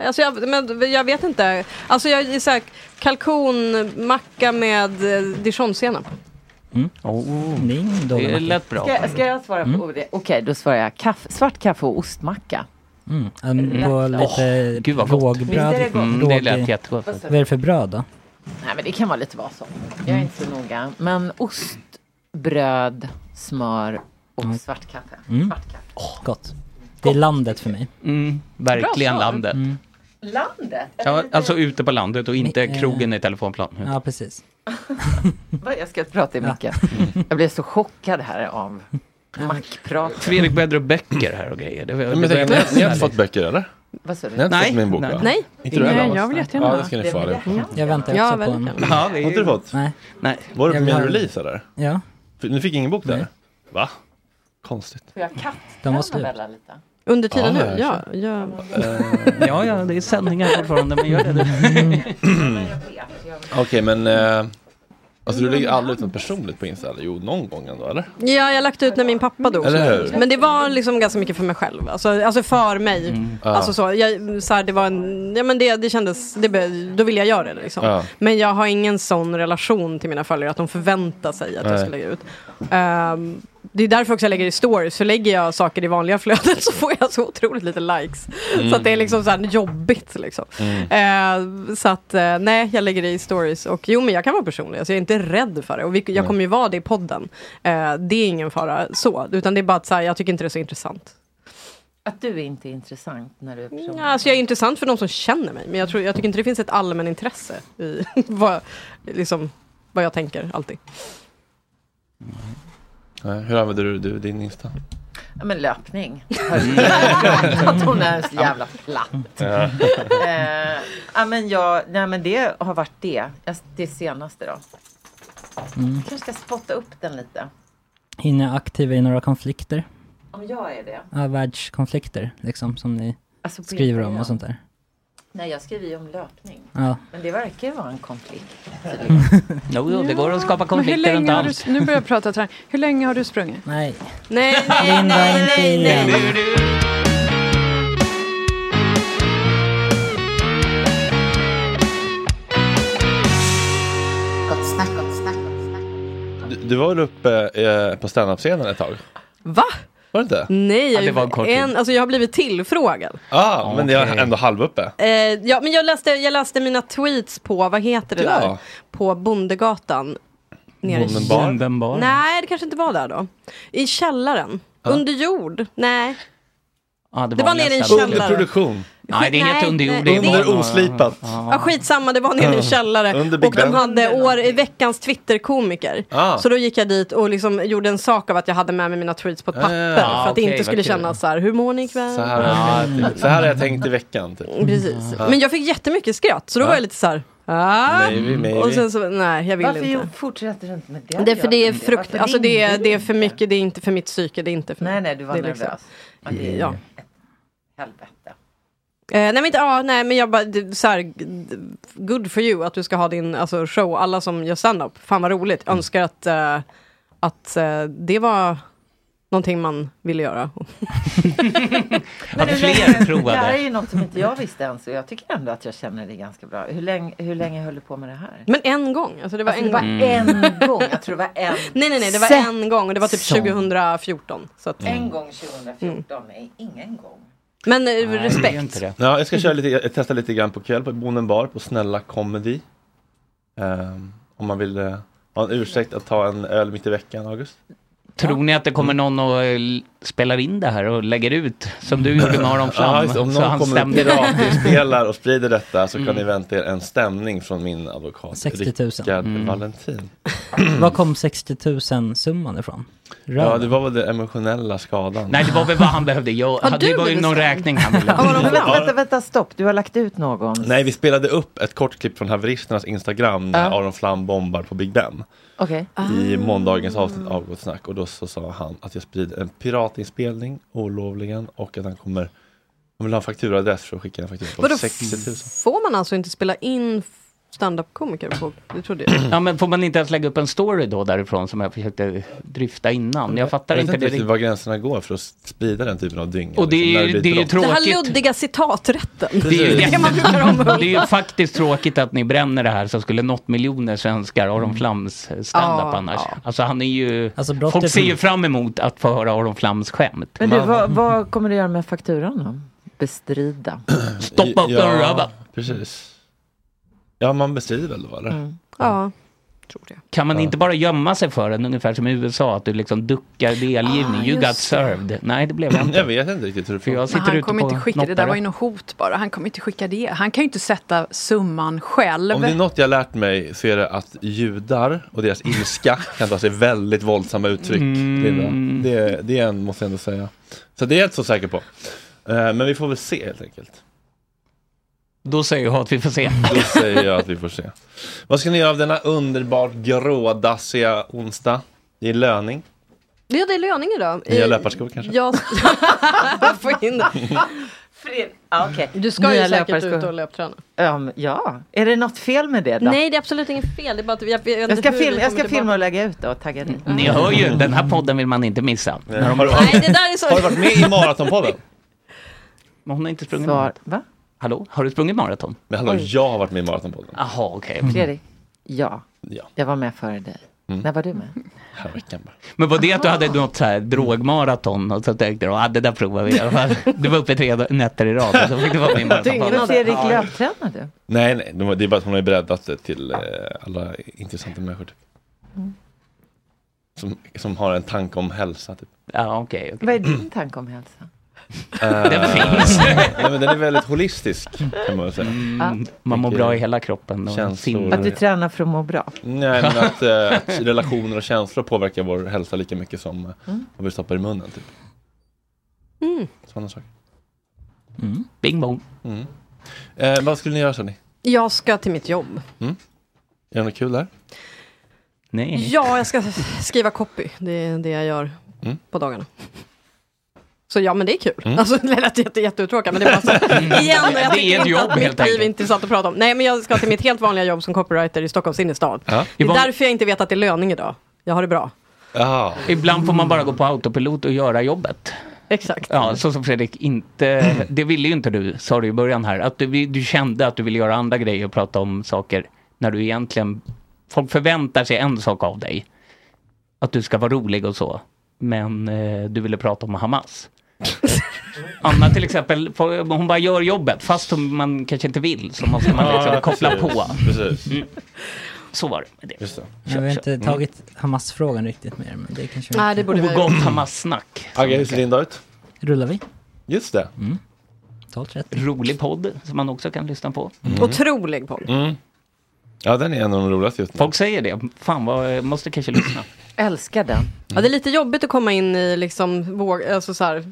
Speaker 11: Alltså jag, men jag vet inte. Alltså jag är så här, kalkonmacka med eh, dijonsenap.
Speaker 2: Mm.
Speaker 4: Oh.
Speaker 13: Det lät
Speaker 4: bra.
Speaker 13: Ska, ska jag svara på det? Okej, då svarar jag kaffe, svart kaffe och ostmacka.
Speaker 4: Mm. en- På
Speaker 13: Lätt.
Speaker 4: lite
Speaker 2: gud vad gott.
Speaker 4: rågbröd.
Speaker 13: Visst är det gott? Mm,
Speaker 2: det
Speaker 4: råg-
Speaker 2: lät jättegott. alltså.
Speaker 4: Vad är det för bröd då?
Speaker 13: Nej, men det kan vara lite vad som. Jag är inte så noga. Men ost, bröd, smör och svart kaffe.
Speaker 4: Mm.
Speaker 13: Svart kaffe.
Speaker 4: Gott. Det är landet för mig.
Speaker 2: Mm. Verkligen
Speaker 13: Bra svar.
Speaker 2: landet.
Speaker 13: Landet?
Speaker 2: Ja, alltså ute på landet och inte
Speaker 13: eh,
Speaker 2: krogen i telefonplan.
Speaker 4: Ja, precis.
Speaker 13: Vad, Jag ska prata i micken.
Speaker 2: Mm.
Speaker 13: Jag blev så chockad här av mackprat.
Speaker 2: Fredrik Bedrup Böcker här och grejer. Det, var-
Speaker 1: Men
Speaker 2: det var-
Speaker 1: tänk, ni, ni har inte fått böcker eller?
Speaker 13: Vad sa du?
Speaker 1: Ni har inte
Speaker 2: Nej.
Speaker 1: fått min bok
Speaker 2: Nej.
Speaker 1: va?
Speaker 2: Nej.
Speaker 1: Inte du
Speaker 2: Nej,
Speaker 1: heller? va?
Speaker 2: jag vill jättegärna
Speaker 1: Ja,
Speaker 2: ha.
Speaker 1: det ska
Speaker 2: Det
Speaker 1: ni
Speaker 2: är
Speaker 1: få
Speaker 2: väl
Speaker 1: allihop.
Speaker 2: jättegärna.
Speaker 4: Jag väntar
Speaker 2: Ja,
Speaker 4: också på en...
Speaker 2: väldigt gärna. Ja, det är-
Speaker 1: Har inte du fått?
Speaker 4: Nej.
Speaker 2: Nej.
Speaker 1: Var det på
Speaker 4: Jag vill
Speaker 1: min
Speaker 4: ha-
Speaker 1: release eller?
Speaker 4: Ja.
Speaker 1: För Ni fick ingen bok där? Va? Konstigt.
Speaker 13: Får jag
Speaker 4: De var
Speaker 13: kattklämma
Speaker 4: slut.
Speaker 13: Bella lite?
Speaker 11: Under tiden
Speaker 1: Ja,
Speaker 11: nu? Ja, ja.
Speaker 1: Eh,
Speaker 2: ja, ja, det är sändningar fortfarande, men gör det du.
Speaker 1: Okej, men... Eh, alltså du lägger aldrig ut något personligt på Insta? Eller? Jo, någon gång ändå, eller?
Speaker 11: Ja, jag har lagt ut när min pappa dog.
Speaker 1: Eller hur?
Speaker 11: Men det var liksom ganska mycket för mig själv. Alltså, alltså för mig.
Speaker 1: Mm. Ja.
Speaker 11: Alltså så, jag, så här, det var en, ja men det, det kändes, det, be- då ville jag göra det liksom.
Speaker 7: Ja.
Speaker 11: Men jag har ingen sån relation till mina följare att de förväntar sig att jag
Speaker 7: Nej.
Speaker 11: ska lägga ut. Ehm, det är därför också jag lägger i stories, så lägger jag saker i vanliga flödet så får jag så otroligt lite likes.
Speaker 7: Mm.
Speaker 11: Så att det är liksom så här jobbigt liksom. Eh, så att eh, nej, jag lägger det i stories. Och jo, men jag kan vara personlig. Alltså, jag är inte rädd för det. Och vi, jag
Speaker 7: Nej.
Speaker 11: kommer ju vara det i podden. Eh, det är ingen fara så. Utan det är bara att så här, jag tycker inte det är så intressant.
Speaker 13: Att du inte är intressant när du är person.
Speaker 11: Ja, alltså, jag är intressant för de som känner mig. Men jag, tror, jag tycker inte det finns ett allmänintresse i vad, liksom, vad jag tänker alltid.
Speaker 1: Nej, hur använder du, du din Insta?
Speaker 13: Ja, men löpning. Att hon är så jävla platt.
Speaker 1: Ja.
Speaker 13: Eh, ja, men jag, nej, men det har varit det. Jag- Det senaste då.
Speaker 4: Mm.
Speaker 13: Jag kanske ska spotta upp den lite.
Speaker 4: Hinner jag aktiva i några konflikter?
Speaker 13: Om jag är det.
Speaker 4: Ja, världskonflikter liksom, som ni
Speaker 13: Alltså, på
Speaker 4: skriver om
Speaker 13: Instagram.
Speaker 4: och sånt där.
Speaker 13: Nej, jag skriver ju om löpning.
Speaker 4: Ja.
Speaker 13: Men det verkar ju vara en konflikt.
Speaker 2: Jo, jo, det går att skapa
Speaker 6: Men hur
Speaker 2: konflikter runt
Speaker 6: länge har
Speaker 2: allt.
Speaker 6: du, nu börjar jag prata träning. Hur länge har du sprungit?
Speaker 4: Nej.
Speaker 11: Nej,
Speaker 6: nej, nej, nej,
Speaker 4: nej.
Speaker 14: Gott snack, gott snack.
Speaker 1: Du, du var väl uppe eh, på standup-scenen ett tag?
Speaker 11: Va?
Speaker 1: Var det inte?
Speaker 11: Nej, jag,
Speaker 1: Ja, det var en kort tid.
Speaker 11: alltså, jag har blivit tillfrågad.
Speaker 1: Ja, ah, men jag är
Speaker 2: Okej.
Speaker 1: ändå halvuppe.
Speaker 11: Eh, ja, men jag läste, jag läste mina tweets på, vad heter det
Speaker 1: Ja.
Speaker 11: där? På Bondegatan. Nere i-
Speaker 1: Bonden bar.
Speaker 2: Bonden bar.
Speaker 11: Nej, det kanske inte var där då. I källaren.
Speaker 2: Ja.
Speaker 11: Under jord. Nej.
Speaker 2: Ja,
Speaker 11: Det var nere i en
Speaker 2: nästan-
Speaker 11: källare. Under produktion.
Speaker 2: Nej, det är helt
Speaker 11: Nej,
Speaker 2: under jord.
Speaker 11: nej,
Speaker 2: det är
Speaker 11: Under
Speaker 2: bara-
Speaker 1: oslipat.
Speaker 2: Ja.
Speaker 11: Ja. skitsamma, det var nere i en källare.
Speaker 2: Under Big
Speaker 11: och de
Speaker 2: Ben.
Speaker 11: hade år, i veckans Twitterkomiker.
Speaker 2: Ah.
Speaker 11: Så då gick jag dit och liksom gjorde en sak av att jag hade med mig mina tweets på ett
Speaker 1: Ah,
Speaker 11: papper.
Speaker 1: ah,
Speaker 11: för att det
Speaker 1: okej,
Speaker 11: inte
Speaker 1: vad
Speaker 11: skulle
Speaker 1: kul.
Speaker 11: kännas så här, hur mår ni ikväll?
Speaker 1: Så här, har jag tänkt, så här har jag tänkt i veckan. Typ.
Speaker 11: Mm, Precis.
Speaker 1: Ja.
Speaker 11: Men jag fick jättemycket skratt, så då
Speaker 1: Ja.
Speaker 11: var jag lite så här. Ah.
Speaker 1: Maybe, maybe.
Speaker 11: Och sen så, nej jag vill
Speaker 13: Varför
Speaker 11: inte.
Speaker 13: jo- fortsätter du inte med det?
Speaker 11: Det är för det är
Speaker 13: Varför
Speaker 11: frukt,
Speaker 13: ringde
Speaker 11: alltså det är,
Speaker 13: du
Speaker 11: det är
Speaker 13: inte?
Speaker 11: för mycket, det är inte för mitt psyke, det är inte för
Speaker 13: Nej, nej, du var
Speaker 11: det är liksom-
Speaker 13: nervös. Ja, det är
Speaker 11: ja.
Speaker 13: ett helvete.
Speaker 11: Eh, nej men inte, ja, nej men jag bara, det- så här, g- good for you att du ska ha din alltså, show, alla som gör stand-up, fan vad roligt,
Speaker 2: Mm.
Speaker 11: önskar att, eh, att eh, det var någonting man ville göra.
Speaker 13: Men hur
Speaker 11: fler
Speaker 13: länge-
Speaker 11: provade.
Speaker 13: Det här är ju något som inte jag visste ens och jag tycker ändå att jag känner det ganska bra. Hur länge, hur länge höll du på med det här?
Speaker 11: Men en gång, alltså det var
Speaker 13: Alltså,
Speaker 11: en
Speaker 13: det var
Speaker 11: gång.
Speaker 13: en gång, jag tror det var en.
Speaker 11: Nej nej nej, det var
Speaker 13: säsong.
Speaker 11: en gång och det var typ 2014. Så att,
Speaker 13: Mm. En gång 2014 är ingen gång.
Speaker 11: Men eh, respekt.
Speaker 1: Ja, jag ska köra lite, jag testa lite grann på kväll på Bonden bar på Snälla Comedy. Ehm, om man vill eh, ha en ursäkt att ta en öl mitt i veckan, August.
Speaker 2: Tror ni att det kommer någon och eh, l- spelar in det här och lägger ut som du gjorde med Aron
Speaker 1: Ja,
Speaker 2: Flam?
Speaker 1: just det. om
Speaker 2: så
Speaker 1: någon
Speaker 2: han
Speaker 1: kommer och
Speaker 2: stämde
Speaker 1: piratinspelar och sprider detta så
Speaker 2: Mm.
Speaker 1: kan ni vänta er en stämning från min advokat
Speaker 4: 60 000.
Speaker 1: Rickard
Speaker 11: Mm.
Speaker 1: Valentin.
Speaker 4: Var kom 60 000 summan ifrån?
Speaker 1: Ja,
Speaker 4: Röven.
Speaker 1: det var väl den emotionella skadan.
Speaker 2: Nej, det var väl vad han behövde göra.
Speaker 13: Har du
Speaker 2: det var ju
Speaker 13: blivit
Speaker 2: någon
Speaker 13: stämd?
Speaker 2: räkning han ville.
Speaker 13: vänta, vänta, vänta, stopp. Du har lagt ut någon.
Speaker 1: Nej, vi spelade upp ett kort klipp från haveristernas Instagram när
Speaker 13: Ja. Ah.
Speaker 1: Aron Flam bombar på Big Ben.
Speaker 13: Okej.
Speaker 1: I måndagens avsnitt av Gott Snack. Och då så sa han att jag sprider en piratinspelning olovligen och att han kommer han vill ha en fakturaadress för att skicka en faktura på
Speaker 11: Vadå,
Speaker 1: 60 000.
Speaker 11: får man alltså inte spela in standup-komiker? på- Det trodde jag.
Speaker 2: Ja, men får man inte ens lägga upp en story då därifrån som jag försökte dryfta innan? Jag fattar
Speaker 1: jag vet
Speaker 2: inte det
Speaker 1: inte riktigt
Speaker 2: riktigt.
Speaker 1: var gränserna går för att sprida den typen av dynga. liksom,
Speaker 2: Och det är ju-
Speaker 1: när
Speaker 2: det är ju
Speaker 1: byter om.
Speaker 11: Den här luddiga citaträtten.
Speaker 2: Det är, ju
Speaker 11: kan man
Speaker 2: jätte-
Speaker 11: göra om
Speaker 2: det är ju faktiskt tråkigt att ni bränner det här så skulle nått miljoner svenskar
Speaker 1: Mm.
Speaker 2: Aron Flams standup
Speaker 13: Ja,
Speaker 2: annars. Alltså han är ju...
Speaker 4: brottet-
Speaker 2: folk ser ju fram emot att få höra Aron Flams skämt.
Speaker 13: Men du, vad, vad kommer du göra med fakturan då? Bestrida.
Speaker 2: Stoppa upp den röven.
Speaker 1: precis. Ja, man bestrider väl då eller?
Speaker 6: Mm.
Speaker 11: Ja.
Speaker 2: Kan man inte bara gömma sig för den ungefär som i USA att du liksom duckar delgivning?
Speaker 6: Ah,
Speaker 2: you got
Speaker 6: just
Speaker 2: served. Nej det blev jag inte.
Speaker 1: Jag vet inte riktigt hur det
Speaker 2: För jag
Speaker 6: Men
Speaker 2: sitter
Speaker 6: han
Speaker 2: ute
Speaker 6: kommer
Speaker 2: på
Speaker 6: inte skicka, det där
Speaker 2: noppare.
Speaker 6: var ju något hot bara. Han kommer inte skicka det. Han kan ju inte sätta summan själv.
Speaker 1: Om det är något jag lärt mig så är det att judar och deras ilska kan ta sig väldigt våldsamma uttryck.
Speaker 2: Mm.
Speaker 1: Det, är- det är en, måste jag ändå säga. Så det är jag inte så säker på. Eh, Men vi får väl se helt enkelt.
Speaker 2: Då säger jag att vi får se.
Speaker 1: Då säger jag att vi får se. Vad ska ni göra av denna underbart grådassiga onsdag? Det är löning.
Speaker 11: Ja, det är löning idag.
Speaker 1: Nya
Speaker 11: Eh,
Speaker 1: löparskor kanske?
Speaker 11: Jag får in
Speaker 13: Fred- ja, okej.
Speaker 11: Du ska ju
Speaker 13: Nya
Speaker 11: säkert
Speaker 13: löparskor.
Speaker 11: ut och löpträna.
Speaker 13: Öm, ja, är det något fel med det då?
Speaker 11: Nej, det är absolut inget fel. Det är bara att jag, jag, vet
Speaker 13: Jag
Speaker 11: inte
Speaker 13: ska,
Speaker 11: hur vi
Speaker 13: film, jag
Speaker 11: kommer
Speaker 13: ska filma
Speaker 11: tillbaka.
Speaker 13: och lägga ut då och tagga dig.
Speaker 2: Ni hör ju, den här podden vill man inte missa. När de...
Speaker 11: Nej, det där är så- Har du varit med i
Speaker 1: Maratonpodden?
Speaker 2: Men hon har inte sprungit
Speaker 13: Svar-
Speaker 2: maraton.
Speaker 13: Va?
Speaker 2: Hallå, har du sprungit maraton?
Speaker 1: Men hallå,
Speaker 13: Oj.
Speaker 1: jag har varit med i Maratonpodden.
Speaker 2: Jaha, okej.
Speaker 13: Fredrik, ja.
Speaker 1: Mm. Ja. Mm.
Speaker 13: Jag var med före dig. När var du med?
Speaker 1: Här veckan bara.
Speaker 2: Men var det att du hade något så här drogmaraton och så tänkte du, ah, det där provar vi i alla fall. Du var uppe tre dag- nätter i rad och så fick du vara med i maratonpodden.
Speaker 13: Men Fredrik,
Speaker 2: Ja.
Speaker 13: löptränar du?
Speaker 1: Nej, nej, det var- det är bara att hon har ju breddat det till eh, alla intressanta människor. Typ.
Speaker 13: Mm.
Speaker 1: Som, som har en tanke om hälsa. Typ.
Speaker 2: Ja, okej.
Speaker 13: Vad är din tanke om hälsa?
Speaker 2: Den finns.
Speaker 1: Eh, nej, men den är väldigt holistisk kan man väl säga.
Speaker 2: Mm, man mår bra i hela kroppen. Och
Speaker 1: Känslor.
Speaker 13: Att du tränar för att må bra?
Speaker 1: Nej, men att, eh, att relationer och känslor påverkar vår hälsa lika mycket som eh,
Speaker 13: Mm.
Speaker 1: vad vi stoppar i munnen. Typ.
Speaker 11: Mm.
Speaker 1: Sådana saker.
Speaker 2: Mm. Bing bong.
Speaker 1: Mm. Eh, vad skulle ni göra, sa ni?
Speaker 11: Jag ska till mitt jobb.
Speaker 1: Mm? Är det något kul där?
Speaker 2: Nej.
Speaker 11: Ja, jag ska skriva copy. Det är det jag gör
Speaker 1: Mm.
Speaker 11: på dagarna. Så ja, men det är kul.
Speaker 1: Mm.
Speaker 11: Alltså, det lät jätte, jätteuttråkat, men det är bara så. Igen, och jag
Speaker 2: Mm. Det är
Speaker 11: tycker
Speaker 2: ett
Speaker 11: inte
Speaker 2: jobb,
Speaker 11: att mitt
Speaker 2: helt
Speaker 11: liv är
Speaker 2: enkelt.
Speaker 11: intressant att prata om. Nej, men jag ska till mitt helt vanliga jobb som copywriter i Stockholms innerstad.
Speaker 1: Ja.
Speaker 11: Det är
Speaker 2: Yvonne-
Speaker 11: därför jag inte vet att det är löning idag. Jag har det bra.
Speaker 1: Ja.
Speaker 2: Ibland får man bara gå på autopilot och göra jobbet.
Speaker 11: Exakt.
Speaker 1: Mm.
Speaker 2: Ja, så som Fredrik inte, det ville ju inte du, sa du i början här, att du, du kände att du ville göra andra grejer och prata om saker när du egentligen, folk förväntar sig en sak av dig, att du ska vara rolig och så, men eh, du ville prata om Hamas. Anna till exempel, får- hon bara gör jobbet, fast hon, man kanske inte vill, så måste man liksom
Speaker 1: Ja,
Speaker 2: koppla
Speaker 1: precis,
Speaker 2: på. Mm.
Speaker 1: Precis.
Speaker 2: Så var det med det.
Speaker 4: Jag har inte
Speaker 2: Mm.
Speaker 4: tagit Hamas-frågan riktigt mer, men det kanske...
Speaker 11: Nej, det borde vi ha gjort.
Speaker 2: Ogott Hamas-snack.
Speaker 1: Agge, hur ser din dag ut?
Speaker 4: Rullar vi?
Speaker 1: Just det.
Speaker 2: Rolig podd som man också kan lyssna på.
Speaker 11: Otrolig podd.
Speaker 1: Mm. Ja, den är en av de roligaste just nu.
Speaker 2: Folk säger det. Fan, vad, jag måste kanske lyssna.
Speaker 13: Älskar den.
Speaker 2: Mm.
Speaker 11: Ja, det är lite jobbigt att komma in i liksom vår, alltså så här,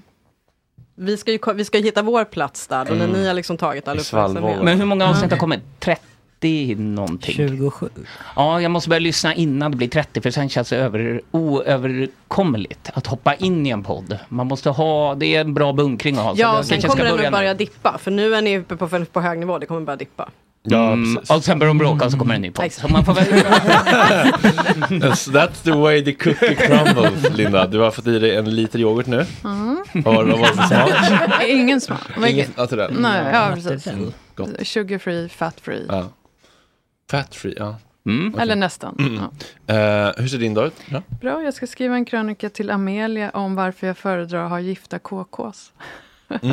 Speaker 11: vi ska ju ko- vi ska ju hitta vår plats där, och när
Speaker 2: Mm.
Speaker 11: ni har liksom tagit all
Speaker 1: I svallvågen.
Speaker 11: uppmärksamhet.
Speaker 2: Men hur många avsnitt har kommit? 30 någonting?
Speaker 4: 27.
Speaker 2: Ja, jag måste börja lyssna innan det blir 30 för sen känns det över, oöverkomligt att hoppa in i en podd. Man måste ha, det är en bra bunkring att ha. så
Speaker 11: Ja,
Speaker 2: jag
Speaker 11: och sen
Speaker 2: kanske
Speaker 11: kommer den
Speaker 2: ska börja
Speaker 11: att
Speaker 2: nu.
Speaker 11: börja dippa, för nu är ni uppe på, för- på hög nivå, det kommer börja dippa.
Speaker 1: Ja,
Speaker 2: Mm,
Speaker 1: precis.
Speaker 2: och sen börjar de bråka och så kommer en ny podd. Så man får väl...
Speaker 1: Yes, that's the way the cookie crumbles, Linda. Du har fått i dig en liter yoghurt nu.
Speaker 6: Mm.
Speaker 1: Vad var det vad var det för smak?
Speaker 6: Ingen smak.
Speaker 1: Inget naturell.
Speaker 6: Nej, ja,
Speaker 2: typ.
Speaker 6: precis.
Speaker 1: Mm, gott.
Speaker 9: Sugar free, fat free.
Speaker 1: Ja. Fat free, ja. Okej.
Speaker 9: Eller nästan,
Speaker 1: Mm. Eh, hur ser din dag ut? Ja.
Speaker 6: Bra, jag ska skriva en krönika till Amelia om varför jag föredrar att ha gifta KKs.
Speaker 1: Mm.